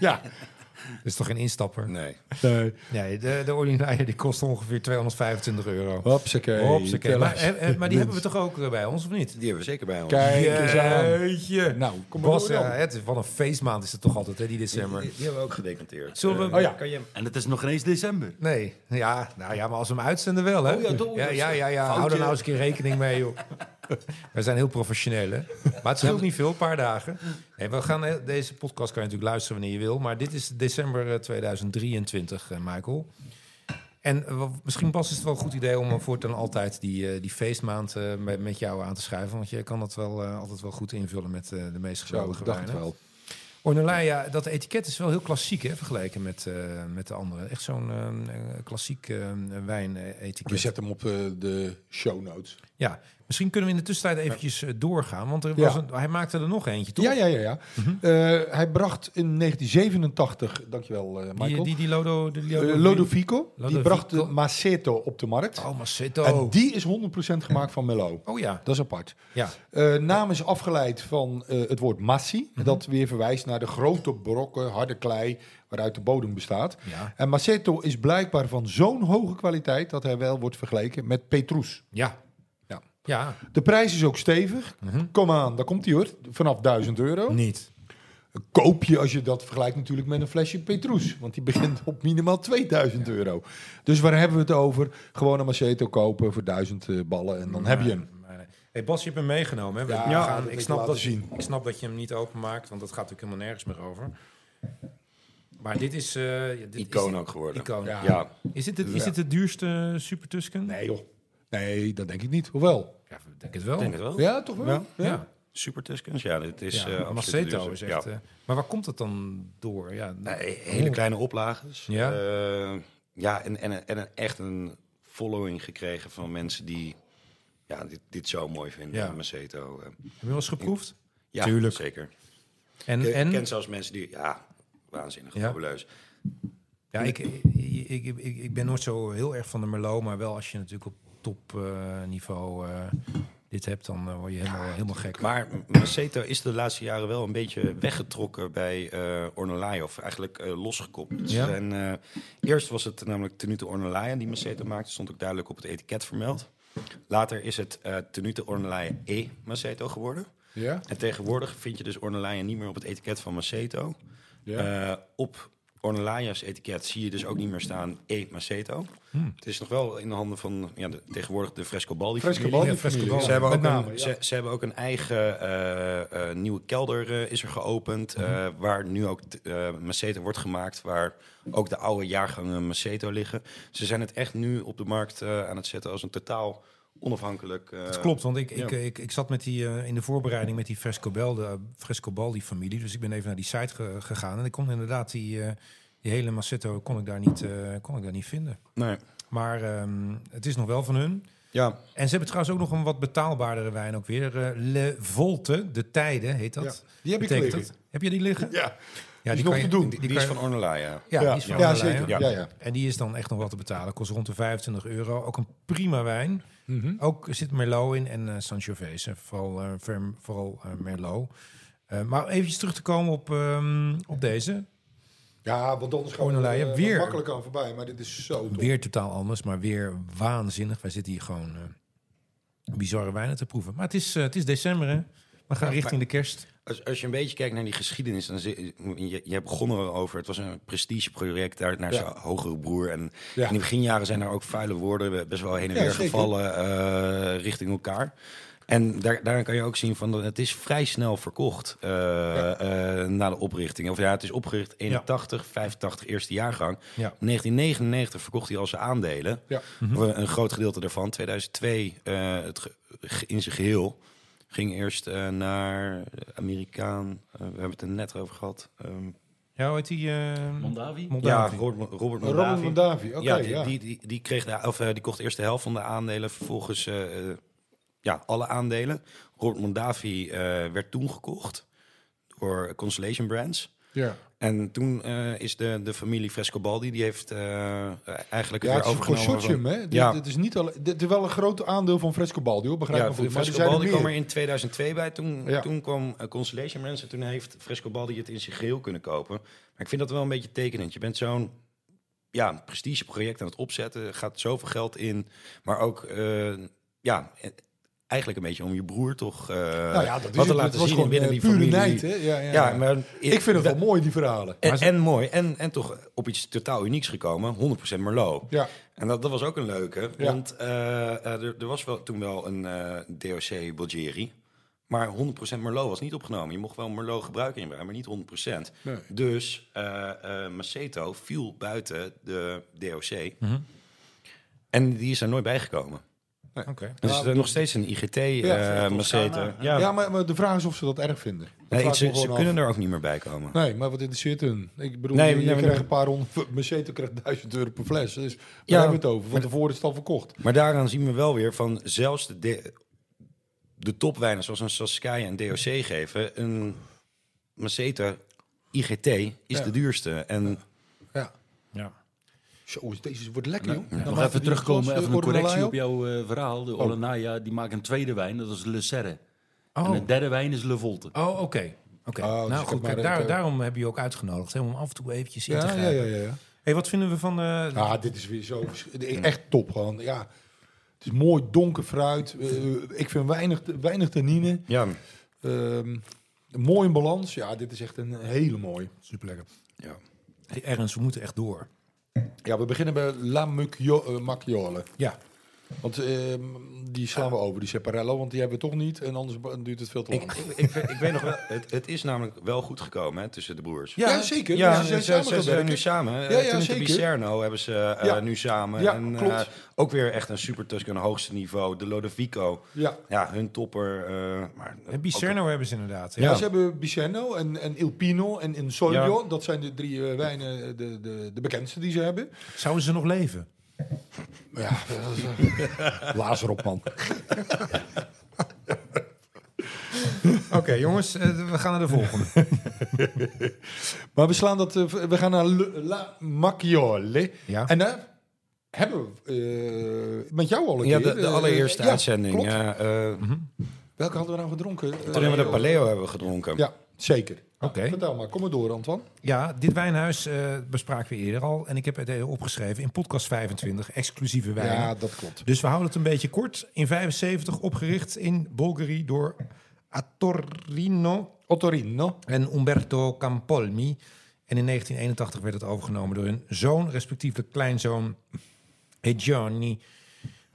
S3: Ja.
S1: Dat is toch geen instapper?
S4: Nee.
S3: Nee.
S1: Nee, de, de ordinaire die kost ongeveer 225 euro.
S3: Oh, Hopsakee.
S1: Hopsakee.
S3: Tel
S1: Maar,
S3: eens.
S1: eh, eh, maar die hebben we toch ook eh, bij ons, of niet?
S4: Die hebben we zeker bij ons.
S3: Kijk eens aan.
S1: Jeetje.
S3: Nou, kom maar
S1: Bas,
S3: door dan.
S1: ja, het, is- wat een feestmaand is het toch altijd, hè, die
S4: Die,
S1: december.
S4: die- die hebben we ook gedecanteerd.
S1: Zullen we-
S4: Eh,
S3: Oh ja.
S4: Kan je hem...
S5: En het is nog geen eens december.
S1: Nee, ja, nou ja, maar als we hem uitzenden wel, hè?
S5: Oh ja, toch?
S1: ja, ja, ja, ja. hou
S5: Foutje.
S1: er nou eens een keer rekening mee, joh. We zijn heel professioneel, hè? Maar het scheelt niet veel, een paar dagen. Nee, we gaan, eh, deze podcast kan je natuurlijk luisteren wanneer je wil, maar dit is december eh, 2023, eh, Michael. En eh, wel- misschien Bas is het wel een goed idee om eh, voortaan altijd die, eh, die feestmaand eh, met, met jou aan te schuiven, want je kan dat wel eh, altijd wel goed invullen met eh, de meest
S3: Zo,
S1: geweldige
S3: ik dacht het
S1: wijnen.
S3: wel.
S1: Ornellaia, dat etiket is wel heel klassiek hè, vergeleken met, eh, met de andere. Echt zo'n ehm, eh, klassiek wijn
S3: We
S1: wijnetiket.
S3: zetten hem op eh, de show notes.
S1: Ja, misschien kunnen we in de tussentijd eventjes eh, doorgaan. Want er was
S3: Ja.
S1: een, hij maakte er nog eentje, toch?
S3: Ja, ja, ja. ja. Eh, hij bracht in 1987, dankjewel eh Michael,
S1: Die, die, die Lodo... De Lodo,
S3: eh, Lodovico,
S1: Lodovico.
S3: Die bracht de Maceto op de markt.
S1: Oh,
S3: En
S1: Maceto.
S3: die is 100% gemaakt van Merlot.
S1: Oh ja,
S3: Dat is apart.
S1: ja.
S3: Eh, naam is afgeleid van eh, het woord massie. Dat weer verwijst naar de grote brokken harde klei waaruit de bodem bestaat.
S1: Ja.
S3: En Maceto is blijkbaar van zo'n hoge kwaliteit dat hij wel wordt vergeleken met Petrus.
S1: Ja.
S3: Ja.
S1: Ja.
S3: De prijs is ook stevig.
S1: Mhm.
S3: Kom aan, daar komt hij hoor. Vanaf 1000 euro.
S1: Niet.
S3: Koop je als je dat vergelijkt natuurlijk met een flesje Petrus. Want die begint op minimaal 2000 euro. Dus waar hebben we het over? Gewoon een Maceto kopen voor 1000 eh, ballen en dan heb je hem.
S1: Maar, eh, Hey Bas, je hebt hem meegenomen. Hè? We
S3: Ja,
S1: we
S3: dat
S1: gaan,
S3: wil
S1: ik,
S3: ik
S1: snap
S3: laten
S1: dat,
S3: zien.
S1: ik snap dat je hem niet openmaakt, want dat gaat natuurlijk helemaal nergens meer over. Maar dit is... eh, ja, dit
S4: Icoon
S1: is,
S4: ook geworden.
S1: Icoon, ja.
S4: Ja.
S1: Is dit, de, is
S3: Ja.
S1: dit de duurste Super Tusken?
S3: Nee, joh. Nee, dat denk ik niet. Hoewel.
S1: Ja, ik denk het wel.
S4: Ik denk het wel.
S3: Oh. Ja, toch wel?
S4: Ja.
S1: ja.
S4: Super Tuscans, ja, dit is...
S1: Ja,
S4: eh, absoluut de
S1: Maceto
S4: duurste.
S1: is echt...
S4: Ja.
S1: eh, maar waar komt het dan door? Ja,
S4: Nee, hele kleine oplages.
S1: Ja.
S4: Eh, ja, en, en, en een- echt een following gekregen van mensen die ja, dit, dit zo mooi vinden,
S1: Ja.
S4: Maceto. eh.
S1: Heb je wel eens geproefd?
S4: Ja,
S1: Tuurlijk.
S4: zeker.
S1: En,
S4: Ik
S1: en
S4: ken zelfs mensen die... Ja, waanzinnig
S1: Ja.
S4: fabuleus.
S1: ja, ik, ik, ik, ik, ik ben nooit zo heel erg van de Merlot, maar wel als je natuurlijk op topniveau niveau eh, dit hebt, dan eh, word je helemaal, helemaal gek.
S4: Maar Maceto is de laatste jaren wel een beetje weggetrokken bij eh Ornellaia. Of eigenlijk eh, losgekoppeld.
S1: Ja.
S4: En, eh, eerst was het namelijk Tenute Ornellaia die Maceto maakte. Stond ook duidelijk op het etiket vermeld. Later is het eh Tenute Ornellaia E Maceto geworden.
S3: Ja?
S4: En tegenwoordig vind je dus Ornellaia niet meer op het etiket van Maceto.
S3: Ja.
S4: Eh, op Ornellaia's etiket zie je dus ook niet meer staan E Maceto. Het is nog wel in de handen van ja, de, tegenwoordig de Frescobaldi
S3: Frescobaldi
S1: Ja,
S3: Oh, familie,
S1: Frescobaldi.
S4: ze, hebben
S3: Met
S4: ook
S3: name,
S4: een,
S3: ja.
S4: ze, ze hebben ook een eigen eh, eh, nieuwe kelder eh, is er geopend. eh, waar nu ook t- eh, Maceto wordt gemaakt. Waar ook de oude jaargangen Maceto liggen. Ze zijn het echt nu op de markt eh, aan het zetten als een totaal onafhankelijk... eh,
S1: Het klopt, want ik, ik,
S4: ja.
S1: ik, ik zat met die, eh, in de voorbereiding met die Frescobaldi, Frescobaldi familie. Dus ik ben even naar die site ge- gegaan. En ik kon inderdaad die, eh, die hele Massetto kon ik daar niet, eh, kon ik daar niet vinden.
S4: Nee.
S1: Maar ehm, het is nog wel van hun.
S4: Ja,
S1: En ze hebben trouwens ook nog een wat betaalbaardere wijn ook weer. eh, Le Volte, de tijden heet dat.
S3: Ja, die heb ik
S1: Betekent
S3: liggen.
S1: dat? Heb je die liggen?
S3: Ja.
S1: Ja,
S3: is nog
S1: kan
S3: te
S1: je-
S3: doen.
S4: die,
S1: kan
S4: is
S1: je-
S4: van Ornellaia.
S1: ja,
S3: Ja,
S1: die is van
S3: ja,
S1: Ornellaia.
S3: zeker.
S4: Ja.
S3: Ja, ja.
S1: En die is dan echt nog wat te betalen. Kost rond de 25 euro. Ook een prima wijn.
S3: Mhm.
S1: Ook zit Merlot in en eh Sangiovese. Vooral, eh, ver- vooral eh, Merlot. Eh, maar eventjes terug te komen op, ehm, op deze.
S3: Ja, want anders gaan we
S1: Ornellaia,
S3: er, eh,
S1: weer.
S3: makkelijk aan voorbij. Maar dit is zo tof.
S1: Weer totaal anders, maar weer waanzinnig. Wij zitten hier gewoon eh, bizarre wijnen te proeven. Maar het is, eh, het is december, hè? We gaan richting de kerst.
S4: Als, als je een beetje kijkt naar die geschiedenis, dan zi- je, je begon er al over. Het was een prestigeproject daar naar
S3: Ja.
S4: zijn hogere broer. En
S3: Ja.
S4: in de beginjaren zijn er ook vuile woorden best wel heen en
S3: Ja,
S4: weer
S3: zeker.
S4: gevallen eh, richting elkaar. En daar, daarin kan je ook zien van dat het is vrij snel verkocht eh, eh, na de oprichting. Of ja, het is opgericht 81, 85 eerste jaargang.
S1: Ja.
S4: In 1999 verkocht hij al zijn aandelen.
S3: Ja.
S4: Of eh, Een groot gedeelte daarvan. 2002 eh, het ge- ge- in zijn geheel. Ging eerst eh, naar Amerikaan. eh, we hebben het er net over gehad. ehm,
S1: Ja, hoe heet die? eh
S5: Mondavi?
S1: Mondavi.
S4: ja, Robert, Robert
S3: Robin
S4: Mondavi.
S3: van Davie. Oké,
S4: ja, die,
S3: ja.
S4: Die, die, die, kreeg de, of, eh, die kocht eerst de helft van de aandelen. Vervolgens eh, eh, ja, alle aandelen. Robert Mondavi eh, werd toen gekocht door Constellation Brands.
S3: ja.
S4: En toen eh, is de, de familie Frescobaldi, die heeft eh, eigenlijk
S3: Ja,
S4: weer
S3: het is een
S4: overgenomen. van-
S3: consortium, hè? Dit,
S4: Ja.
S3: dit is niet alleen, dit is wel een groot aandeel van Frescobaldi, hoor. Begrijp
S4: Ja,
S3: me goed. Maar er zijn er
S4: Frescobaldi
S3: meer.
S4: kwam er in 2002 bij. Toen,
S3: Ja.
S4: toen kwam eh, Constellation Brands en toen heeft Frescobaldi het in zijn geheel kunnen kopen. Maar ik vind dat wel een beetje tekenend. Je bent zo'n ja, prestigeproject aan het opzetten. Er gaat zoveel geld in. Maar ook, eh, ja, eh, eigenlijk een beetje om je broer toch eh,
S3: Nou ja, dat is
S4: wat te
S3: het.
S4: laten
S3: Het was
S4: zien
S3: gewoon
S4: binnen
S3: eh,
S4: die
S3: pure
S4: familie.
S3: nijd, hè? Ja, ja,
S4: Ja,
S3: ja.
S4: maar
S3: ik vind het wel mooi, die verhalen.
S4: En, en mooi. En, en toch op iets totaal unieks gekomen. 100% Merlot.
S3: Ja.
S4: En dat, dat was ook een leuke.
S3: Ja.
S4: Want eh, eh, er, er was wel, toen wel een eh, DOC Bulgari. Maar 100% Merlot was niet opgenomen. Je mocht wel Merlot gebruiken in je wijn, maar niet 100%.
S3: Nee.
S4: Dus eh, eh, Maceto viel buiten de DOC.
S3: Mhm.
S4: En die is er nooit bijgekomen.
S1: Oké.
S4: Dus
S3: Ja,
S4: er is nog steeds een IGT eh
S3: ja, eh,
S4: Maceto. Ja,
S3: Ja, maar, maar de vraag is of ze dat erg vinden. Dat
S4: nee,
S3: vraag ik
S4: ze
S3: me
S4: ze
S3: gewoon af.
S4: kunnen er ook niet meer bij komen.
S3: Nee, maar wat interesseert hun? Ik bedoel,
S4: Nee,
S3: je, je
S4: nee, maar-
S3: krijgt een paar honderd... Maceto krijgt duizend euro per fles. Dus waar
S4: Ja.
S3: hebben we het over? Van tevoren is het al verkocht.
S4: Maar daaraan zien we wel weer van zelfs de, de, de topwijnen zoals een Saskia en DOC geven, een Maceta IGT is
S3: Ja.
S4: de duurste. En
S3: Ja.
S1: Ja.
S3: Zo, deze wordt lekker, joh. Dan
S5: Nog
S3: maken
S5: even
S3: we die
S5: terugkomen,
S3: glas,
S5: even
S3: eh, Oh.
S5: een correctie
S3: Ornellaia
S5: op jouw eh, verhaal. De Olenaya, die maakt een tweede wijn, dat is Le Serre. En
S1: Oh,
S5: een derde wijn is Le Volte.
S1: oh oké. Oké.
S3: Oh,
S1: nou
S3: dus ik
S1: goed,
S3: heb maar
S1: kijk,
S3: dat,
S1: daar,
S3: eh,
S1: daarom heb je je ook uitgenodigd. Hè, om af en toe eventjes in te
S3: Ja,
S1: gaan.
S3: ja, ja, ja. ja.
S1: hey, wat vinden we van... eh,
S3: Ah, dit is weer zo. Echt top gewoon. Ja. Het is mooi donker fruit. Eh, ik vind weinig, weinig tannine.
S4: ja,
S3: Ehm, mooi in balans. Ja, dit is echt een hele mooie.
S1: Superlekker.
S4: ja.
S1: Hey, Ernst, we moeten echt door.
S3: Ja, we beginnen bij La eh, Macchiole.
S1: Ja.
S3: Want ehm, die slaan we over, die Separello, want die hebben we toch niet. En anders ba- duurt het veel te lang.
S4: Ik, ik, ik, weet- ik weet nog wel, het, het is namelijk wel goed gekomen hè, tussen de broers.
S3: Ja, zeker.
S4: Ja,
S3: ze zijn samen gaan werken.
S4: nu samen. Ja,
S3: ja,
S4: Toen
S3: zeker.
S4: de Bicerno hebben ze eh,
S3: Ja.
S4: nu samen.
S3: Ja,
S4: en, eh,
S3: klopt.
S4: ook weer echt een super Tusken, hoogste niveau. De Lodovico.
S3: Ja.
S4: Ja, hun topper. eh maar
S1: En Bicerno hebben ze inderdaad.
S3: Ja.
S1: Ja.
S3: ze hebben Bicenno en, en Il Pino en Insolvio.
S4: Ja.
S3: Dat zijn de drie eh, wijnen, eh, de, de, de bekendste die ze hebben.
S1: Zouden ze nog leven?
S3: Ja, dat is, eh, blaas erop, man.
S1: Oké, jongens, eh, we gaan naar de volgende.
S3: Maar we, slaan dat, eh, v- we gaan naar Le- La Macchiole.
S1: Ja.
S3: En daar hebben we eh, met jou al een
S4: Ja,
S3: keer...
S4: de, de
S3: eh,
S4: allereerste
S3: ja,
S4: uitzending.
S3: klopt. Mhm.
S4: Ja, eh,
S3: Welke hadden we nou gedronken? Eh,
S4: Toen hebben we de Paleo hebben gedronken.
S3: Ja, zeker.
S1: Oké.
S3: Vertel maar, kom maar door, Antoine.
S1: Ja, dit wijnhuis eh, bespraken we eerder al. En ik heb het even opgeschreven in podcast 25, exclusieve wijnen.
S3: Ja, dat klopt.
S1: Dus we houden het een beetje kort. In 75 opgericht in Bulgari door Atorino
S3: Ottorino.
S1: en Umberto Campolmi. En in 1981 werd het overgenomen door hun zoon, respectievelijk kleinzoon Egioni.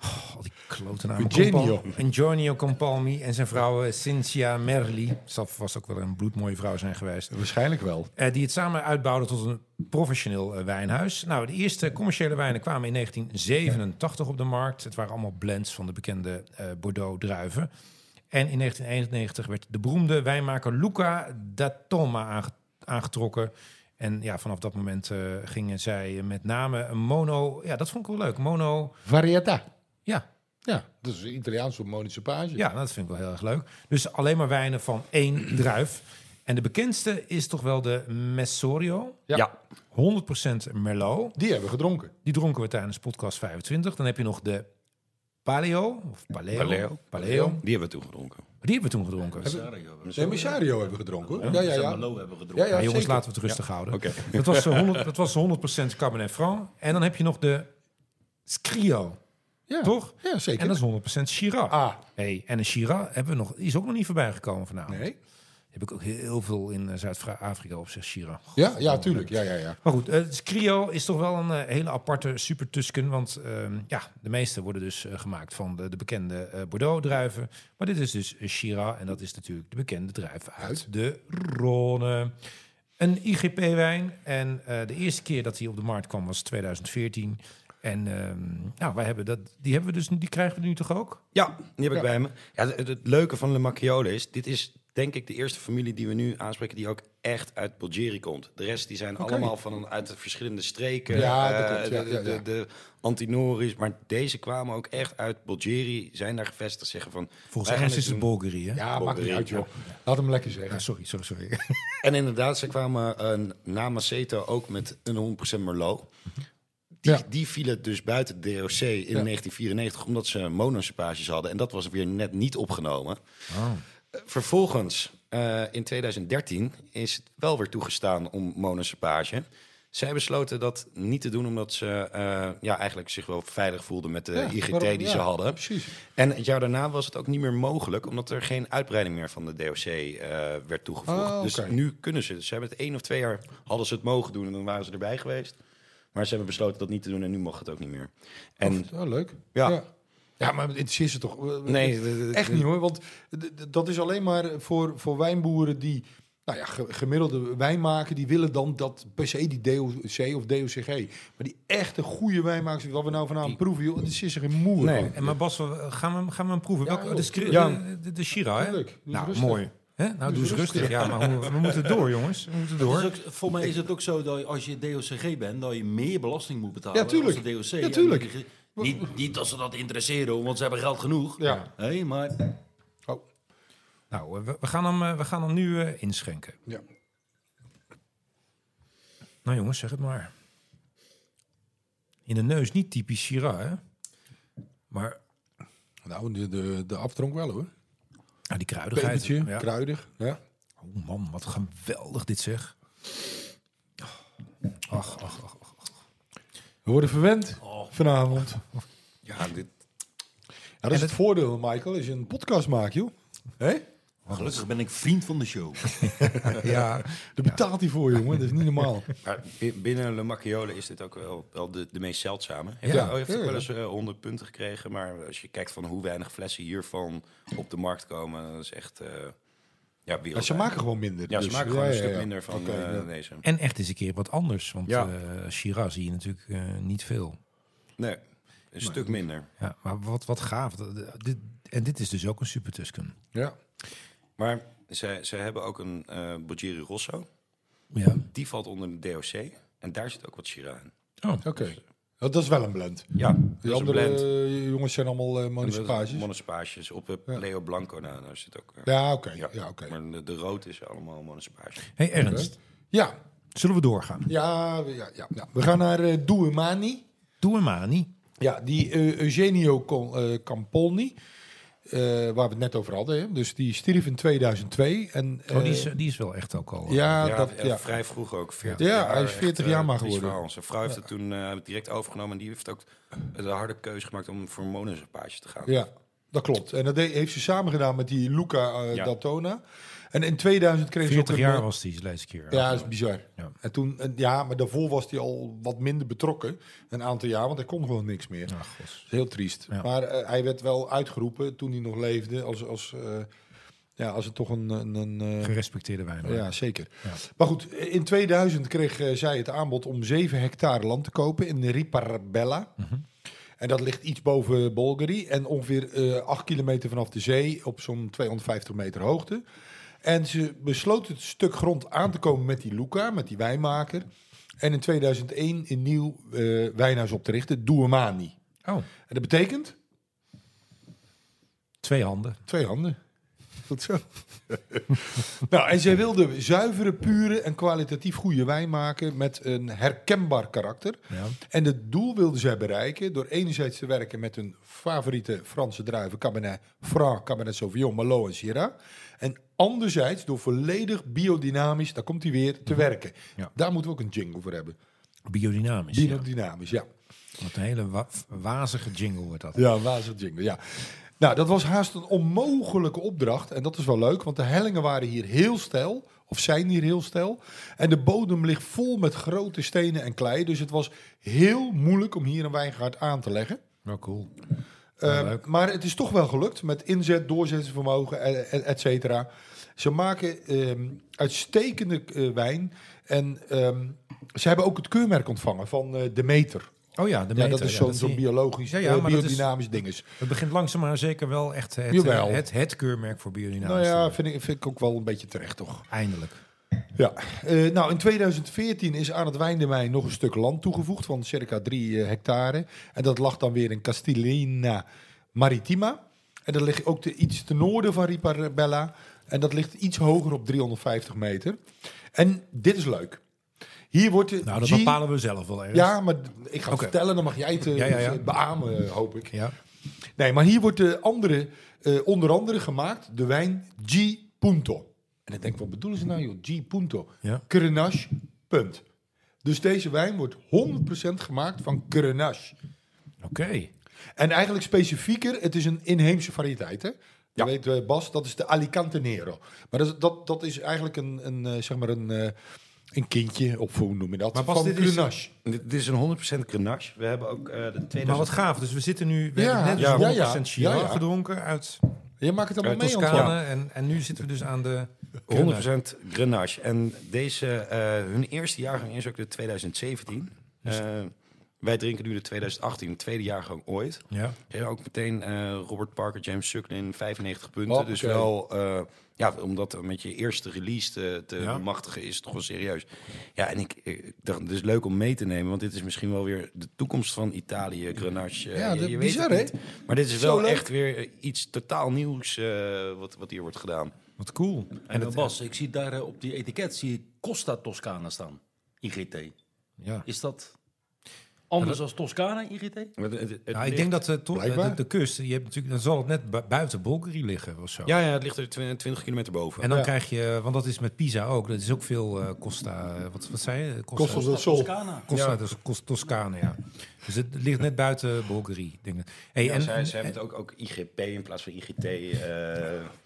S1: Oh, al die klote naam.
S3: Eugenio.
S1: Eugenio Campolmi en zijn vrouw eh, Cynthia Merli. Zal vast ook wel een bloedmooie vrouw zijn geweest.
S3: Waarschijnlijk wel.
S1: Eh, die het samen uitbouwden tot een professioneel eh, wijnhuis. Nou, de eerste commerciële wijnen kwamen in 1987 op de markt. Het waren allemaal blends van de bekende eh, Bordeaux-druiven. En in 1991 werd de beroemde wijnmaker Luca da Toma aange- aangetrokken. En ja, vanaf dat moment eh, gingen zij met name een mono... Ja, dat vond ik wel leuk. Mono...
S3: Varietà.
S1: Ja,
S3: Ja, dat is Italiaans voor municipage.
S1: ja, dat vind ik wel heel erg leuk. Dus alleen maar wijnen van één druif. En de bekendste is toch wel de Messorio.
S3: Ja.
S1: 100% Merlot.
S3: Die hebben we gedronken.
S1: Die dronken we tijdens podcast 25. Dan heb je nog de Paleo. Of Paleo.
S4: Paleo.
S1: Paleo.
S4: Die hebben we toen gedronken.
S1: Die hebben we toen gedronken.
S3: Nee, Missario hebben we gedronken. hoor. Ja, ja, ja.
S5: Malo hebben gedronken.
S3: Ja, ja,
S1: Ja, jongens,
S3: zeker.
S1: laten we het rustig houden.
S4: Oké.
S1: Dat, was eh, 100, dat was 100% Cabernet Franc. En dan heb je nog de Scrio.
S3: Ja.
S1: Toch?
S3: Ja, zeker.
S1: En dat is 100% Shiraz.
S3: Ah.
S1: Hey, en een Shiraz hebben we nog, is ook nog niet voorbij gekomen vanavond.
S3: Nee.
S1: Heb ik ook heel veel in eh, Zuid-Afrika op zich, Shiraz.
S3: Ja, ja, tuurlijk. Ja, ja, ja.
S1: Maar goed, eh, het Cryo is toch wel een eh, hele aparte super Tusken. Want ehm, ja, de meeste worden dus eh, gemaakt van de, de bekende eh, Bordeaux-druiven. Maar dit is dus eh, Shiraz en dat is natuurlijk de bekende druif uit,
S3: Uit.
S1: de Rhône. Een IGP-wijn. En eh, de eerste keer dat hij op de markt kwam was 2014. En ehm, nou, wij hebben dat, die, hebben we dus, nu- die krijgen we nu toch ook?
S4: Ja, die heb ik bij me. Ja, het, het leuke van Le Macchiole is, dit is denk ik de eerste familie die we nu aanspreken die ook echt uit Bulgarië komt. De rest die zijn allemaal van een, uit de verschillende streken.
S3: Ja, dat
S4: Eh,
S3: klopt, ja,
S4: de,
S3: ja,
S4: de-
S3: ja.
S4: de, de Antinoris, maar deze kwamen ook echt uit Bulgarië, zijn daar gevestigd, zeggen van...
S1: Volgens
S4: wij
S1: mij
S4: gaan
S1: is het
S4: dit doen.
S1: Bulgarie, hè?
S3: Ja, maakt niet
S4: Bolderink,
S3: uit, joh. Laat hem lekker zeggen.
S1: Ah, sorry, sorry, sorry.
S4: En inderdaad, ze kwamen eh, na Maceto ook met een 100% Merlot. Die,
S3: Ja.
S4: die vielen dus buiten de DOC in 1994 omdat ze monocepages hadden. En dat was weer net niet opgenomen.
S3: Oh.
S4: Eh, Vervolgens, eh, in 2013, is het wel weer toegestaan om monocepage. Zij besloten dat niet te doen omdat ze eh, ja, eigenlijk zich wel veilig voelden met de
S3: Ja,
S4: IGT
S3: waarom-
S4: die
S3: ja,
S4: ze hadden.
S3: Precies.
S4: En het jaar daarna was het ook niet meer mogelijk, omdat er geen uitbreiding meer van de DOC eh, werd toegevoegd.
S3: Ah, oké.
S4: Dus nu kunnen ze. Ze hebben het één of twee jaar hadden ze het mogen doen en dan waren ze erbij geweest. Maar ze hebben besloten dat niet te doen en nu mag het ook niet meer. En
S3: Oh, leuk.
S4: Ja.
S3: ja. Ja, maar het interesseert ze toch?
S4: Nee, d- d- d-
S3: echt niet hoor. Want d- d- dat is alleen maar voor, voor wijnboeren die nou ja, ge- gemiddelde wijn maken. Die willen dan dat per se die DOC of DOCG. Maar die echte goede wijnmakers, wat we nou vanavond proeven, joh, het is er geen moer
S4: Nee.
S3: van.
S1: En maar Bas, we- gaan we, hem- gaan we hem proeven?
S3: Ja,
S1: Welke,
S3: joh.
S1: de, Scri-
S4: Ja.
S1: de, de, de Shiraz, hè?
S3: Tuurlijk, doe eens
S1: nou,
S3: rustig.
S1: mooi. Hè? Nou, doe,
S3: eens
S1: eens rustig. Ja, maar hoe- we moeten door, jongens. We moeten
S5: Het
S1: door.
S5: is ook, voor mij is het ook zo dat je- als je DOCG bent, dat je meer belasting moet betalen
S3: Ja, tuurlijk.
S5: als de DOC.
S3: Ja, tuurlijk.
S5: En die- Niet, niet dat ze dat interesseren, want ze hebben geld genoeg.
S3: Ja.
S5: Hé, maar
S3: Oh,
S1: Nou, eh, we, we gaan hem, eh, we gaan hem nu eh, inschenken.
S3: ja.
S1: Nou, jongens, zeg het maar. In de neus niet typisch Shiraz, hè? Maar
S3: Nou, de, de, de aftronk wel hoor.
S1: ah, die kruidigheid.
S3: Pepertje,
S1: Ja.
S3: kruidig. Ja.
S1: Oh man, wat geweldig dit zeg. Oh, Ach, ach, ach. ach.
S3: We worden verwend Oh. vanavond.
S4: ja, dit,
S3: Ja, dat is het voordeel, Michael, als je een podcast maakt, joh. Hé?
S5: Gelukkig ben ik vriend van de show.
S3: Ja, daar betaalt hij voor, jongen. Dat is niet normaal.
S4: Maar bi- binnen Le Macchiole is dit ook wel, wel de, de meest zeldzame. Heeft
S3: Ja,
S4: ja, heeft ook
S3: ja,
S4: wel eens eh, 100 punten gekregen. Maar als je kijkt van hoe weinig flessen hiervan op de markt komen, dat is echt. eh, ja,
S3: Ja,
S4: wereldwijd.
S3: ze maken gewoon minder.
S4: Ja, ze
S3: dus.
S4: maken gewoon een
S3: ja,
S4: stuk
S3: ja.
S4: minder van
S3: Oké,
S4: eh,
S3: ja.
S4: deze.
S1: En echt eens een keer wat anders, want
S4: Ja.
S1: eh, Shiraz zie je natuurlijk eh, niet veel.
S4: Nee, een stuk minder.
S1: Ja, maar wat, wat gaaf. Dat- dat- dit, en dit is dus ook een Super Tusken.
S3: Ja.
S4: Maar ze, ze hebben ook een eh Bulgari Rosso.
S1: Ja.
S4: Die valt onder de DOC. En daar zit ook wat Shiraz in.
S1: Oh.
S3: Oké. Ja, dat is wel een blend.
S4: Ja, Dus, eh, dat is
S3: Die
S4: een
S3: andere
S4: blend.
S3: eh, jongens zijn allemaal eh municipages.
S4: Monospages. Op eh, Leo Blanco, nou, daar zit ook... eh,
S3: Ja, oké. Ja, oké.
S4: Maar de, de rood is allemaal monospage.
S1: Hey Ernst,
S3: Ja,
S1: zullen we doorgaan?
S3: ja, ja, ja, ja. We gaan naar eh Douemani.
S1: Doe hem aan, niet?
S3: Ja, die eh, Eugenio Con- eh, Campolni, eh, waar we het net over hadden. Hè? Dus die stierf in 2002. En,
S1: Oh, die,
S3: eh,
S1: is, die is wel echt ook al... eh,
S3: ja,
S4: ja,
S3: dat,
S4: eh,
S3: ja.
S4: vrij vroeg ook. 40
S3: Ja,
S4: jaar,
S3: hij is 40
S4: echt, eh,
S3: jaar maar
S4: triest
S3: geworden.
S4: verhaal. Zijn vrouw heeft het toen eh, direct overgenomen. En die heeft ook de harde keuze gemaakt om voor monospage te gaan.
S3: ja, dat klopt. En dat de- heeft ze samen gedaan met die Luca eh
S4: Ja.
S3: Daltona. En in 2000 kreeg ze ook
S1: 40
S3: een,
S1: jaar
S3: eh,
S1: was die, lees ik hier.
S3: Ja, dat is bizar.
S1: Ja.
S3: En toen, en ja, maar daarvoor was hij al wat minder betrokken. Een aantal jaar, want hij kon gewoon niks meer.
S1: Ah, gos.
S3: Dat is heel triest.
S1: Ja.
S3: Maar eh, hij werd wel uitgeroepen toen hij nog leefde. Als, als, eh, ja, als het toch een... een, een eh,
S1: Gerespecteerde wijnmaker.
S3: ja, zeker.
S1: Ja.
S3: Maar goed, in 2000 kreeg eh, zij het aanbod om 7 hectare land te kopen in Riparbella. En dat ligt iets boven Bulgari en ongeveer eh 8 kilometer vanaf de zee op zo'n 250 meter hoogte. En ze besloot het stuk grond aan te komen met die Luca, met die wijnmaker. En in 2001 een nieuw eh, wijnhuis op te richten, Douemani.
S1: Oh,
S3: En dat betekent
S1: twee handen.
S3: Twee handen. Goed zo. nou, en zij wilde zuivere, pure en kwalitatief goede wijn maken met een herkenbaar karakter.
S1: Ja.
S3: En het doel wilde zij bereiken door enerzijds te werken met hun favoriete Franse druiven Cabernet Franc, Cabernet Sauvignon, Merlot en Syrah. En anderzijds door volledig biodynamisch, daar komt hij weer, te werken.
S1: Mhm. Ja.
S3: Daar moeten we ook een jingle voor hebben.
S1: Biodynamisch. ja.
S3: Biodynamisch, ja.
S1: Wat een hele wa- wazige jingle wordt dat.
S3: Ja, wazig jingle, ja. Nou, dat was haast een onmogelijke opdracht. En dat is wel leuk, want de hellingen waren hier heel steil. Of zijn hier heel steil. En de bodem ligt vol met grote stenen en klei. Dus het was heel moeilijk om hier een wijngaard aan te leggen.
S1: Nou, cool.
S3: Eh,
S1: leuk.
S3: maar het is toch wel gelukt met inzet, doorzettingsvermogen, et, et, et cetera. Ze maken ehm, uitstekende eh, wijn. En ehm, ze hebben ook het keurmerk ontvangen van eh, Demeter.
S1: Oh ja, de
S3: Ja,
S1: meter.
S3: dat is
S1: ja,
S3: zo'n
S1: zie
S3: zo'n
S1: je.
S3: biologisch,
S1: Ja, ja,
S3: eh,
S1: maar dat is-
S3: biodynamisch dinges.
S1: Het begint langzaam maar zeker wel echt het, eh,
S3: Jawel.
S1: het, het keurmerk voor biodynamisch.
S3: Nou
S1: te
S3: ja,
S1: worden.
S3: vind ik, vind ik ook wel een beetje terecht, toch?
S1: Eindelijk.
S3: Ja. Eh, nou, in 2014 is aan het Wijndermijn nog een stuk land toegevoegd van circa 3 hectare. En dat lag dan weer in Castellina Maritima. En dat ligt ook te, iets ten noorden van Riparbella. En dat ligt iets hoger op 350 meter. En dit is leuk. Hier wordt de
S1: Nou, dat
S3: G-
S1: bepalen we zelf wel ergens.
S3: Ja, maar d- ik ga het
S1: Oké.
S3: vertellen, dan mag jij het eh,
S1: Ja, ja, ja.
S3: beamen, eh, hoop ik.
S1: Ja.
S3: Nee, maar hier wordt de andere, eh, onder andere gemaakt de wijn G. Punto. En ik denk, wat bedoelen ze nou, joh? G. Punto.
S1: Ja.
S3: Grenache, punt. Dus deze wijn wordt 100% gemaakt van Grenache.
S1: Oké.
S3: En eigenlijk specifieker, het is een inheemse variëteit, hè? Dat weet eh, Bas, dat is de Alicante Nero. Maar dat is, dat, dat is eigenlijk een, een, eh, zeg maar een, eh, een kindje, of hoe noem je dat,
S1: Maar Bas,
S3: van
S1: dit is-
S3: Grenache.
S4: Dit, dit is een 100% Grenache. We hebben ook eh, de 2000...
S1: Maar wat gaaf. Dus we zitten nu... We
S3: Ja,
S1: hebben net
S3: ja,
S1: dus
S3: ja,
S1: 100%
S3: ja.
S1: Shiraz
S3: Ja, ja.
S1: gedronken uit,
S3: Je maakt het allemaal
S1: uit
S3: mee,
S1: Toscane.
S3: Antoine.
S1: En, en nu zitten we dus aan de...
S4: 100% Grenache. En deze, eh, hun eerste jaargang is ook de 2017.
S3: Dus-
S4: Eh, wij drinken nu de 2018, tweede jaargang ooit.
S1: Ja.
S4: Ja, ook meteen eh, Robert Parker, James Sucklin, 95 punten.
S3: Oh,
S4: Dus
S3: oké.
S4: wel, eh, ja, omdat met je eerste release te, te
S1: Ja.
S4: bemachtigen is het toch wel serieus. Ja, en ik, ik dacht, het is leuk om mee te nemen, want dit is misschien wel weer de toekomst van Italië, Grenache. eh,
S3: Ja,
S4: je,
S3: dat-
S4: je weet het
S3: bizar, hè?
S4: niet. Maar dit is
S3: Zo
S4: wel
S3: leuk.
S4: echt weer eh, iets totaal nieuws eh, wat, wat hier wordt gedaan.
S1: Wat cool.
S5: En dat Bas, ik zie daar eh, op die etiket zie ik Costa Toscana staan. IGT.
S1: Ja.
S5: Is dat anders dan Toscana IGT?
S4: Maar het- het- het
S1: Nou, ik
S4: ligt-
S1: denk dat de, to- de,
S3: Blijkbaar.
S1: de kust... Je hebt natuurlijk, dan zal het net bu- buiten Bulgari liggen of zo.
S4: Ja, ja, het ligt er 20 kilometer boven.
S1: En dan
S3: Ja.
S1: krijg je, eh, want dat is met Pisa ook, dat is ook veel eh, Costa, eh, wat, wat zei je?
S3: Costa del Sol.
S5: Toscana.
S1: Costa, dat is Cos- Toscane, ja. Dus het ligt net buiten Bulgarie. Denk ik. Hey,
S4: Ja,
S1: en,
S4: zij, zij hebben het ook, ook IGP in plaats van IGT. eh,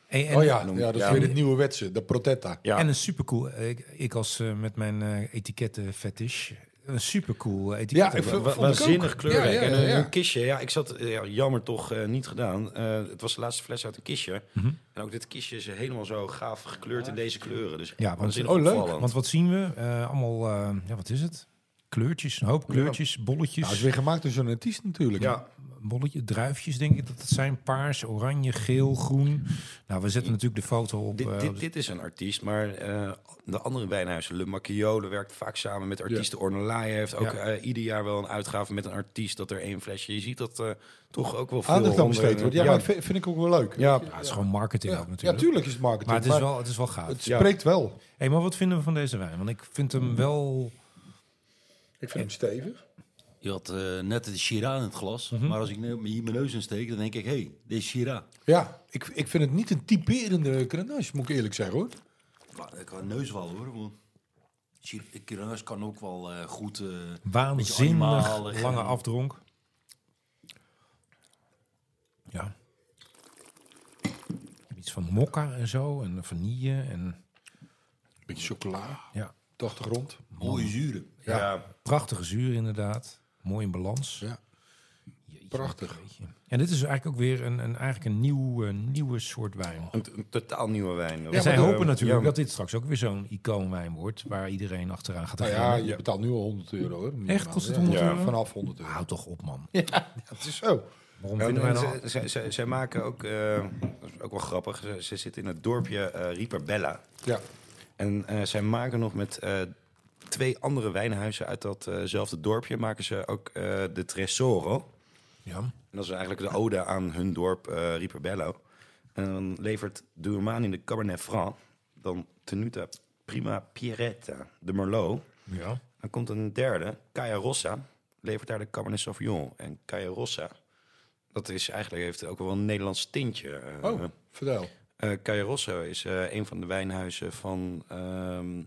S1: En, en-
S3: oh ja,
S4: noem-
S3: ja, dat is
S4: ja.
S3: weer het nieuwe wetse, de protetta.
S4: Ja.
S1: En een supercool, eh, ik, ik als eh, met mijn eh etiketten fetish, een supercool eh, etiket.
S3: Ja, ik
S1: hebben.
S3: vind-
S4: Wa-
S3: vond ik
S4: Waanzinnig
S3: ook.
S4: kleurrijk.
S3: Ja, ja,
S4: En een,
S3: ja.
S4: een kistje, ja, ik zat, ja, jammer toch, eh, niet gedaan. Eh, het was de laatste fles uit een kistje.
S3: Mhm.
S4: En ook dit kistje is helemaal zo gaaf gekleurd in deze kleuren. Dus
S1: Ja, want,
S4: waanzinnig
S3: oh, leuk,
S4: opvallend.
S1: want wat zien we? Eh, allemaal, eh, ja, wat is het? Kleurtjes, een hoop kleurtjes,
S3: Nou, het
S1: bolletjes,
S3: is weer gemaakt door zo'n artiest natuurlijk.
S4: ja,
S1: bolletje, druifjes denk ik dat het zijn. Paars, oranje, geel, groen. Nou, we zetten natuurlijk de foto op. eh,
S4: dit,
S1: op
S4: dit,
S1: de-
S4: dit is een artiest, maar eh, de andere wijnhuizen, Le Macchiole, werkt vaak samen met artiesten. Ornelaaien heeft
S1: Ja.
S4: ook eh, ieder jaar wel een uitgave met een artiest dat er één flesje. Je ziet dat eh, toch ook wel veel
S3: Aandacht aan
S4: onder-
S3: besteed wordt. Ja,
S4: ja,
S3: maar vind, vind ik ook wel leuk.
S4: ja,
S1: ja, het is gewoon marketing
S3: ja,
S1: ook natuurlijk.
S3: ja, tuurlijk is het marketing.
S1: Maar het is wel, het is wel gaaf.
S3: het
S4: ja.
S3: spreekt wel.
S1: hey, maar wat vinden we van deze wijn? Want ik vind hem wel...
S3: Ik vind hem stevig.
S5: Je had eh, net de Shiraz in het glas,
S3: Mhm.
S5: maar als ik nu hier mijn neus in steek, dan denk ik, hé, hey, dit is Shiraz.
S3: Ja, ik, ik vind het niet een typerende grenache, moet ik eerlijk zeggen hoor.
S5: Maar ik kan neus wel hoor. want Shir- Shiraz kan ook wel eh, goed... eh, beetje
S1: Waanzinnig
S5: animalig eh,
S1: lange
S5: en-
S1: afdronk. Ja. Iets van mokka en zo. En vanille. En
S3: Beetje chocola,
S1: ja,
S3: de achtergrond.
S5: Mooie zuren.
S4: ja.
S1: prachtige zuur inderdaad. Mooi in balans.
S3: Ja.
S1: Jeetje,
S3: Prachtig.
S1: jeetje. En dit is eigenlijk ook weer een, een, eigenlijk een nieuw, eh, nieuwe soort wijn.
S4: Een, een totaal nieuwe wijn.
S1: en
S4: Ja,
S1: zij
S4: maar, eh,
S1: hopen natuurlijk
S4: ja,
S1: dat dit straks ook weer zo'n icoonwijn wordt. Waar iedereen achteraan gaat
S3: Nou
S1: rennen.
S3: ja, je betaalt nu al 100 euro hoor. Minimaal.
S1: Kost het
S3: Ja,
S1: 100
S3: ja,
S1: euro?
S3: Vanaf 100 euro.
S1: Hou toch op man.
S3: Het is zo.
S1: Waarom
S4: Ja,
S1: vinden wij
S4: en
S1: nou...
S4: ze- ze- ze- Zij maken ook, eh, dat is ook wel grappig, ze, ze zitten in het dorpje eh, Ripperbella.
S3: Ja.
S4: En eh, zij maken nog met eh, twee andere wijnhuizen uit datzelfde dorpje, maken ze ook eh, de Tresoro.
S1: Ja.
S4: En dat is eigenlijk de ode aan hun dorp eh Ripperbello. En dan levert Duurman in de Cabernet Franc dan Tenuta Prima Pierretta de Merlot.
S1: ja.
S4: Dan komt een derde, Caia Rossa, levert daar de Cabernet Sauvignon. En Caia Rossa, dat is eigenlijk, heeft ook wel een Nederlands tintje. eh.
S3: Oh, vertel.
S4: Eh, Caia Rosso is eh, een van de wijnhuizen van ehm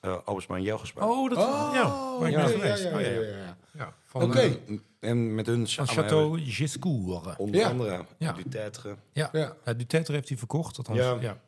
S4: eh Albersma en Jelgersma.
S1: Oh, dat... ja, waar ik ben geweest.
S3: ja,
S1: Oh, ja.
S3: ja, ja, ja.
S1: Ja, van,
S3: Oké.
S1: eh,
S4: En met hun
S1: van
S4: samen hebben
S1: Chateau Giscourt.
S4: we onder
S3: Ja.
S4: andere
S1: Ja.
S4: Dutertre.
S1: Ja.
S3: Ja.
S1: ja. Dutetre heeft hij verkocht. Althans, ja.
S4: Ja.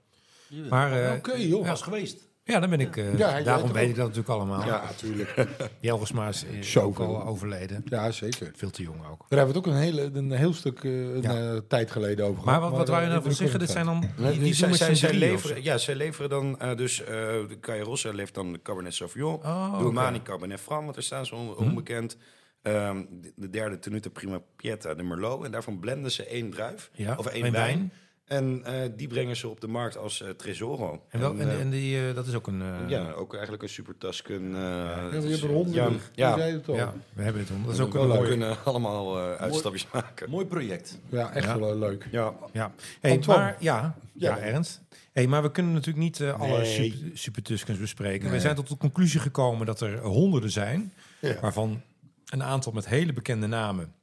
S1: Maar eh,
S3: Oké joh.
S5: was geweest.
S1: ja, dan ben ik. eh,
S3: Ja, hij weet
S1: daarom
S3: het
S1: weet
S3: ook.
S1: ik dat natuurlijk allemaal.
S3: Ja, natuurlijk.
S1: Jelgersma is eh,
S3: Zo
S1: ook al
S3: veel.
S1: overleden.
S3: Ja, zeker.
S1: Veel te jong ook.
S3: Daar hebben we het ook een, hele, een heel stuk eh, een,
S1: Ja.
S3: eh, tijd geleden over
S1: Maar
S3: gehad.
S1: wat, wat wou je
S3: eh,
S1: nou van zeggen? Dit zijn dan. Die, die
S4: Zij,
S1: zijn,
S4: zij, zij, leveren, ja, zij leveren dan eh, dus, eh de Caia Rossa levert dan de Cabernet Sauvignon.
S1: Oh, Hm?
S4: de Romani Cabernet Franc, want daar staan ze on- onbekend. Ehm, de, de derde Tenuta Prima Pieta, de Merlot. En daarvan blenden ze één druif,
S1: Ja,
S4: of één
S1: één
S4: wijn.
S1: wijn.
S4: En eh, die brengen ze op de markt als eh, Tresoro.
S1: En, wel, en,
S4: eh,
S1: en die, eh, dat is ook een. eh, ja.
S4: ja, ook eigenlijk een super Tuscan. eh,
S3: Ja,
S4: het
S3: we
S4: is-
S3: hebben honderden.
S4: Ja,
S3: Je
S4: ja,
S3: zei het al. Ja,
S1: we hebben het om. Dat is ook een
S4: we
S1: mooi.
S4: kunnen allemaal eh, uitstapjes maken.
S5: Mooi project.
S3: echt
S1: Ja.
S3: wel eh, leuk.
S4: Ja,
S1: Ja, hey,
S3: Antoine.
S1: maar ja, ja,
S3: Ja.
S1: Ernst. Hey, maar we kunnen natuurlijk niet eh, alle
S3: Nee.
S1: super, supertuskens bespreken. We zijn tot de conclusie gekomen dat er honderden zijn,
S3: Ja.
S1: waarvan een aantal met hele bekende namen,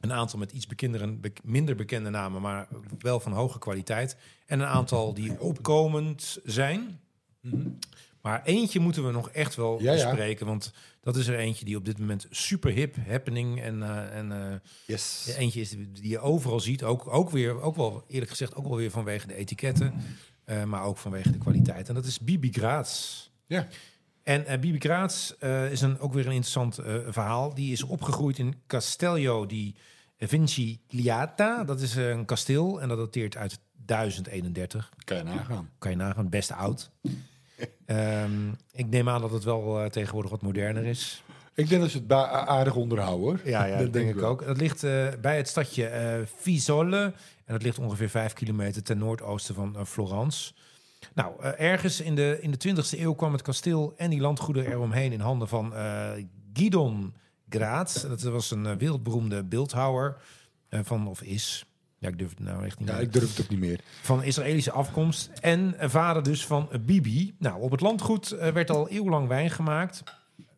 S1: een aantal met iets bekendere, bek- minder bekende namen, maar wel van hoge kwaliteit, en een aantal die opkomend zijn. Maar eentje moeten we nog echt wel
S3: Mhm. Ja, ja.
S1: bespreken, want dat is er eentje die op dit moment super hip, happening en, eh, en eh,
S3: Yes.
S1: ja, eentje is die die je overal ziet, ook, ook weer, ook wel eerlijk gezegd, ook wel weer vanwege de etiketten, eh, maar ook vanwege de kwaliteit. En dat is Bibi Graats.
S3: Ja.
S1: En eh, Bibi Graats eh, is een, ook weer een interessant eh, verhaal. Die is opgegroeid in Castello di Vincigliata. Dat is eh, een kasteel en dat dateert uit 1031.
S3: Kan je nagaan.
S1: Kan je nagaan, best oud. Ehm, ik neem aan dat het wel eh, tegenwoordig wat moderner is.
S3: Ik denk dat ze het ba- a- aardig onderhouden hoor.
S1: Ja, ja dat, denk, ik
S3: wel.
S1: ook. Dat ligt eh, bij het stadje eh Fiesole. En dat ligt ongeveer vijf kilometer ten noordoosten van eh, Florence. Nou, eh, ergens in de, in de 20e eeuw kwam het kasteel en die landgoeden eromheen in handen van eh Guidon Graats. Dat was een eh, wereldberoemde beeldhouwer eh, van, of is. Ja, ik durf het nou echt niet
S3: Ja,
S1: meer
S3: ik durf het ook niet meer.
S1: van Israëlische afkomst en een vader dus van Bibi. Nou, op het landgoed eh, werd al eeuwenlang wijn gemaakt.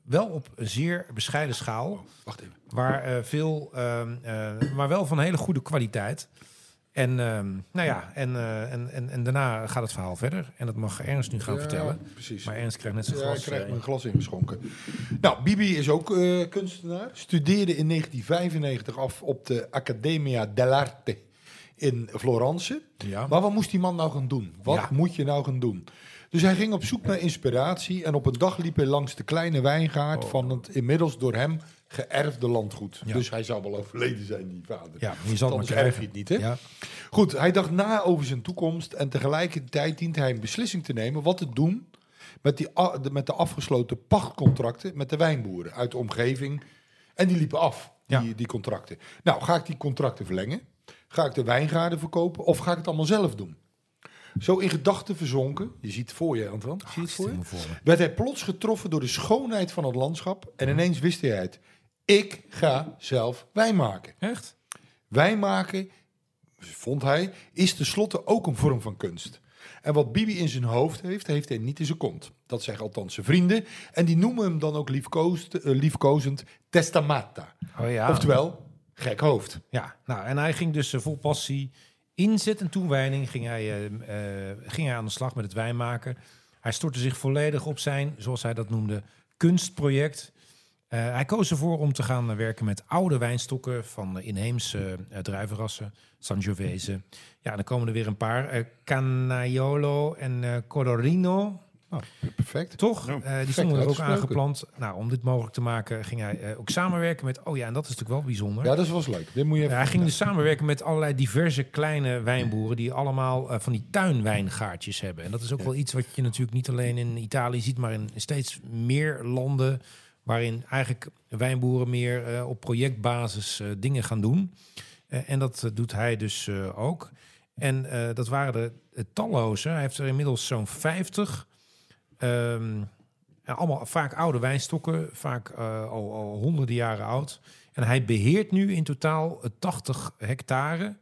S1: Wel op een zeer bescheiden schaal.
S3: Wacht even.
S1: Waar eh, veel, ehm, eh, maar wel van hele goede kwaliteit. En, ehm, nou ja, en, eh, en, en, en daarna gaat het verhaal verder. En dat mag Ernst nu gaan
S3: Ja,
S1: vertellen.
S3: Precies.
S1: Maar Ernst krijgt net zijn
S3: Ja, ik
S1: glas.
S3: krijg
S1: eh,
S3: mijn glas ingeschonken. Nou, Bibi is ook eh, kunstenaar. Studeerde in 1995 af op de Accademia dell'Arte in Florence.
S1: Ja.
S3: Maar wat moest die man nou gaan doen? Wat
S1: Ja.
S3: moet je nou gaan doen? Dus hij ging op zoek naar inspiratie en op een dag liep hij langs de kleine wijngaard van het inmiddels door hem geërfde landgoed.
S1: Oh. Ja.
S3: Dus hij zou wel overleden zijn, die vader.
S1: Ja, die zal
S3: Anders
S1: maar krijgen.
S3: erf je het niet, hè?
S1: Ja.
S3: Goed, hij dacht na over zijn toekomst en tegelijkertijd dient hij een beslissing te nemen wat te doen met, die, a- de- met de afgesloten pachtcontracten met de wijnboeren uit de omgeving. En die liepen af, die, die contracten. Nou, ga ik die contracten verlengen? Ga ik de wijngaarden verkopen of ga ik het allemaal zelf doen? Zo in gedachten verzonken, je ziet het voor je, Antoine, zie je het voor Mhm. je? werd hij plots getroffen door de schoonheid van het landschap en ineens wist hij het. Ik ga zelf wijn maken.
S1: Echt?
S3: Wijn maken, vond hij, is tenslotte ook een vorm van kunst. En wat Bibi in zijn hoofd heeft, heeft hij niet in zijn kont. Dat zeggen althans zijn vrienden. En die noemen hem dan ook liefkoosd- eh, liefkozend testamata.
S1: Oh ja.
S3: Oftewel, gek hoofd.
S1: Ja, nou, en hij ging dus eh, vol passie, inzet en toewijding ging hij, eh, eh, ging hij aan de slag met het wijnmaken. Hij stortte zich volledig op zijn, zoals hij dat noemde, kunstproject. Eh, hij koos ervoor om te gaan eh, werken met oude wijnstokken van eh, inheemse eh druivenrassen, Sangiovese. Ja, en dan komen er weer een paar. eh Canaiolo en eh Cororino,
S3: Perfect.
S1: toch?
S4: Ja,
S1: Eh, die stonden er ook
S3: uitgesproken.
S1: aangeplant. Nou, om dit mogelijk te maken ging hij eh, ook samenwerken met... Oh ja, en dat is natuurlijk wel bijzonder.
S3: Ja, dat was leuk. Dit moet je even
S1: Ja, hij ging dus samenwerken met allerlei diverse kleine wijnboeren die allemaal eh, van die tuinwijngaartjes hebben. En dat is ook wel iets wat je natuurlijk niet alleen in Italië ziet, maar in steeds meer landen waarin eigenlijk wijnboeren meer eh, op projectbasis eh, dingen gaan doen. Eh, en dat eh, doet hij dus eh, ook. En eh, dat waren de eh, talloze. Hij heeft er inmiddels zo'n 50. Ehm, en allemaal vaak oude wijnstokken, vaak eh, al, al honderden jaren oud. En hij beheert nu in totaal eh, 80 hectare.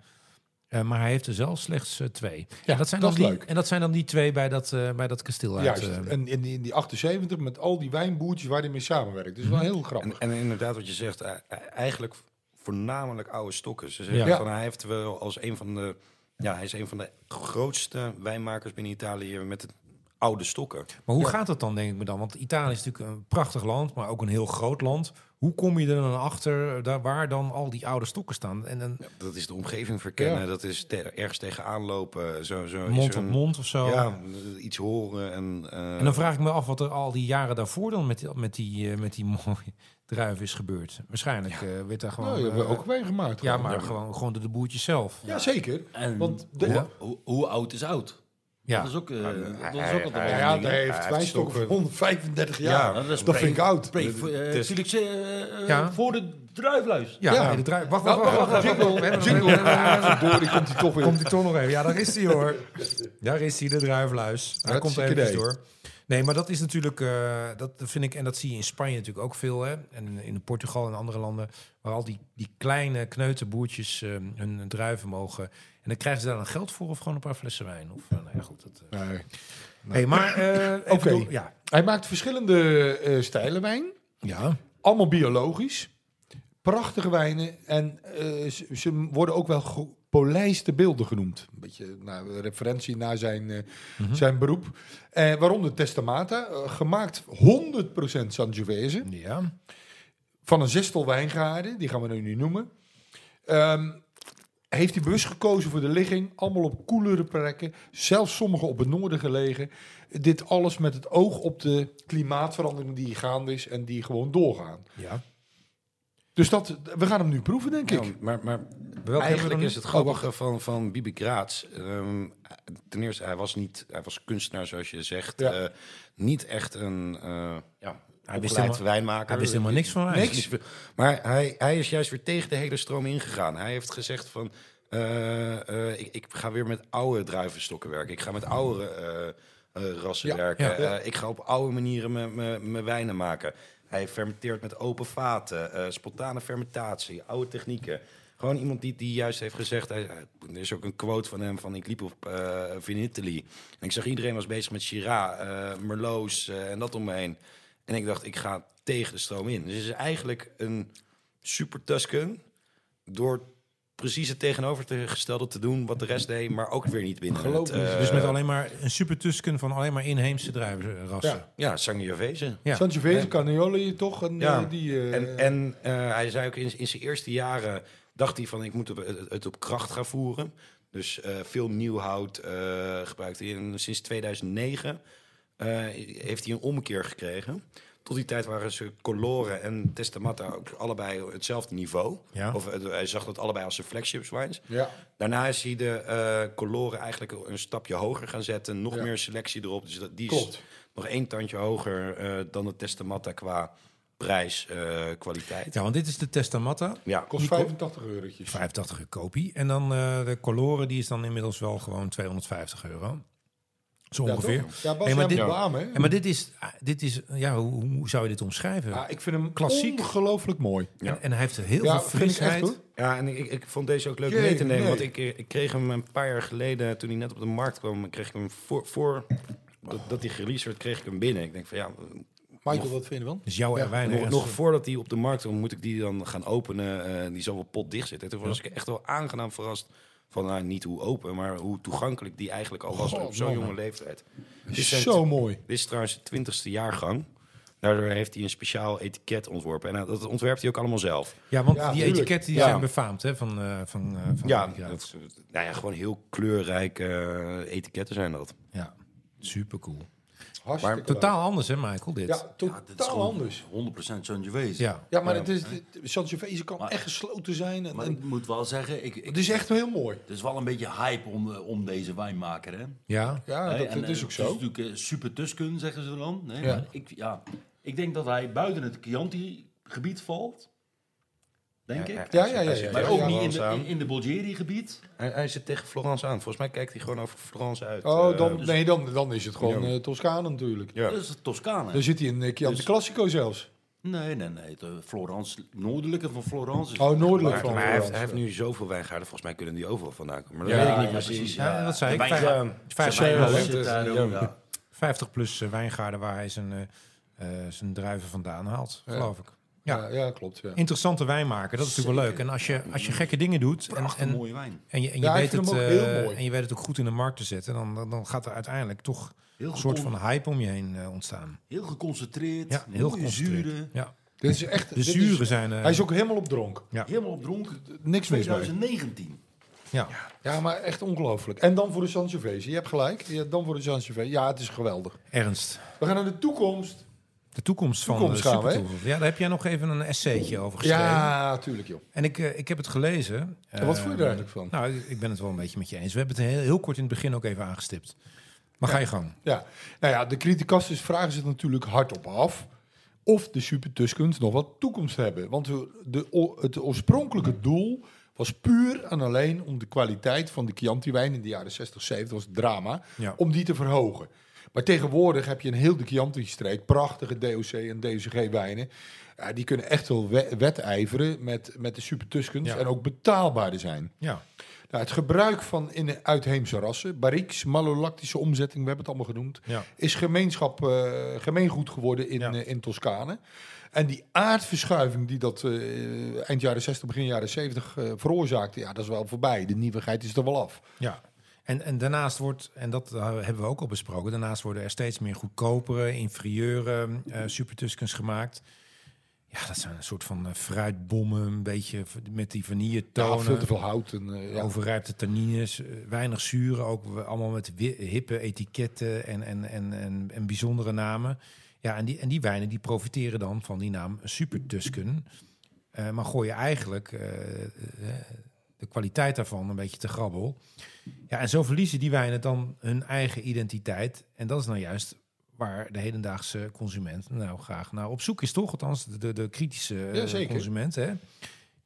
S1: Eh, maar hij heeft er zelf slechts eh, twee.
S3: Ja,
S1: En dat, zijn
S3: dat
S1: dan
S3: is
S1: die,
S3: leuk.
S1: En dat zijn dan die twee bij dat, eh, bij dat kasteel uit.
S3: Juist.
S1: eh,
S3: en in die, in die 78 met al die wijnboertjes waar hij mee samenwerkt. Dus wel heel grappig.
S4: En, en inderdaad, wat je zegt, eh, eh, eigenlijk voornamelijk oude stokken. Ze zeggen
S1: Ja.
S4: van hij heeft wel als een van de. Ja, hij is een van de grootste wijnmakers binnen Italië met het oude stokken.
S1: maar hoe gaat dat dan, denk ik me dan? Want Italië is natuurlijk een prachtig land, maar ook een heel groot land. Hoe kom je er dan achter eh, daar, waar dan al die oude stokken staan? En dan
S4: Dat is de omgeving verkennen,
S3: Ja.
S4: dat is te- ergens tegenaan lopen. Zo, zo,
S1: mond op
S4: zo'n-
S1: mond of zo.
S4: Ja, iets horen en. eh,
S1: En dan vraag ik me af wat er al die jaren daarvoor dan met die, met die, eh, met die mooie druif is gebeurd. Waarschijnlijk eh, werd daar gewoon...
S3: Nou, je hebt
S1: eh,
S3: ook wijn gemaakt.
S1: ja,
S3: gewoon.
S1: maar gewoon, gewoon door de boertjes zelf.
S3: Ja, zeker.
S5: En
S3: Want de-
S5: hoe, hoe, hoe oud is oud?
S1: Ja.
S5: Dat is ook, eh, dat is
S4: hij-
S5: ook altijd
S4: hij-
S5: wel
S3: ja,
S5: een ding, hè?
S3: hij heeft
S4: heeft
S3: wijnstokken van
S4: stokken.
S3: 135
S5: Ja,
S3: jaar.
S5: dat is
S3: dat
S5: pre-
S3: vind ik oud.
S5: pre- voor, eh,
S4: Dus-
S5: Felix, eh, eh,
S1: Ja.
S5: voor de druifluis.
S1: Ja,
S3: Ja.
S1: nee, de draai- Wacht,
S3: Oh,
S1: wacht, wacht. wacht, wacht, wacht, wacht,
S3: Jingle.
S1: wacht, wacht, wacht, wacht.
S3: Ah, verdorie, komt hij toch weer.
S1: Komt die toch nog even. Ja, daar is hij hoor. Daar is hij, de druifluis. Hij komt er
S3: Hartstikke
S1: even
S3: idee.
S1: door. Nee, maar dat is natuurlijk, eh, dat vind ik, en dat zie je in Spanje natuurlijk ook veel, hè? en in Portugal en andere landen, waar al die, die kleine kneuterboertjes eh, hun druiven mogen. En dan krijgen ze daar dan geld voor of gewoon een paar flessen wijn. Of, eh, nou ja, goed. Dat, eh.
S3: Nee.
S1: Hey, maar, eh, even
S3: Oké.
S1: door- Ja.
S3: Hij maakt verschillende eh stijlen wijn.
S1: ja.
S3: Allemaal biologisch. Prachtige wijnen. En eh, ze, ze worden ook wel gepolijste beelden genoemd. Een beetje nou, een referentie naar zijn, eh, zijn beroep. Eh, waaronder Testamata. eh, gemaakt 100% Sangiovese.
S1: Ja.
S3: van een zestal wijngaarden, die gaan we nu niet noemen. Ehm, heeft hij bewust gekozen voor de ligging, allemaal op koelere plekken, zelfs sommige op het noorden gelegen. Dit alles met het oog op de klimaatverandering die gaande is en die gewoon doorgaan.
S1: ja.
S3: Dus dat, we gaan hem nu proeven, denk ik.
S4: Ja, maar, maar
S1: we
S4: eigenlijk
S1: dan?
S4: is het grappige van, van Bibi Graats. ehm, ten eerste, hij was, niet, hij was kunstenaar, zoals je zegt.
S3: Ja.
S4: eh, niet echt een eh ja,
S1: Hij wist
S4: opgeleid
S1: helemaal-
S4: wijnmaker.
S1: Hij wist helemaal niks van wijn.
S4: Niks. Maar hij, hij is juist weer tegen de hele stroom ingegaan. Hij heeft gezegd van... eh, eh, ik, ik ga weer met oude druivenstokken werken. Ik ga met oude eh, eh, rassen
S3: Ja,
S4: werken.
S1: ja,
S3: ja.
S4: Eh, ik ga op oude manieren mijn- mijn mijn wijnen maken. Hij fermenteert met open vaten. eh, spontane fermentatie. Oude technieken. Gewoon iemand die, die juist heeft gezegd... Hij, hij- er is ook een quote van hem van... Ik liep op eh Vinitaly. En ik zag iedereen was bezig met Shiraz, eh Merlots eh, en dat om me heen. En ik dacht, ik ga tegen de stroom in. Dus het is eigenlijk een super Tusken door precies het tegenovergestelde te doen wat de rest deed, maar ook weer niet binnen.
S3: Geloof
S4: het,
S3: me.
S4: eh,
S1: Dus met alleen maar een super tusken van alleen maar inheemse druivenrassen.
S3: Ja.
S4: ja, Sangiovese.
S1: Ja.
S3: Sangiovese, Canaiolo hier toch? En,
S4: Ja.
S3: eh, die, eh,
S4: En, en eh, hij zei ook in, in zijn eerste jaren dacht hij van ik moet het- het, het op kracht gaan voeren. Dus eh, veel nieuw hout eh, gebruikt hij. En sinds 2009 eh, heeft hij een ommekeer gekregen. Tot die tijd waren ze Colore en Testamatta ook allebei hetzelfde niveau.
S1: Ja.
S4: Of eh, hij zag dat allebei als zijn flagship wines.
S3: Ja.
S4: Daarna is hij de eh Coloren eigenlijk een stapje hoger gaan zetten. Nog
S3: Ja.
S4: meer selectie erop. Dus dat, die
S3: Klopt.
S4: is nog één tandje hoger eh, dan de Testamatta qua prijs, eh, kwaliteit.
S1: Ja, want dit is de Testamatta.
S4: Ja.
S3: Kost
S1: Die ko-
S3: 85 eurotjes.
S1: 85 kopie. En dan eh, de Coloren, die is dan inmiddels wel gewoon 250 euro. Zo
S3: Ja,
S1: ongeveer.
S3: toch? Ja, Bas,
S1: Hey, maar
S3: jij
S1: dit-
S3: moet beamen, hè?
S1: En maar dit is, ah, dit is ja, hoe, hoe zou je dit omschrijven?
S3: Ja, ik vind hem
S1: Klassiek.
S3: klassiek. ongelooflijk mooi.
S1: en, en hij heeft heel
S3: Ah,
S1: veel
S3: Ja, vind ik echt
S1: frisheid.
S3: hoor.
S4: Ja, en ik, ik vond deze ook leuk
S3: Jee,
S4: mee te nemen.
S3: nee.
S4: Want ik, eh, ik kreeg hem een paar jaar geleden, toen hij net op de markt kwam, kreeg ik hem voor, voor dat, dat hij gereleased werd, kreeg ik hem binnen. Ik denk van ja,
S5: Michael, wat vind je ervan?
S1: Dus jouw
S3: Ja,
S1: erwijn
S4: nog, nog voordat hij op de markt kwam, moet ik die dan gaan openen. eh, die zal wel pot dicht zitten. Toen was ik echt wel aangenaam verrast van nou, niet hoe open, maar hoe toegankelijk die eigenlijk al was
S3: God,
S4: op zo'n
S3: man.
S4: jonge leeftijd. Dit zijn
S3: Zo mooi.
S4: Dit is trouwens de twintigste jaargang. Daardoor heeft hij een speciaal etiket ontworpen. En eh, dat ontwerpt hij ook allemaal zelf.
S1: Ja, want
S3: Ja,
S1: die
S3: tuurlijk.
S1: etiketten die
S4: Ja.
S1: zijn befaamd hè, van, eh, van, eh, van
S4: Ja,
S1: Amerika.
S4: dat, nou ja, gewoon heel kleurrijke eh, etiketten zijn dat.
S1: ja. super cool.
S3: Hartstikke leuk.
S1: Totaal anders hè, Michael, dit.
S3: Ja, totaal
S5: dit is gewoon
S3: anders.
S5: 100% Sangiovese.
S1: Ja.
S3: Ja, maar het is, Sangiovese kan
S5: Maar-
S3: echt gesloten zijn. En,
S5: Maar
S3: en-
S5: ik moet wel zeggen, ik, ik,
S3: het is echt heel mooi.
S5: het is wel een beetje hype om, eh, om deze wijnmaker, hè?
S1: Ja.
S3: Ja,
S5: Hè,
S3: dat,
S5: en,
S3: dat
S5: eh,
S3: is ook
S5: Het
S3: zo.
S5: is natuurlijk eh, super Tusken, zeggen ze dan. Hè?
S3: Ja.
S5: Maar ik, ja, ik denk dat hij buiten het Chianti-gebied valt. Denk ik.
S3: Ja, ja, ja, ja.
S5: Maar ook
S3: ja,
S5: niet in de,
S4: aan.
S5: in, in de Bulgari-gebied.
S4: Hij, hij zit tegen Florence aan. Volgens mij kijkt hij gewoon over Florence uit.
S3: Oh,
S4: eh,
S5: dus-
S3: dan, nee, dan, dan is het gewoon eh Toscane natuurlijk.
S4: Ja.
S5: Dat is de Dus Toscane.
S3: Dan zit hij in eh, Chianti
S5: Dus-
S3: Classico zelfs.
S5: Nee, nee, nee. De Florence, noordelijke van Florence. Is
S3: Oh, noordelijk
S4: Maar,
S3: van
S4: maar hij, heeft, hij
S3: Florence.
S4: heeft nu zoveel wijngaarden. Volgens mij kunnen die overal vandaan komen. Maar
S5: Ja,
S4: dat weet ik
S5: ja,
S4: niet precies.
S5: precies.
S1: Ja, dat zei ik.
S5: De
S1: Vijf-
S5: wijngaard-
S1: vijf-
S5: zijn
S1: vijf-
S5: wijngaard
S3: vijf-
S5: zit daar
S3: ja.
S5: ook, ja.
S1: 50 plus eh, wijngaarden waar hij zijn, eh, eh, zijn druiven vandaan haalt, geloof ik. Ja.
S3: Ja, ja, klopt. Ja.
S1: Interessante wijn maken, dat is natuurlijk wel leuk. En als je, als je gekke dingen doet en,
S5: Prachtig
S1: en,
S5: mooie wijn.
S1: en, je, en, je
S3: Ja, ik
S1: weet
S3: vind
S1: het,
S3: hem ook
S1: eh,
S3: heel mooi.
S1: en je weet het ook goed in de markt te zetten, dan, dan, dan gaat er uiteindelijk toch
S5: Heel
S1: een soort van
S5: gecon-
S1: hype om je heen eh, ontstaan.
S5: Heel geconcentreerd.
S1: Ja, heel
S5: mooie
S1: geconcentreerd.
S5: zuren.
S1: Ja.
S3: Dit is echt,
S1: De
S3: dit is-
S1: zuren zijn... eh,
S3: hij is ook helemaal op dronk.
S5: Helemaal op dronken.
S3: Niks mis mee.
S5: 2019.
S1: ja.
S3: Ja, maar echt ongelooflijk. En dan voor de Sangiovese. Je hebt gelijk. Ja, dan voor de Sangiovese. Ja, het is geweldig.
S1: Ernst,
S3: We gaan naar de toekomst.
S1: de toekomst van
S3: Toekomst
S1: de
S3: gaan we, hè?
S1: supertoekomst. Ja, daar heb jij nog even een essaytje over geschreven.
S3: Ja, tuurlijk joh.
S1: En ik, eh, ik heb het gelezen.
S3: En wat vond je er
S1: Ehm,
S3: eigenlijk van?
S1: Nou, ik ben het wel een beetje met je eens. We hebben het heel, heel kort in het begin ook even aangestipt. Maar ga je gang.
S3: Ja, nou ja, de criticasters vragen zich natuurlijk hardop af of de Super Tuscans nog wat toekomst hebben. Want de, de- het oorspronkelijke doel was puur en alleen om de kwaliteit van de Chianti-wijn in de jaren 60, 70, was het drama,
S1: Ja.
S3: om die te verhogen. Maar tegenwoordig heb je in heel de Chianti-streek prachtige DOC en DOCG-wijnen. Ja, die kunnen echt wel we- wedijveren met, met de Super Tuscans
S1: Ja.
S3: en ook betaalbaarder zijn.
S1: Ja.
S3: Nou, het gebruik van in uitheemse rassen, barriques, malolactische omzetting, we hebben het allemaal genoemd,
S1: Ja.
S3: is gemeenschap, eh, gemeengoed geworden in,
S1: Ja.
S3: eh, in Toscane. En die aardverschuiving die dat eh, eind jaren 60, begin jaren 70 eh, veroorzaakte, ja, dat is wel voorbij. De nieuwigheid is er wel af.
S1: ja. En, en daarnaast wordt, en dat eh, hebben we ook al besproken, daarnaast worden er steeds meer goedkopere, inferieure eh Super Tuscans gemaakt. Ja, dat zijn een soort van eh, fruitbommen, een beetje v- met die vanille
S3: Ja,
S1: tonen.
S3: veel te veel hout. En, eh, ja.
S1: Overrijpte tannines, eh, weinig zuren, ook we- allemaal met wi- hippe etiketten en, en, en, en, en bijzondere namen. Ja, en die, en die wijnen die profiteren dan van die naam Super Tusken. Eh, maar gooi je eigenlijk eh, eh, de kwaliteit daarvan een beetje te grabbel. Ja, en zo verliezen die wijnen dan hun eigen identiteit. En dat is nou juist waar de hedendaagse consument nou graag naar op zoek is, toch? Althans, de, de, de kritische eh,
S3: Ja, zeker.
S1: consument, hè?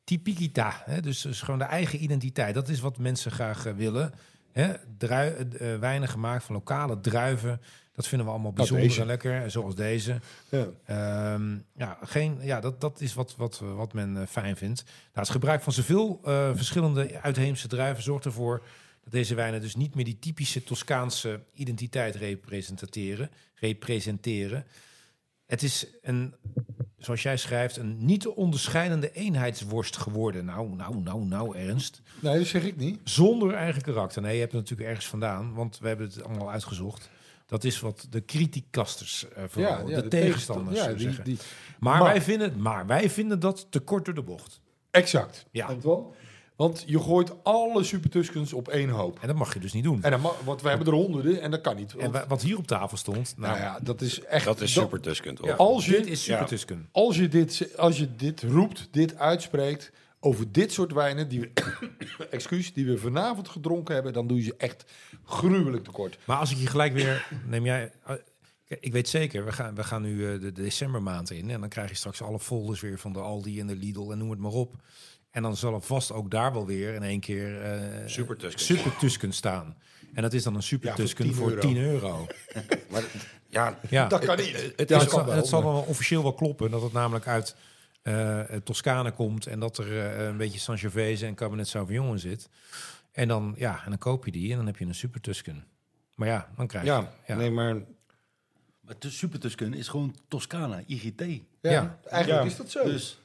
S1: Typiquita, hè? Dus, dus gewoon de eigen identiteit. Dat is wat mensen graag eh, willen. Hè? Drui, eh, eh, wijnen gemaakt van lokale druiven. Dat vinden we allemaal
S3: Nou,
S1: bijzonder
S3: deze.
S1: en lekker, eh, zoals deze.
S3: Ja.
S1: Ehm, ja, geen, ja dat, dat is wat, wat, wat men eh, fijn vindt. Nou, het gebruik van zoveel eh, verschillende uitheemse druiven zorgt ervoor dat deze wijnen dus niet meer die typische Toscaanse identiteit representeren. representeren. Het is een, zoals jij schrijft, een niet te onderscheidende eenheidsworst geworden. Nou, nou, nou, nou, Ernst.
S3: Nee, dat zeg ik niet.
S1: Zonder eigen karakter. Nee, je hebt het natuurlijk ergens vandaan, want we hebben het allemaal uitgezocht. Dat is wat de kritiekasters eh vooral, de, tegenstanders
S3: tegensta-
S1: eh,
S3: ja, die,
S1: zeggen.
S3: die,
S1: Maar,
S3: Maar-
S1: wij vinden, maar wij vinden dat te kort door de bocht.
S3: Exact.
S1: Ja.
S3: Antoine? Want je gooit alle Super Tuscans op één hoop.
S1: En dat mag je dus niet doen.
S3: En dan, ma- want we hebben er honderden en dat kan niet.
S1: En
S3: Want,
S1: wa- wat hier op tafel stond, nou,
S3: nou ja, dat is echt...
S4: Dat is super Tusken, toch?
S3: Als
S1: dit
S3: je,
S1: is Super
S4: Ja.
S1: Tusken.
S3: als, je dit, als je dit roept, dit uitspreekt over dit soort wijnen die we, excuus, die we vanavond gedronken hebben, dan doe je ze echt gruwelijk tekort.
S1: Maar als ik je gelijk weer neem jij. eh, kijk, Ik weet zeker, we gaan, we gaan nu eh, de de decembermaand in. En dan krijg je straks alle folders weer van de Aldi en de Lidl en noem het maar op. En dan zal er vast ook daar wel weer in één keer eh
S4: Super Tusken.
S1: Super Tusken staan. En dat is dan een Super
S3: Ja, voor
S1: Tusken
S3: 10
S1: voor
S3: euro.
S1: 10 euro.
S4: Maar, ja,
S1: Ja.
S3: Dat kan niet.
S1: En
S4: het
S3: Ja,
S4: is
S1: Dus het, zal,
S3: wel,
S1: en het zal
S3: maar-
S1: wel officieel wel kloppen dat het namelijk uit eh Toscane komt en dat er eh, een beetje Sangiovese en Cabernet Sauvignon in zit. En dan, ja, en dan koop je die en dan heb je een super Tusken. Maar ja, dan krijg je.
S4: ja, nee, maar
S5: Maar de Super Tusken is gewoon Toscana, IGT.
S3: Ja,
S1: Ja.
S3: Eigenlijk
S4: Ja.
S3: is dat zo.
S5: Dus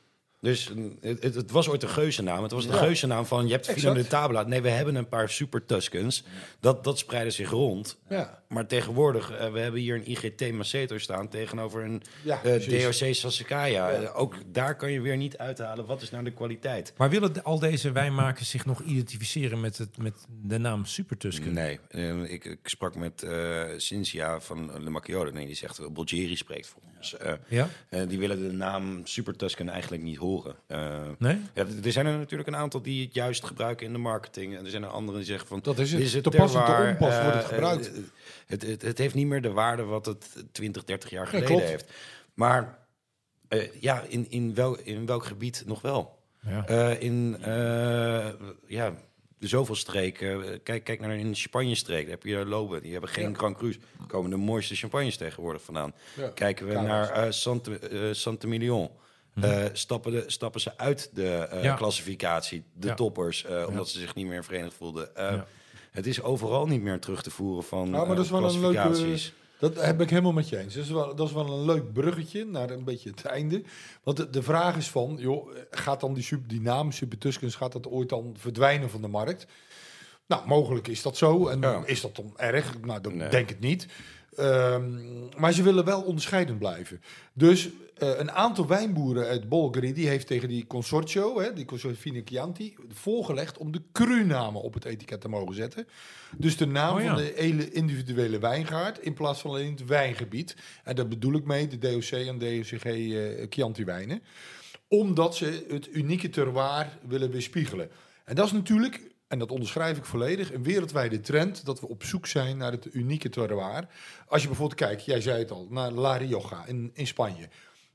S4: Dus mm, het, het- het was ooit een geuzennaam. Het was de
S3: Ja.
S4: geuzennaam van je hebt Vino
S3: Exact.
S4: de Tabla. Nee, we hebben een paar super Tuscans. Dat, dat spreidde zich rond.
S3: ja.
S4: Maar tegenwoordig, eh, we hebben hier een IGT Maceto staan tegenover een
S3: Ja,
S4: eh,
S3: precies.
S4: DOC Sasakaya. Eh, ook daar kan je weer niet uithalen wat is nou de kwaliteit.
S1: Maar willen de- al deze wijnmakers zich nog identificeren met, het, met de naam Super Tusken?
S4: Nee, eh, ik, ik sprak met eh Cynthia van Le Macchiolo. Nee, die zegt, eh, Bulgari spreekt voor ons. Eh,
S1: Ja?
S4: eh, die willen de naam Super Tuscan eigenlijk niet horen. Eh,
S1: Nee?
S4: Ja, d- er zijn er natuurlijk een aantal die het juist gebruiken in de marketing. En er zijn er anderen die zeggen van...
S3: Dat is het.
S4: dit
S3: Te pas en te
S4: terroir,
S3: onpas
S4: eh,
S3: wordt het gebruikt.
S4: eh, het, het, het heeft niet meer de waarde wat het 20, 30 jaar geleden
S3: klopt.
S4: heeft. Maar eh, ja, in, in, wel, in welk gebied nog wel?
S1: Ja.
S4: Eh, in eh, ja, zoveel streken. eh, Kijk, kijk naar een Spanje-streek. Daar heb je Loben. Die hebben geen Grand Cru. Daar komen de mooiste champagnes tegenwoordig vandaan.
S3: Ja.
S4: Kijken we
S3: Kaas.
S4: naar eh Sante, eh, Sante Million. Eh, stappen, de, stappen ze uit de eh,
S1: Mhm. Ja.
S4: klassificatie, de
S1: Ja.
S4: toppers, eh, omdat ze zich niet meer verenigd voelden. Eh, Het is overal niet meer terug te voeren van
S3: Nou, maar
S4: eh,
S3: dat is wel een leuke.
S4: klassificaties.
S3: Dat heb ik helemaal met je eens. Dat is wel, dat is wel een leuk bruggetje naar een beetje het einde. Want de, de vraag is van, joh, gaat dan die, super, die naam Super Tuscans, gaat dat ooit dan verdwijnen van de markt? Nou, mogelijk is dat zo. En
S4: Ja.
S3: is dat dan erg? Nou, dat
S4: Nee.
S3: denk ik niet. Ehm, maar ze willen wel onderscheidend blijven. Dus eh, een aantal wijnboeren uit Bolgari... die heeft tegen die consortio, hè, die consortio Fine Chianti... voorgelegd om de cru-namen op het etiket te mogen zetten. Dus de naam
S1: Oh ja.
S3: van de hele individuele wijngaard... in plaats van alleen het wijngebied. En daar bedoel ik mee de DOC en DOCG eh, Chianti-wijnen omdat ze het unieke terroir willen weerspiegelen. En dat is natuurlijk, en dat onderschrijf ik volledig, een wereldwijde trend dat we op zoek zijn naar het unieke terroir. Als je bijvoorbeeld kijkt, jij zei het al, naar La Rioja in, in Spanje.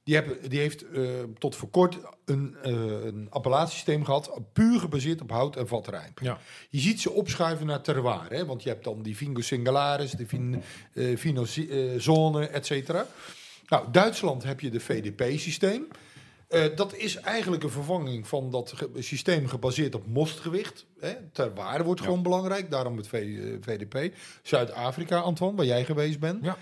S3: Die, hebben, die heeft eh, tot voor kort een, eh een appellatiesysteem gehad, puur gebaseerd op hout en vatrijp.
S1: Ja.
S3: Je ziet ze opschuiven naar terroir, hè? want je hebt dan die Vingo Singularis, de vin, eh, Vino Si- eh, Zone, et cetera. Nou, Duitsland heb je de VDP-systeem. Eh, dat is eigenlijk een vervanging van dat ge- systeem gebaseerd op mostgewicht. Hè? Ter waarde wordt gewoon belangrijk, daarom het V- eh, VDP. Zuid-Afrika, Antoine, waar jij geweest bent,
S1: Ja.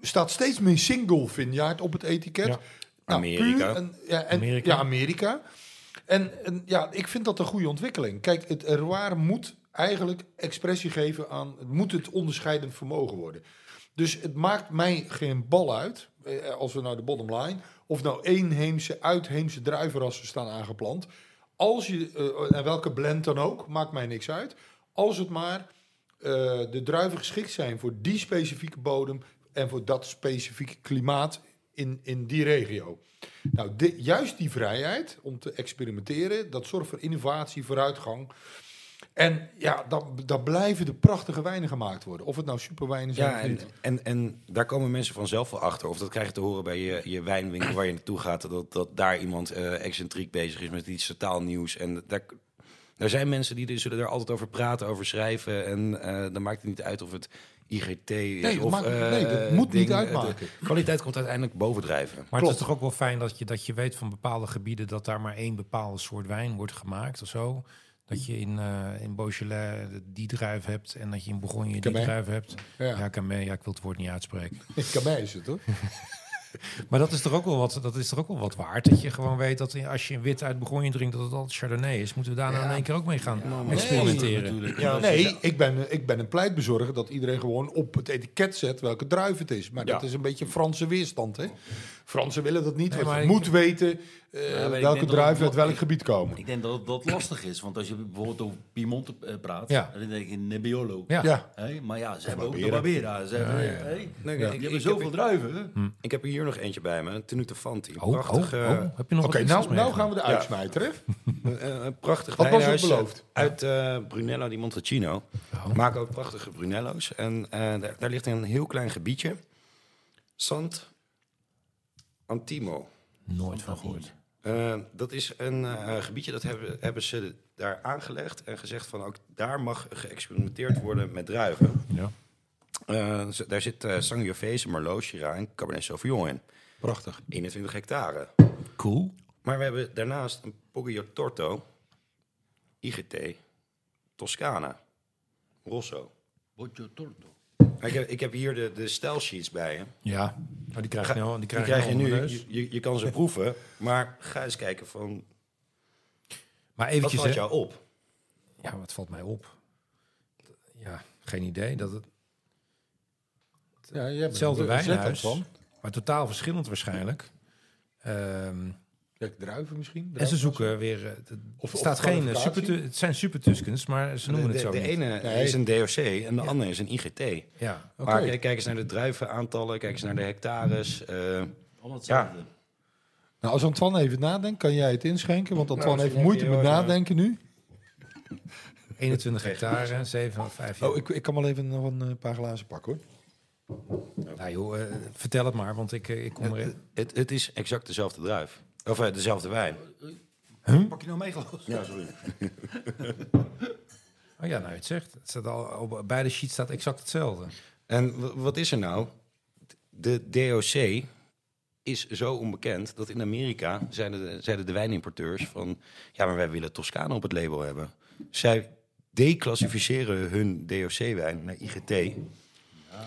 S3: staat steeds meer single vineyard op het etiket. Nou,
S1: Ja.
S4: Amerika.
S3: puur en, ja, en,
S1: Amerika.
S3: Ja, Amerika. En, en ja, ik vind dat een goede ontwikkeling. Kijk, het terroir moet eigenlijk expressie geven aan... Het moet het onderscheidend vermogen worden. Dus het maakt mij geen bal uit, eh, als we naar de bottom line... of nou eenheemse, uitheemse druivenrassen staan aangeplant. Als je, eh, en welke blend dan ook, maakt mij niks uit. Als het maar eh, de druiven geschikt zijn voor die specifieke bodem... en voor dat specifieke klimaat in, in die regio. Nou, di- juist die vrijheid om te experimenteren, dat zorgt voor innovatie, vooruitgang. En ja, dan, dan blijven de prachtige wijnen gemaakt worden. Of het nou superwijnen zijn
S4: Ja,
S3: of
S4: en,
S3: niet.
S4: en, en daar komen mensen vanzelf wel achter. Of dat krijg je te horen bij je, je wijnwinkel waar je naartoe gaat. Dat, dat daar iemand eh, excentriek bezig is met iets totaal nieuws. En daar, daar zijn mensen die er- zullen daar altijd over praten, over schrijven. En eh, dan maakt het niet uit of het IGT is.
S3: Nee, dat
S4: of,
S3: maakt-
S4: eh,
S3: nee, dat moet niet
S4: eh,
S3: uitmaken.
S4: de kwaliteit komt uiteindelijk bovendrijven.
S1: Maar
S3: Klopt.
S1: het is toch ook wel fijn dat je, dat je weet van bepaalde gebieden dat daar maar één bepaalde soort wijn wordt gemaakt of zo. Dat je in, eh, in Beaujolais die druif hebt en dat je in Bourgogne die
S3: Cabernet.
S1: druif hebt.
S3: Ja.
S1: Ja, Cabernet, ja, ik wil het woord niet uitspreken.
S3: Kan mij is het hoor.
S1: Maar dat is, toch ook wel wat, dat is toch ook wel wat waard. Dat je gewoon weet dat als je een wit uit Bourgogne drinkt, dat het altijd Chardonnay is. Moeten we daar nou in één keer ook mee gaan experimenteren?
S5: natuurlijk.
S3: nee, ik ben, ik ben een pleitbezorger dat iedereen gewoon op het etiket zet welke druif het is. Maar dat
S4: Ja.
S3: is een beetje Franse weerstand. Hè? Fransen willen dat niet,
S1: Nee,
S3: want
S1: maar
S3: je
S1: ik-
S3: moet weten eh,
S5: Ja, maar ik denk
S3: welke
S5: dat
S3: druiven
S5: dat-
S3: uit welk
S5: ik-
S3: gebied komen.
S5: Ik denk dat dat lastig is, want als je bijvoorbeeld over Piemonte eh, praat,
S3: Ja.
S5: dan denk je Nebbiolo.
S1: Ja.
S3: Ja,
S5: Hé, maar ja, ze hebben ook de
S3: Barbera.
S5: Barbera. Ze hebben, hé,
S4: Nee,
S5: die
S4: ik-
S5: hebben
S4: ik
S5: zoveel
S4: heb-
S5: druiven. hè?
S4: Ik heb hier nog eentje bij me, Tenute Fanti.
S1: Oh, oh,
S4: Prachtig, eh,
S1: oh, heb je nog
S3: oké,
S1: wat
S3: nou, nou
S1: gaan
S3: gaan we de uitsmijter, hè?
S4: Eh, een prachtig
S3: Wat was
S4: wijnhuis
S3: ook beloofd? Oh.
S4: Uit eh, Brunello di Montalcino. Maken ook prachtige Brunello's. En eh, daar, daar ligt een heel klein gebiedje. Sant Antimo.
S1: Nooit van gehoord.
S4: Eh, dat is een eh, gebiedje dat hebben, hebben ze daar aangelegd en gezegd van ook daar mag geëxperimenteerd worden met druiven.
S1: Ja.
S4: Eh, ze- daar zit eh Sangiovese, Merlot, Shiraz en Cabernet Sauvignon in.
S3: Prachtig.
S4: 21 hectare.
S1: Cool.
S4: Maar we hebben daarnaast een Poggio Torto, IGT, Toscana, Rosso.
S5: Boccio Torto.
S4: Ik heb, ik heb hier de, de stijlsheets bij je.
S1: Ja, maar die krijg je, nou, die
S4: Die
S1: krijg
S4: krijg je
S1: nou
S4: nu.
S1: onder de neus.
S4: Je, je, je kan ze proeven, maar ga eens kijken van
S1: Maar
S4: wat
S1: eventjes,
S4: valt
S1: hè.
S4: jou op?
S1: ja, wat valt mij op? Ja, geen idee. Dat het
S3: Ja, jij bent
S1: hetzelfde
S3: er ontzettend
S1: wijnhuis,
S3: van.
S1: maar totaal verschillend waarschijnlijk. Ehm,
S3: Kijk, druiven misschien.
S1: en ze
S3: druiven.
S1: zoeken weer. eh, Het
S3: Of- of
S1: staat geen eh,
S3: kwalificatie.
S1: super. Het zijn super Tuskens, maar ze
S4: De,
S1: noemen
S4: de,
S1: het zo
S4: de
S1: niet.
S4: ene
S3: Nee.
S4: is een DOC en de andere is een IGT.
S1: Ja,
S3: Oké.
S4: Maar kijk, kijk eens naar de druivenaantallen, kijk eens naar de hectares. eh,
S5: Allemaal hetzelfde.
S3: Nou, als Antoine even nadenkt, kan jij het inschenken? Want Antoine
S4: dat
S3: heeft
S4: vind Nou, ik
S3: moeite
S4: heel
S3: met
S4: erg, eh,
S3: nadenken nu.
S1: 21 hectare, 7 van 5 jaar.
S3: Oh, ik, ik kan wel even nog een eh, paar glazen pakken, hoor.
S1: Nou joh, eh, vertel het maar, want ik, eh, ik kom erin.
S4: het, het is exact dezelfde druif. Of eh, dezelfde wijn.
S5: Pak je nou mee, geloof
S4: Ja, sorry.
S1: Oh ja, nou je het zegt. Het staat al, op beide sheets staat exact hetzelfde.
S4: En w- wat is er nou? De DOC is zo onbekend dat in Amerika zeiden de, zeiden de wijnimporteurs van... ja, maar wij willen Toscane op het label hebben. Zij declassificeren hun DOC-wijn naar IGT...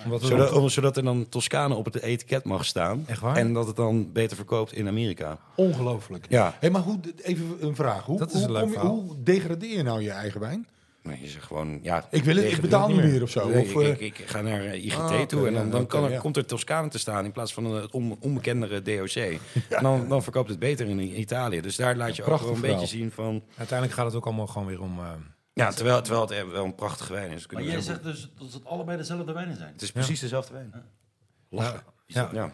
S1: Omdat we-
S4: Zodat, om- zodat er dan Toscane op het etiket mag staan.
S1: Echt waar?
S4: En dat het dan beter verkoopt in Amerika.
S3: Ongelooflijk.
S4: Ja.
S3: Hey, maar hoe, even een vraag. Hoe,
S1: Dat is een
S3: hoe,
S1: leuk
S3: kom je-
S1: verhaal.
S3: hoe degradeer je nou je eigen wijn?
S4: Nee, je zegt gewoon... Ja,
S3: Ik wil het, ik
S4: tegen-
S3: betaal niet meer of zo.
S4: Nee,
S3: of,
S4: ik-
S3: eh,
S4: ik, ik, ga naar eh, IGT
S3: Ah, oké,
S4: toe en dan,
S3: ja,
S4: dan
S3: oké,
S4: kan er,
S3: ja.
S4: komt er Toscane te staan in plaats van eh, het on- onbekendere DOC. En dan, dan verkoopt het beter in Italië. Dus daar laat je ook
S3: prachtig
S4: wel een
S3: verhaal.
S4: beetje zien van...
S1: Uiteindelijk gaat het ook allemaal gewoon weer om... eh,
S4: Ja, terwijl, terwijl het eh, wel een prachtige wijn is.
S5: Maar
S4: Kunnen we
S5: jij
S4: zo-
S5: zegt dus dat het allebei dezelfde wijnen zijn.
S4: Het is precies dezelfde wijn.
S1: nou, ja.
S4: Ja.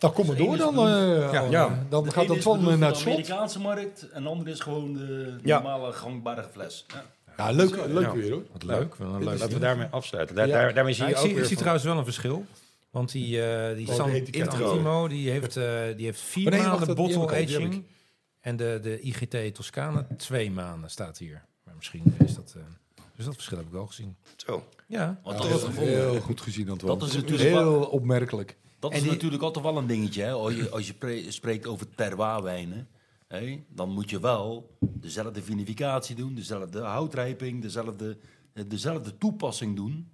S3: nou, kom maar
S5: Dus één
S3: door
S5: is
S3: dan. eh,
S4: Ja,
S3: Anne.
S4: ja.
S3: Dan
S5: De
S3: gaat
S5: ene
S3: dat
S5: is
S3: van
S5: bedoeld
S3: eh,
S5: voor
S3: naar
S5: de
S3: het slot.
S5: Amerikaanse markt en de andere is gewoon de
S4: Ja.
S5: normale gangbare fles. Ja.
S3: Ja, leuk, leuk weer hoor.
S1: Wat leuk. Wat een leuk.
S4: Laten we daarmee afsluiten. Daar,
S3: Ja.
S4: daar, daarmee zie
S1: Maar
S4: je
S1: ik
S4: ook
S1: zie, ik
S4: weer
S1: zie
S4: van-
S1: trouwens wel een verschil. Want die, eh die
S3: de
S1: San
S3: etiketten.
S1: Intimo, die heeft, eh, die heeft vier
S3: Maar nee, wacht,
S1: maanden
S3: dat- die
S1: bottle
S3: heb ik al, die heb
S1: aging. En de, de IGT Toscane twee maanden staat hier. Maar misschien is dat... eh, dus dat verschil heb ik wel gezien.
S4: Zo.
S1: Ja.
S5: Want
S3: Dat
S5: dat,
S3: is
S5: is,
S3: heel goed gezien, Antoine.
S5: Dat is natuurlijk
S3: heel opmerkelijk.
S5: dat is natuurlijk altijd wel een dingetje. Hè? Als je, als je pre- spreekt over terroirwijnen, hè? dan moet je wel dezelfde vinificatie doen, dezelfde houtrijping, dezelfde, eh, dezelfde toepassing doen.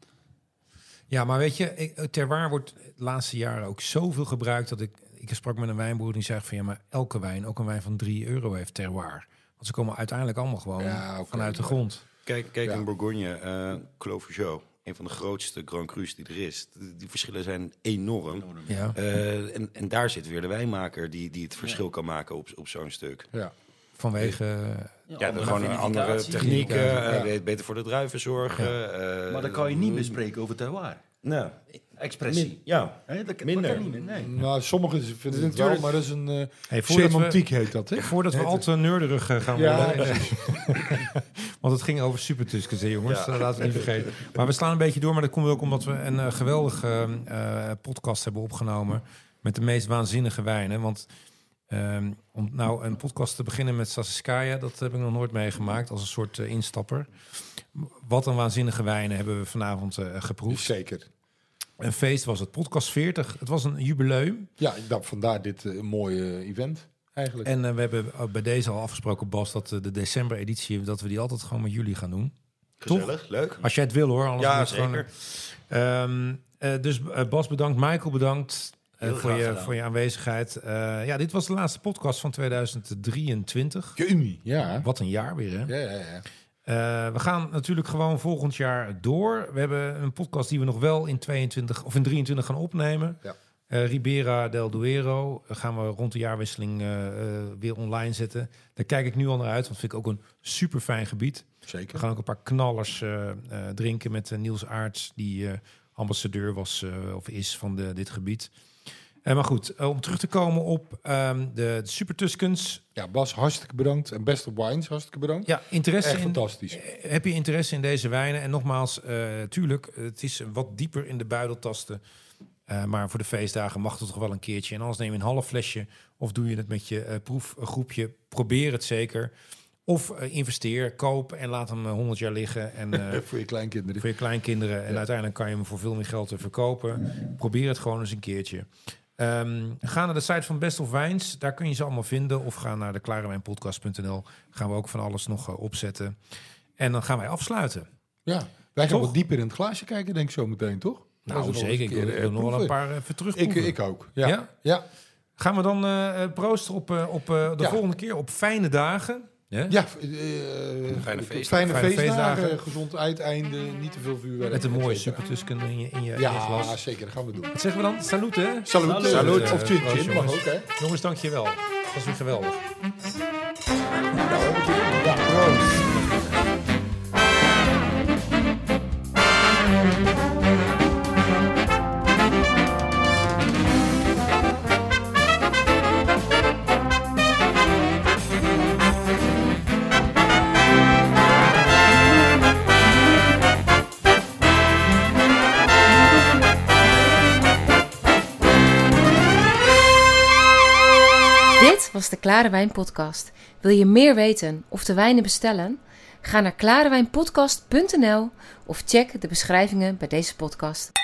S1: Ja, maar weet je, ik- terroir wordt de laatste jaren ook zoveel gebruikt dat ik. Ik sprak met een wijnboer die zei van ja, maar elke wijn, ook een wijn van 3 euro, heeft terroir. Want ze komen uiteindelijk allemaal gewoon
S3: Ja, oké,
S1: vanuit de
S3: ja.
S1: grond.
S4: Kijk, kijk
S3: Ja.
S4: in Bourgogne, eh Clos Veugeot, een van de grootste Grand Crus die er is. Die die verschillen zijn enorm.
S1: Ja.
S4: Eh, en, en daar zit weer de wijnmaker die, die het verschil kan maken op, op zo'n stuk.
S3: Ja.
S1: Vanwege.
S4: Ja,
S5: andere
S4: gewoon een andere
S5: vinificatie.
S4: technieken,
S3: Ja.
S4: eh, beter voor de druiven zorgen. eh,
S5: Maar dat kan je niet meer spreken over terroir.
S4: Nou,
S5: Expressie.
S4: min- ja.
S5: Hè, dat, dat
S4: Minder.
S5: kan niet meer, nee.
S3: Nou, sommigen vinden het wel, maar dat is een eh,
S1: Hey, voordat we-
S3: semantiek heet dat, hè?
S1: Voordat we al te neurderig eh, gaan
S3: Ja,
S1: worden. Want het ging over supertuskens, hè, jongens.
S4: Ja.
S1: Dat laten we niet vergeten. Maar we slaan een beetje door. Maar dat komt ook omdat we een eh, geweldige eh, eh, podcast hebben opgenomen. Met de meest waanzinnige wijnen. Want ehm, om nou een podcast te beginnen met Sassiskaya... dat heb ik nog nooit meegemaakt als een soort eh, instapper. Wat een waanzinnige wijnen hebben we vanavond eh, geproefd.
S3: Zeker.
S1: Een feest was het. Podcast 40. Het was een jubileum.
S3: Ja, dat, vandaar dit eh, mooie event eigenlijk.
S1: En eh, we hebben eh, bij deze al afgesproken, Bas... dat eh, de december-editie, dat we die altijd gewoon met jullie gaan doen.
S4: Gezellig, leuk.
S1: Als jij het wil hoor. Anders
S4: Ja,
S1: moet je het
S4: zeker.
S1: Ehm, eh, dus eh, Bas bedankt, Michael bedankt eh,
S5: Heel
S1: voor,
S5: graag
S1: je,
S5: gedaan.
S1: voor je aanwezigheid. Eh, ja, dit was de laatste podcast van 2023.
S3: Jumi. Ja.
S1: Wat een jaar weer, hè?
S3: Ja, ja, ja.
S1: Eh, we gaan natuurlijk gewoon volgend jaar door. We hebben een podcast die we nog wel in 22 of in 23 gaan opnemen.
S3: Ja.
S1: Eh, Eh, Ribera del Duero eh, gaan we rond de jaarwisseling eh, eh, weer online zetten. Daar kijk ik nu al naar uit, want vind ik ook een super fijn gebied. We
S3: Zeker.
S1: gaan ook een paar knallers eh, eh, drinken met eh, Niels Aarts, die eh, ambassadeur was eh, of is van de, dit gebied. Eh, maar goed, eh, om terug te komen op ehm, de, de Super Tuscans.
S3: Ja, Bas, hartstikke bedankt. En Best of Wines, hartstikke bedankt.
S1: Ja, interesse
S3: Echt
S1: in,
S3: fantastisch.
S1: eh, Heb je interesse in deze wijnen? En nogmaals, eh, tuurlijk, het is wat dieper in de buideltasten. Eh, maar voor de feestdagen mag het toch wel een keertje. En anders neem je een half flesje of doe je het met je eh, proefgroepje. Probeer het zeker. Of eh, investeer, koop en laat hem eh, 100 jaar liggen. En eh,
S3: Voor je kleinkinderen.
S1: voor je kleinkinderen. En uiteindelijk kan je hem voor veel meer geld eh, verkopen. Probeer het gewoon eens een keertje. Ehm, ga naar de site van Best of Wijns. Daar kun je ze allemaal vinden. Of ga naar de klarewijnpodcast.nl. Gaan we ook van alles nog eh, opzetten. En dan gaan wij afsluiten.
S3: Ja, wij gaan
S1: Toch?
S3: wat dieper in het glaasje kijken, denk ik zo meteen, toch? Als we
S1: Nou,
S3: nog eens
S1: zeker.
S3: een
S1: Ik wil,
S3: keer,
S1: ik
S3: eh,
S1: wil nog wel een
S3: proeven.
S1: paar eh, even
S3: Ik,
S1: terugproeven.
S3: ik ook, ja.
S1: Ja?
S3: ja?
S1: Gaan we dan eh, eh, proosten op, eh, op eh, de
S3: Ja.
S1: volgende keer op fijne dagen. Ja?
S3: Ja, eh, fijne,
S4: feestdagen.
S3: fijne
S1: Fijne
S3: feestdagen,
S1: feestdagen.
S3: gezond uiteinde, niet te veel vuurwerk.
S1: Met een mooie
S3: et cetera.
S1: supertusken in je, in je, in je
S3: Ja,
S1: glas.
S3: zeker, dat gaan we doen.
S1: Wat zeggen we dan? Salute, hè?
S3: Salut,
S5: Salut.
S1: Eh,
S3: of chin
S1: proost,
S3: chin, mag
S1: jongens.
S3: ook, hè?
S1: Jongens, dankjewel. Dat was weer geweldig.
S3: Ja, proost.
S2: Dit was de Klare Wijn Podcast. Wil je meer weten of de wijnen bestellen? Ga naar klarewijnpodcast.nl of check de beschrijvingen bij deze podcast.